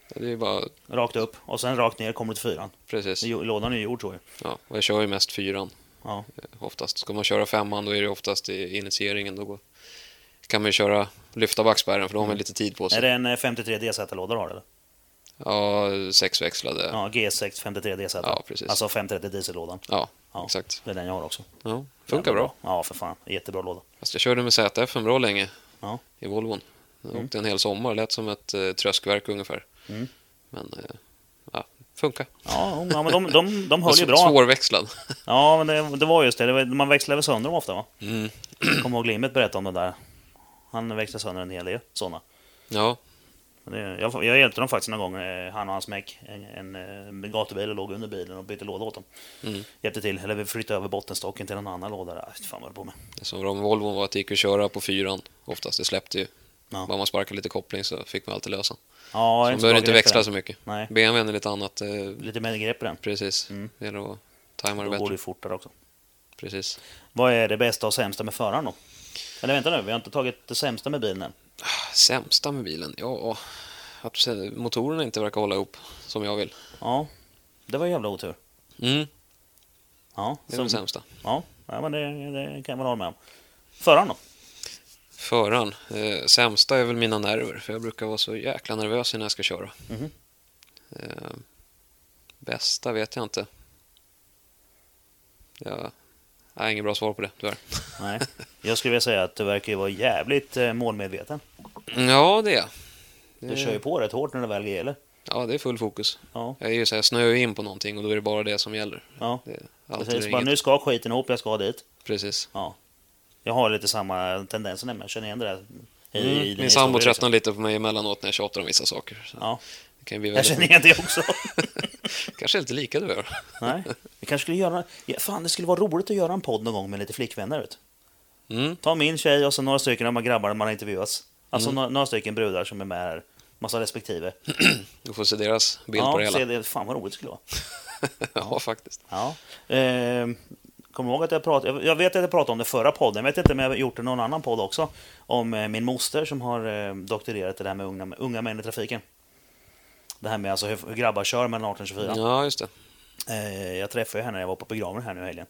Speaker 2: Ja, det är ju bara...
Speaker 1: Rakt upp och sen rakt ner kommer du till fyran.
Speaker 2: Precis.
Speaker 1: Det är ju- Lådan är ju gjord så ju.
Speaker 2: Ja, och jag kör ju mest fyran. Eh,
Speaker 1: Ja.
Speaker 2: oftast. Ska man köra femman då är det oftast i initieringen. Då går, kan man ju köra, lyfta backspärren för då har man lite tid på
Speaker 1: Mm. Är
Speaker 2: sig.
Speaker 1: det en eh, 53 DZ-låda du har eller?
Speaker 2: Ja, sexväxlade. Ja,
Speaker 1: Ja, G6 53 DZ.
Speaker 2: Ja, precis.
Speaker 1: Alltså 530 diesellådan. Ja.
Speaker 2: exakt.
Speaker 1: Det är den jag har också.
Speaker 2: Ja, funkar
Speaker 1: Jävla
Speaker 2: bra.
Speaker 1: Ja, för fan. Jättebra låda.
Speaker 2: Fast jag körde med ZF en bra länge
Speaker 1: Ja.
Speaker 2: i Volvon. Jag åkte en hel sommar, lät som ett eh, tröskverk ungefär.
Speaker 1: Mm.
Speaker 2: Men eh, ja, funkar.
Speaker 1: Ja, ja men de, de, de höll ju
Speaker 2: Men
Speaker 1: bra.
Speaker 2: s- Svårväxlad.
Speaker 1: Ja, men det, det var just det. det var, man växlar väl sönder dem ofta va?
Speaker 2: Mm.
Speaker 1: Jag kommer ihåg Limmet berättade om det där. Han växlade sönder en hel del sådana.
Speaker 2: Ja,
Speaker 1: Men det- Jag, jag hjälpte dem faktiskt någon gång, eh, han och hans mek. En, en eh, gatubil låg under bilen och bytte låda åt dem.
Speaker 2: Mm.
Speaker 1: Hjälpte till, eller vi flyttade över bottenstocken till en annan låda. Där. Aj, Fan vad det på med.
Speaker 2: det som var med Volvon var att det gick att köra på fyran oftast. Det släppte ju.
Speaker 1: Ja.
Speaker 2: Bara man sparkade lite koppling så fick man alltid lösa.
Speaker 1: Ja,
Speaker 2: Så
Speaker 1: jag är
Speaker 2: man
Speaker 1: så bra
Speaker 2: behöver inte
Speaker 1: grepp i
Speaker 2: växla
Speaker 1: den.
Speaker 2: så mycket.
Speaker 1: Nej,
Speaker 2: BMWn är lite annat. eh,
Speaker 1: lite mer grepp i den.
Speaker 2: Precis,
Speaker 1: Mm.
Speaker 2: det gäller att tajma det
Speaker 1: Då går det
Speaker 2: bättre.
Speaker 1: ju fortare också.
Speaker 2: Precis.
Speaker 1: Vad är det bästa och sämsta med föraren då? Eller vänta nu, vi har inte tagit det sämsta med bilen än.
Speaker 2: Sämsta med bilen? Ja, att se- motorerna inte verkar hålla ihop som jag vill.
Speaker 1: Ja, det var jävla otur.
Speaker 2: Mm,
Speaker 1: Ja,
Speaker 2: det är det
Speaker 1: så-
Speaker 2: sämsta.
Speaker 1: ja, ja men det, det kan jag väl hålla med om. Föraren då?
Speaker 2: Föraren. Eh, sämsta är väl mina nerver, för jag brukar vara så jäkla nervös när jag ska köra.
Speaker 1: Mhm.
Speaker 2: Eh, bästa vet jag inte. Jag jag har inget bra svar på det, tyvärr.
Speaker 1: Nej, jag skulle vilja säga att du verkar ju vara jävligt eh, målmedveten.
Speaker 2: Ja, det är jag.
Speaker 1: Du
Speaker 2: Det-
Speaker 1: kör ju på rätt hårt när det väl gäller.
Speaker 2: Ja, det är full fokus.
Speaker 1: Ja,
Speaker 2: Jag är ju så här, snöar in på någonting och då är det bara det som gäller.
Speaker 1: ja.
Speaker 2: Det är alltid
Speaker 1: Precis,
Speaker 2: eller
Speaker 1: bara
Speaker 2: inget.
Speaker 1: nu ska skiten ihop, jag ska dit.
Speaker 2: Precis.
Speaker 1: Jag har lite samma tendenser nämligen, jag känner igen det där. i- i din
Speaker 2: Mm.
Speaker 1: historia,
Speaker 2: Min sambo
Speaker 1: liksom.
Speaker 2: tröttnar lite på mig emellanåt när jag tjatar om vissa saker. Så
Speaker 1: Ja,
Speaker 2: det kan ju bli
Speaker 1: jag
Speaker 2: väldigt...
Speaker 1: känner igen det också.
Speaker 2: kanske är lite lika du och jag.
Speaker 1: Nej. Vi kanske skulle göra... Ja, fan, det skulle vara roligt att göra en podd någon gång med lite flickvänner. Vet. du.
Speaker 2: Mm.
Speaker 1: Ta min tjej och så några stycken av de här grabbarna man har intervjuats. Alltså några, några stycken brudar som är med här. Massa respektive.
Speaker 2: Du får se deras bild
Speaker 1: ja,
Speaker 2: på det
Speaker 1: se
Speaker 2: hela.
Speaker 1: det. Fan vad roligt det skulle vara.
Speaker 2: ja, faktiskt.
Speaker 1: Ja. Eh, kom ihåg att jag pratade, jag vet att jag pratade om det förra podden, jag vet inte om jag har gjort det i någon annan podd också, om eh, min moster som har eh, doktorerat i det här med unga, unga män i trafiken. Det här med alltså hur, hur grabbar kör mellan 18 och 24.
Speaker 2: Ja, just det.
Speaker 1: Eh, jag träffade henne när jag var på begravningen här nu i helgen.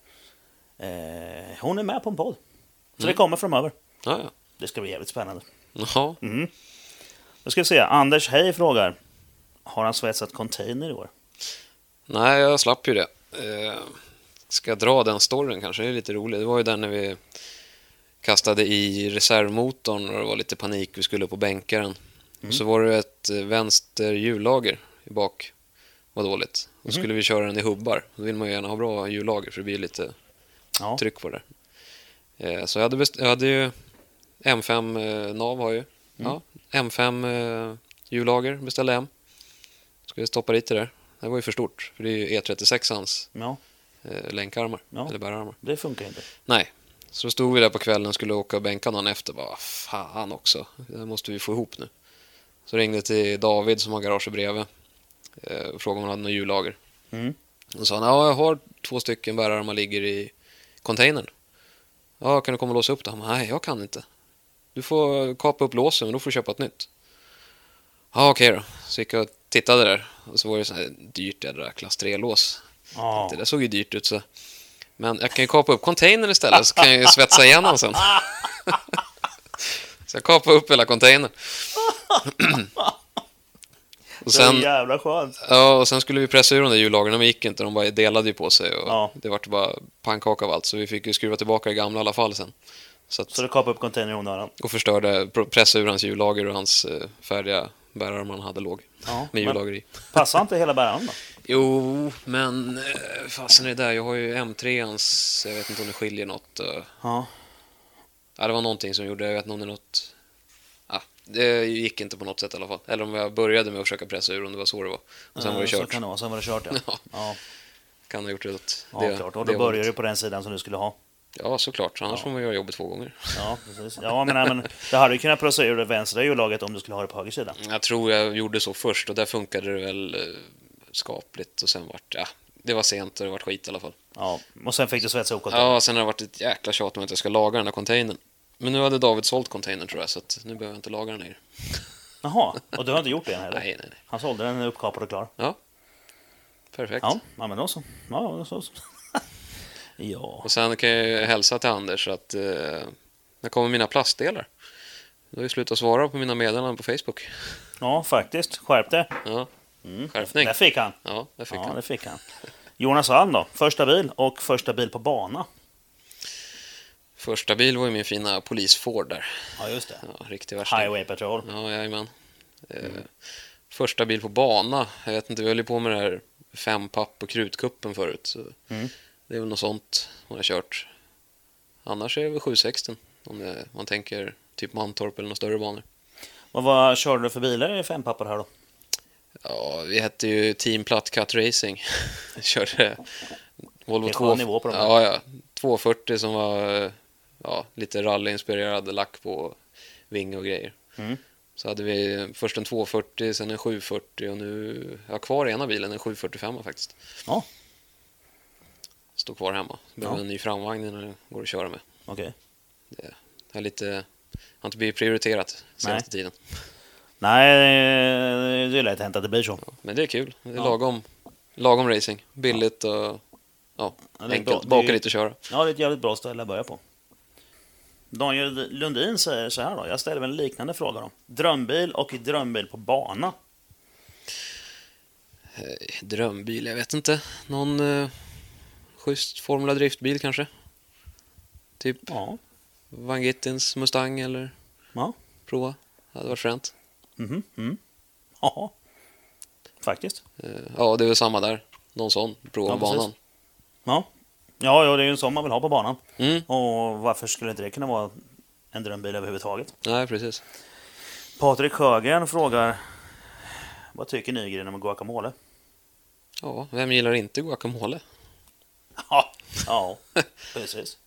Speaker 1: Eh, hon är med på en podd. Så
Speaker 2: Mm.
Speaker 1: det kommer framöver.
Speaker 2: Ja, ja.
Speaker 1: Det ska bli jävligt spännande.
Speaker 2: Jaha.
Speaker 1: Då ska vi se, Anders Hej frågar. Har han svetsat container i år?
Speaker 2: Nej, jag slapp ju det. Eh, ska jag dra den storyn kanske? Det är lite roligt. Det var ju den när vi kastade i reservmotorn och det var lite panik. Vi skulle på bänkaren. Och så var det ett eh, vänster hjullager i bak. var dåligt. Och så skulle vi köra den i hubbar. Då vill man ju gärna ha bra hjullager för det blir lite
Speaker 1: Ja.
Speaker 2: tryck på det. Eh, så jag hade, best- jag hade ju M5 eh, nav har jag ju. Ja, M5 eh, hjullager beställde jag hem. Ska jag stoppa dit det där. Det var ju för stort, för det är ju E36ans
Speaker 1: ja,
Speaker 2: eh, länkarmar,
Speaker 1: Ja.
Speaker 2: eller bärarmar.
Speaker 1: det funkar inte.
Speaker 2: Nej, så stod vi där på kvällen och skulle åka och bänka någon efter. Bara, fan också, det här måste vi få ihop nu. Så ringde jag till David som har garaget bredvid eh, och frågade om han hade något hjullager.
Speaker 1: Mm.
Speaker 2: Och sa han, ja jag har två stycken bärarmar ligger i containern. Ja, kan du komma och låsa upp det? Han bara, nej jag kan inte. Du får kapa upp låsen, men då får du köpa ett nytt. Ja, okej då. Så gick jag och tittade där och så var det så här dyrt jädra klass 3-lås.
Speaker 1: Ja.
Speaker 2: Det där såg ju dyrt ut så. Men jag kan ju kapa upp containern istället så kan jag ju svetsa igen den sen. så jag kapade upp hela containern.
Speaker 1: Så
Speaker 2: och sen,
Speaker 1: jävla skönt.
Speaker 2: ja, och sen skulle vi pressa ur de där hjullagren, men det gick inte. De bara delade ju på sig och
Speaker 1: Ja.
Speaker 2: det vart bara pannkaka av allt. Så vi fick ju skruva tillbaka det gamla i alla fall sen. Så att,
Speaker 1: Så du kapade upp containern i onödan?
Speaker 2: och förstörde, pr- pressa ur hans hjullager och hans eh, färdiga bärarm han hade låg.
Speaker 1: Ja,
Speaker 2: med
Speaker 1: men-
Speaker 2: hjullager i.
Speaker 1: Passar inte hela bäraren då?
Speaker 2: Jo, men eh, fasen är det där. Jag har ju M3ans, jag vet inte om det skiljer något. eh.
Speaker 1: Ja.
Speaker 2: Ja, det var någonting som gjorde, jag vet inte om det är något... Ja, det gick inte på något sätt i alla fall. Eller om jag började med att försöka pressa ur, om det var så det var. Och sen var det
Speaker 1: Eh, Så
Speaker 2: kört.
Speaker 1: kan
Speaker 2: Kan...
Speaker 1: det vara, sen var det kört ja.
Speaker 2: Ja.
Speaker 1: Ja,
Speaker 2: ha gjort det åt
Speaker 1: ja
Speaker 2: det,
Speaker 1: klart. Och
Speaker 2: det
Speaker 1: då börjar
Speaker 2: hållet.
Speaker 1: du på den sidan som du skulle ha.
Speaker 2: Ja, såklart. Annars får man göra jobbet två gånger.
Speaker 1: Ja, precis. Ja, men, nej, men det hade ju kunnat pressa ur det vänstra hjullaget om du skulle ha det på höger sida.
Speaker 2: Jag tror jag gjorde så först och där funkade det väl eh, skapligt och sen vart... Ja, det var sent och det vart skit i alla fall.
Speaker 1: Ja, och sen fick du svetsa ihop containern.
Speaker 2: Ja, sen har det varit ett jäkla tjat om att jag ska laga den här containern. Men nu hade David sålt containern tror jag, så att nu behöver jag inte laga den längre.
Speaker 1: Jaha, och du har inte gjort det än heller?
Speaker 2: Nej, nej, nej.
Speaker 1: Han sålde den uppkapad och klar.
Speaker 2: Ja. Perfekt.
Speaker 1: Ja, ja men då så. Ja, då så. Ja,
Speaker 2: Och sen kan jag ju hälsa till Anders att eh, när kommer mina plastdelar? Du har ju slutat svara på mina meddelanden på Facebook.
Speaker 1: ja faktiskt. Skärp dig.
Speaker 2: Ja, skärpning.
Speaker 1: Där fick han.
Speaker 2: Ja, där fick
Speaker 1: Mm. Ja,
Speaker 2: han.
Speaker 1: det fick han. Jonas Alm då? Första bil och första bil på bana.
Speaker 2: Första bil var ju min fina polis Ford där.
Speaker 1: Ja, just det.
Speaker 2: Ja, riktig värsting.
Speaker 1: Highway Patrol.
Speaker 2: Ja, jajamän. Eh,
Speaker 1: Mm.
Speaker 2: Första bil på bana. Jag vet inte, vi höll ju på med det här fem papp och krutkuppen förut. Så
Speaker 1: Mm.
Speaker 2: Det är väl något sånt man har kört. Annars är det väl 760 om det, man tänker typ Mantorp eller några större banor.
Speaker 1: Och vad körde du för bilar i fem papper här då?
Speaker 2: Ja, vi hette ju Team Platt Cut Racing. Körde Volvo
Speaker 1: Det är
Speaker 2: 2...
Speaker 1: skön nivå på de här.
Speaker 2: ja, ja. 240 som var ja, lite rallyinspirerad, lack på vinge och grejer.
Speaker 1: Mm.
Speaker 2: Så hade vi först en 240, sen en 740 och nu... Jag har kvar ena bilen, en 745 faktiskt.
Speaker 1: Ja.
Speaker 2: Står kvar hemma. Behöver
Speaker 1: Ja.
Speaker 2: en ny framvagn innan det går att köra med.
Speaker 1: Okej.
Speaker 2: Jag är lite... Har inte blivit prioriterat senaste tiden.
Speaker 1: Nej, det är lätt hänt att det blir så.
Speaker 2: Men det är kul. Det är
Speaker 1: Ja.
Speaker 2: lagom, lagom racing. Billigt och ja,
Speaker 1: Ja, det är bra.
Speaker 2: enkelt.
Speaker 1: Det är
Speaker 2: Baka
Speaker 1: ju-
Speaker 2: lite och köra.
Speaker 1: Ja, det är ett jävligt bra ställe att börja på. Daniel Lundin säger så här då. Jag ställer väl en liknande fråga då. Drömbil och drömbil på bana.
Speaker 2: Eh, Drömbil, jag vet inte. Någon eh, schysst Formula Driftbil kanske? Typ
Speaker 1: Ja.
Speaker 2: Van Gittins Mustang eller
Speaker 1: Ja.
Speaker 2: prova. Det hade varit fränt.
Speaker 1: Mhm. Mm. Ja. Faktiskt.
Speaker 2: Eh, ja, det är väl samma där. Någon sån. Prova
Speaker 1: Ja, precis.
Speaker 2: banan.
Speaker 1: Ja. Ja, ja, det är ju en sån man vill ha på banan.
Speaker 2: Mm.
Speaker 1: Och varför skulle inte det kunna vara en drömbil överhuvudtaget?
Speaker 2: Nej, precis.
Speaker 1: Patrik Sjögren frågar. Vad tycker Nygren om guacamole?
Speaker 2: Ja, vem gillar inte guacamole?
Speaker 1: Ja, ja precis.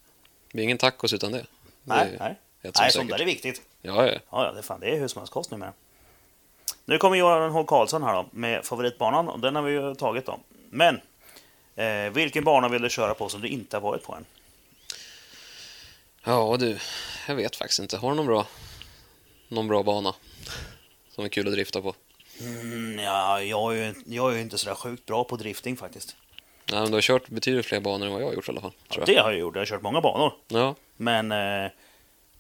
Speaker 2: Det är ingen tacos utan det.
Speaker 1: Nej,
Speaker 2: det är
Speaker 1: nej.
Speaker 2: ett som
Speaker 1: nej
Speaker 2: säkert.
Speaker 1: sånt där är viktigt.
Speaker 2: Ja, ja.
Speaker 1: Ja, ja, det, är fan, det är husmanskost numera. Nu kommer Göran H. Karlsson här då, med favoritbanan. Och den har vi ju tagit då. Men, eh, vilken bana vill du köra på som du inte har varit på än?
Speaker 2: ja, du. Jag vet faktiskt inte. Har du någon bra, någon bra bana som är kul att drifta på?
Speaker 1: Mm, ja, jag, är ju, jag är ju inte sådär sjukt bra på drifting faktiskt.
Speaker 2: Nej, men du har kört betydligt fler banor än vad jag har gjort i alla fall.
Speaker 1: Ja,
Speaker 2: Tror jag.
Speaker 1: det har jag gjort, jag har kört många banor.
Speaker 2: Ja,
Speaker 1: Men, eh,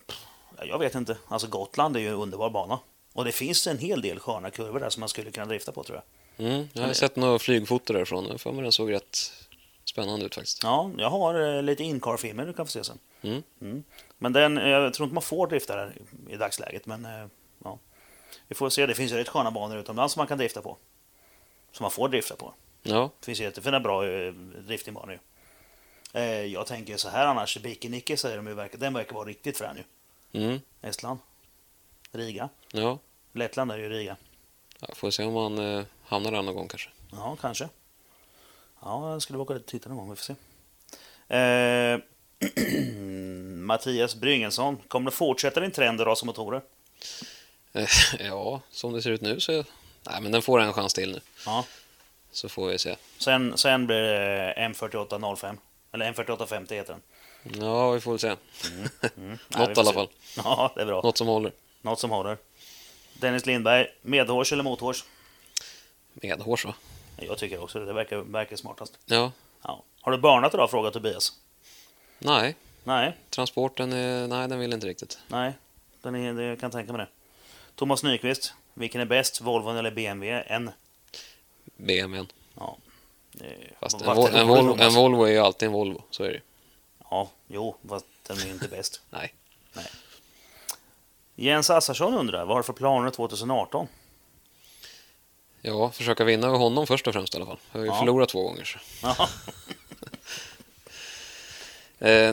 Speaker 1: pff, jag vet inte. Alltså Gotland är ju en underbar bana. Och det finns en hel del sköna kurvor där som man skulle kunna drifta på tror jag.
Speaker 2: mm, jag har sett några flygfoto därifrån. Jag har för mig den såg rätt spännande ut faktiskt.
Speaker 1: Ja, jag har eh, lite in-car-filmer du kan få se sen.
Speaker 2: Mm.
Speaker 1: Men den, eh, jag tror inte man får drifta den i dagsläget, men eh, ja. Vi får se, det finns ju rätt sköna banor utomlands som man kan drifta på. Som man får drifta på.
Speaker 2: Ja,
Speaker 1: Det finns ju jättefina bra eh, driftingbanor ju. Eh, Jag tänker så här annars, Bikiniki säger de ju, verkar- den verkar vara riktigt frän ju.
Speaker 2: mm,
Speaker 1: Estland, Riga,
Speaker 2: ja.
Speaker 1: Lettland är ju Riga.
Speaker 2: Jag får se om man eh, hamnar där någon gång kanske.
Speaker 1: Ja, kanske. Ja, jag skulle åka dit och titta någon gång, vi får se. Eh, Mattias Bryngelsson, kommer du fortsätta din trend att rasa motorer?
Speaker 2: Eh, ja, som det ser ut nu så... Nej, men den får en chans till nu.
Speaker 1: Ja.
Speaker 2: Så får vi se.
Speaker 1: Sen, sen blir det M4805. Eller M4850 heter den.
Speaker 2: Ja, vi får väl se.
Speaker 1: Mm, Nej, vi
Speaker 2: Något i
Speaker 1: får
Speaker 2: alla
Speaker 1: se.
Speaker 2: fall.
Speaker 1: Ja, det är bra.
Speaker 2: Något som håller.
Speaker 1: Något som håller. Dennis Lindberg, medhårs eller mothårs?
Speaker 2: Medhårs va?
Speaker 1: Jag tycker också det. Det verkar, verkar smartast.
Speaker 2: Ja.
Speaker 1: Ja. Har du burnat idag? Frågar Tobias.
Speaker 2: Nej,
Speaker 1: Nej,
Speaker 2: transporten är... Nej, den vill inte riktigt.
Speaker 1: nej. Den är, det- jag kan tänka mig det. Thomas Nyqvist, vilken är bäst? Volvon eller BMW? En.
Speaker 2: BMWn.
Speaker 1: Eh,
Speaker 2: Fast en,
Speaker 1: vart
Speaker 2: Vol-
Speaker 1: är det
Speaker 2: en,
Speaker 1: roligt,
Speaker 2: Volvo, en
Speaker 1: Thomas?
Speaker 2: Volvo är ju alltid en Volvo, så är det ju.
Speaker 1: Ja, jo, fast den är ju inte bäst.
Speaker 2: Nej.
Speaker 1: Jens Assarsson undrar, vad har du för planer 2018?
Speaker 2: Ja, försöka vinna över honom först och främst i alla fall. Jag har ju
Speaker 1: Ja.
Speaker 2: förlorat två gånger. Så.
Speaker 1: Ja,
Speaker 2: Eh,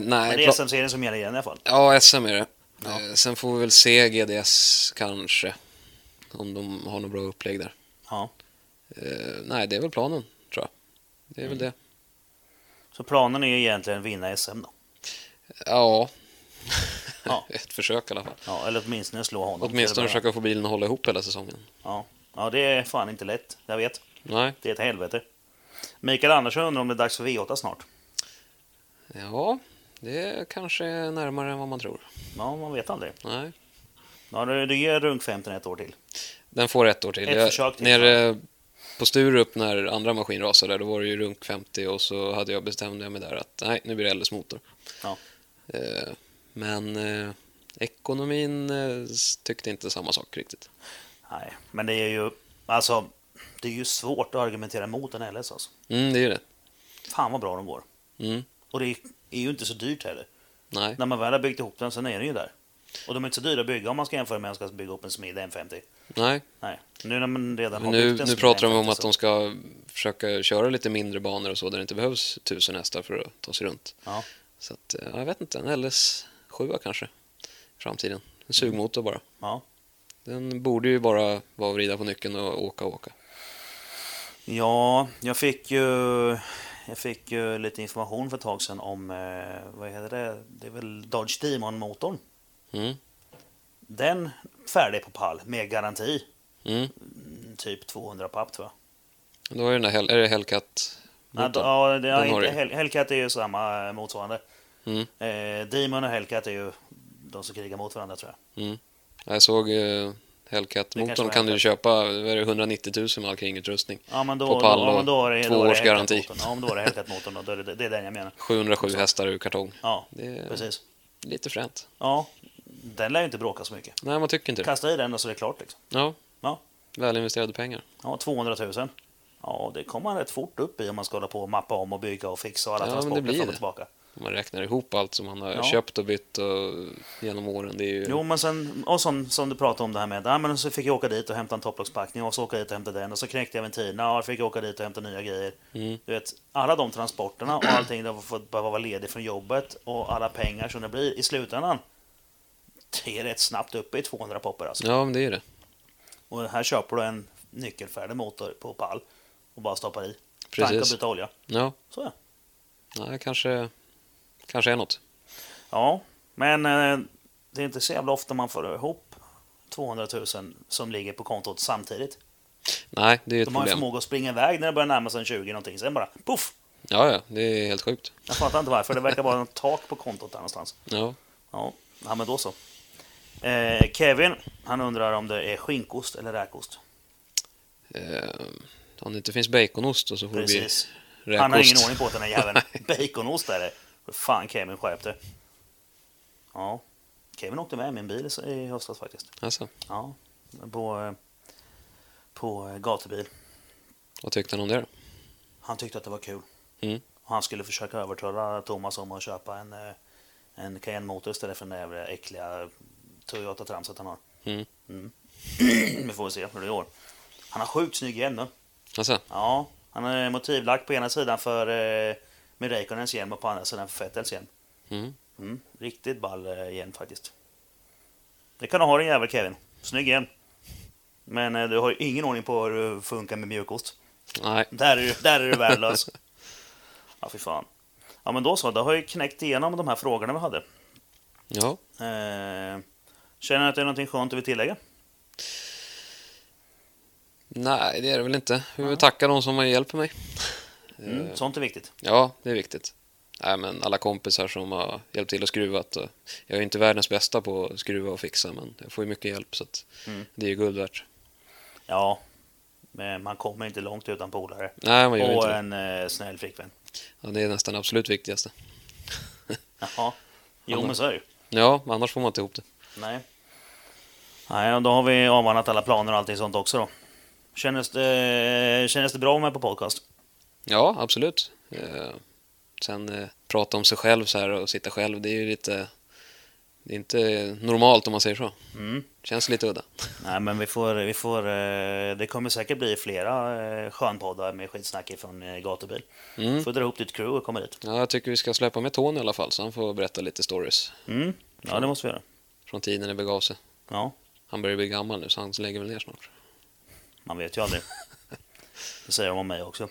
Speaker 1: men
Speaker 2: nej,
Speaker 1: det är
Speaker 2: pla-
Speaker 1: SM-serien som gäller igen i alla fall.
Speaker 2: ja, SM är det. Eh, sen får vi väl se GDS kanske. Om de har något bra upplägg där.
Speaker 1: Ja.
Speaker 2: Eh, nej, det är väl planen, tror jag. Det är väl
Speaker 1: Mm.
Speaker 2: det.
Speaker 1: Så planen är ju egentligen vinna SM då.
Speaker 2: Ja.
Speaker 1: Ja.
Speaker 2: Ett försök i alla fall.
Speaker 1: Ja, eller åtminstone slå honom.
Speaker 2: Åtminstone
Speaker 1: Eller bara-
Speaker 2: försöka få bilen att hålla ihop hela säsongen.
Speaker 1: Ja. ja, det är fan inte lätt. Jag vet.
Speaker 2: Nej,
Speaker 1: Det är ett helvete. Mikael Andersson undrar om det är dags för V8 snart.
Speaker 2: ja, det kanske är närmare än vad man tror.
Speaker 1: Ja, man vet aldrig.
Speaker 2: Nej.
Speaker 1: Ja, du, du ger Runk 15 ett år till.
Speaker 2: Den får ett år till.
Speaker 1: Ett
Speaker 2: Jag-
Speaker 1: försök till.
Speaker 2: Nere på Sturup när andra maskin rasade, där, då var det ju runk 50 och så hade jag bestämde jag mig där att nej, nu blir det LS motor.
Speaker 1: Ja.
Speaker 2: Eh, Men eh, ekonomin eh, tyckte inte samma sak riktigt.
Speaker 1: Nej, men det är ju... Alltså, det är ju svårt att argumentera mot en LS alltså.
Speaker 2: Mm, det är ju det.
Speaker 1: Fan vad bra de går.
Speaker 2: Mm,
Speaker 1: Och det är ju inte så dyrt heller.
Speaker 2: nej,
Speaker 1: När man väl har byggt ihop den, sen är den ju där. Och de är inte så dyra att bygga om man ska jämföra med om man ska bygga upp en Smid M50.
Speaker 2: nej.
Speaker 1: Nej, nu när man redan har
Speaker 2: Men nu,
Speaker 1: byggt en
Speaker 2: nu
Speaker 1: Smid
Speaker 2: pratar de
Speaker 1: M50
Speaker 2: om att
Speaker 1: så-
Speaker 2: de ska
Speaker 1: alltså.
Speaker 2: försöka köra lite mindre banor och så där det inte behövs tusen hästar för att ta sig runt.
Speaker 1: Ja.
Speaker 2: Så att, eh, jag vet inte, en LS 7 kanske i framtiden. En sugmotor bara.
Speaker 1: Mm. Ja.
Speaker 2: Den borde ju bara vara att vrida på nyckeln och åka och åka.
Speaker 1: Ja, jag fick ju, jag fick ju lite information för ett tag sedan om, eh, vad heter det, det är väl Dodge Demon-motorn.
Speaker 2: Mm.
Speaker 1: Den färdig på pall med garanti,
Speaker 2: Mm.
Speaker 1: Mm, typ 200 papp tror jag.
Speaker 2: Då är, den där, Hel- är det Hellcat
Speaker 1: Nej,
Speaker 2: motorn.
Speaker 1: ja, det, ja,
Speaker 2: Den har
Speaker 1: inte,
Speaker 2: du.
Speaker 1: Hel- Hellcat är ju samma eh, motsvarande.
Speaker 2: Mm.
Speaker 1: Eh, Demon och Hellcat är ju de som krigar mot varandra tror jag.
Speaker 2: Jag såg eh,
Speaker 1: kanske
Speaker 2: Hellcat-motorn
Speaker 1: var
Speaker 2: kan du
Speaker 1: Hellcat.
Speaker 2: köpa vad är det, 190 000 med all kringutrustning.
Speaker 1: Ja, men då,
Speaker 2: På pall
Speaker 1: då, ja,
Speaker 2: och
Speaker 1: men då är det,
Speaker 2: två
Speaker 1: då är det
Speaker 2: års garanti.
Speaker 1: Hellcat-motorn. Ja, men då är det Hellcat-motorn. då. Då är det, det är den jag menar.
Speaker 2: 707 hästar ur kartong.
Speaker 1: Ja,
Speaker 2: Det är
Speaker 1: precis.
Speaker 2: lite fränt.
Speaker 1: Ja, den lär ju inte bråka så mycket.
Speaker 2: Nej, man tycker inte det.
Speaker 1: Kasta i den och så är det klart liksom.
Speaker 2: Ja.
Speaker 1: Ja.
Speaker 2: Väl investerade pengar.
Speaker 1: Ja, 200 000. Ja, det kommer man rätt fort upp i om man ska hålla på och mappa om och bygga och fixa och alla
Speaker 2: Ja, men det
Speaker 1: transporter
Speaker 2: blir
Speaker 1: fram och
Speaker 2: det.
Speaker 1: tillbaka.
Speaker 2: Om man räknar ihop allt som man har
Speaker 1: Ja.
Speaker 2: köpt och bytt och genom åren. Det är ju...
Speaker 1: Jo, men sen, och som, som du pratade om det här med, ja, men så fick jag åka dit och hämta en topplockspackning och så åka dit och hämta den och så knäckte jag ventilerna och fick jag åka dit och hämta nya grejer. Du vet, alla de transporterna och allting där man får behöva vara ledig från jobbet och alla pengar som det blir i slutändan. Det är rätt snabbt uppe i 200 popper alltså.
Speaker 2: Ja, men det är ju det.
Speaker 1: Och här köper du en nyckelfärdig motor på pall och bara stoppar i. Tanka och
Speaker 2: Precis.
Speaker 1: byta olja.
Speaker 2: Ja,
Speaker 1: Så ja.
Speaker 2: nej, kanske, kanske är något.
Speaker 1: Ja, men eh, det är inte så jävla ofta man får ihop 200 000 som ligger på kontot samtidigt.
Speaker 2: Nej, det är ju ett
Speaker 1: De har en
Speaker 2: problem.
Speaker 1: förmåga att springa iväg när det börjar närma sig en 20 någonting. Sen bara poff!
Speaker 2: Ja, ja, det är helt sjukt.
Speaker 1: Jag fattar inte varför. Det verkar vara något tak på kontot där någonstans.
Speaker 2: Ja,
Speaker 1: Ja, ja men då så. Eh, Kevin, han undrar om det är skinkost eller räkost.
Speaker 2: eh, om det inte finns baconost och så får det bli
Speaker 1: Precis.
Speaker 2: räkost.
Speaker 1: Han har ingen ordning på den här jäveln. Baconost är det. För Fan Kevin, skärp dig. Ja. Kevin åkte med i min bil i i höstas faktiskt.
Speaker 2: Alltså,
Speaker 1: Ja. På, eh, på eh, gatubil.
Speaker 2: vad tyckte han om det då?
Speaker 1: Han tyckte att det var kul.
Speaker 2: Mm.
Speaker 1: Och han skulle försöka övertala Thomas om att köpa en, eh, en Cayenne-motor istället för den där jävla äckliga Toyota-tramset han har.
Speaker 2: Mm.
Speaker 1: Mm. vi får se hur det går. Han har sjukt snygg hjälm nu.
Speaker 2: Alltså,
Speaker 1: Ja, han är motivlack på ena sidan för eh, med Räikkönens hjälm och på andra sidan för Vettels hjälm.
Speaker 2: mm.
Speaker 1: Mm, riktigt ball eh, hjälm faktiskt. Det kan du ha din jävel Kevin. Snygg hjälm. Men eh, du har ju ingen ordning på hur det funkar med mjukost.
Speaker 2: nej,
Speaker 1: Där är du, där är du värdelös. ja, fy fan. Ja, men då så. Då har jag ju knäckt igenom de här frågorna vi hade.
Speaker 2: ja.
Speaker 1: Eh, känner du att det är någonting skönt du vill tillägga?
Speaker 2: Nej, det är det väl inte. Vi vill tacka de som har hjälpt mig. Eh.
Speaker 1: Mm, Sånt är viktigt.
Speaker 2: Ja, det är viktigt. Nej, men alla kompisar som har hjälpt till och skruvat. Och jag är ju inte världens bästa på att skruva och fixa, men jag får ju mycket hjälp så att
Speaker 1: Mm.
Speaker 2: det är ju guld värt.
Speaker 1: Ja, men man kommer inte långt utan polare.
Speaker 2: Nej, man gör
Speaker 1: Och
Speaker 2: inte det.
Speaker 1: en eh, snäll flickvän.
Speaker 2: Ja, det är nästan det absolut viktigaste.
Speaker 1: Jaha. Jo,
Speaker 2: Annars-
Speaker 1: men så är det ju.
Speaker 2: Ja, annars får man inte ihop det.
Speaker 1: Nej. Nej, och då har vi avhandlat alla planer och allting sånt också då. Kändes det, kändes det bra med på podcast?
Speaker 2: Ja, absolut. Eh, sen eh, prata om sig själv så här och sitta själv, det är ju lite... Det är inte normalt om man säger så.
Speaker 1: Mm.
Speaker 2: Känns lite udda.
Speaker 1: Nej, men vi får, vi får... eh, Det kommer säkert bli flera eh, skönpoddar med skitsnack eh, från gatubil.
Speaker 2: Mm.
Speaker 1: Får dra ihop ditt crew och komma dit.
Speaker 2: Ja, jag tycker vi ska släppa med Tony i alla fall, så han får berätta lite stories
Speaker 1: Mm. Ja, det måste vi göra.
Speaker 2: från tiden det begav sig.
Speaker 1: Ja,
Speaker 2: Han börjar bli gammal nu, så han lägger väl ner snart.
Speaker 1: man vet ju aldrig. Det säger de om mig också.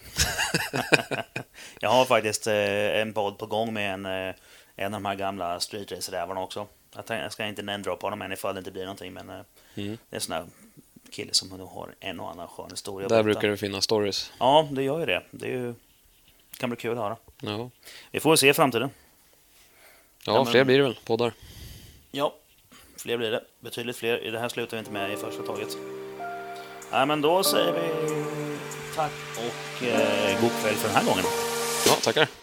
Speaker 1: Jag har faktiskt eh, en podd på gång med en, eh, en av de här gamla streetrace-rävarna också. Jag, tänk, jag ska inte nämndra på honom än ifall det inte blir någonting, men eh,
Speaker 2: Mm.
Speaker 1: det är en sån här kille som nog har en och annan skön historia.
Speaker 2: Där
Speaker 1: borta.
Speaker 2: brukar det finnas stories.
Speaker 1: Ja, det gör ju det. Det är ju... kan bli kul att höra.
Speaker 2: Ja,
Speaker 1: Vi får se i framtiden.
Speaker 2: ja,
Speaker 1: Ja, men-
Speaker 2: fler blir det väl, poddar.
Speaker 1: Ja, fler blir det. Betydligt fler. I Det här slutar vi inte med i första taget. Nej, men då säger vi tack och eh, god kväll för den här gången.
Speaker 2: Ja, tackar.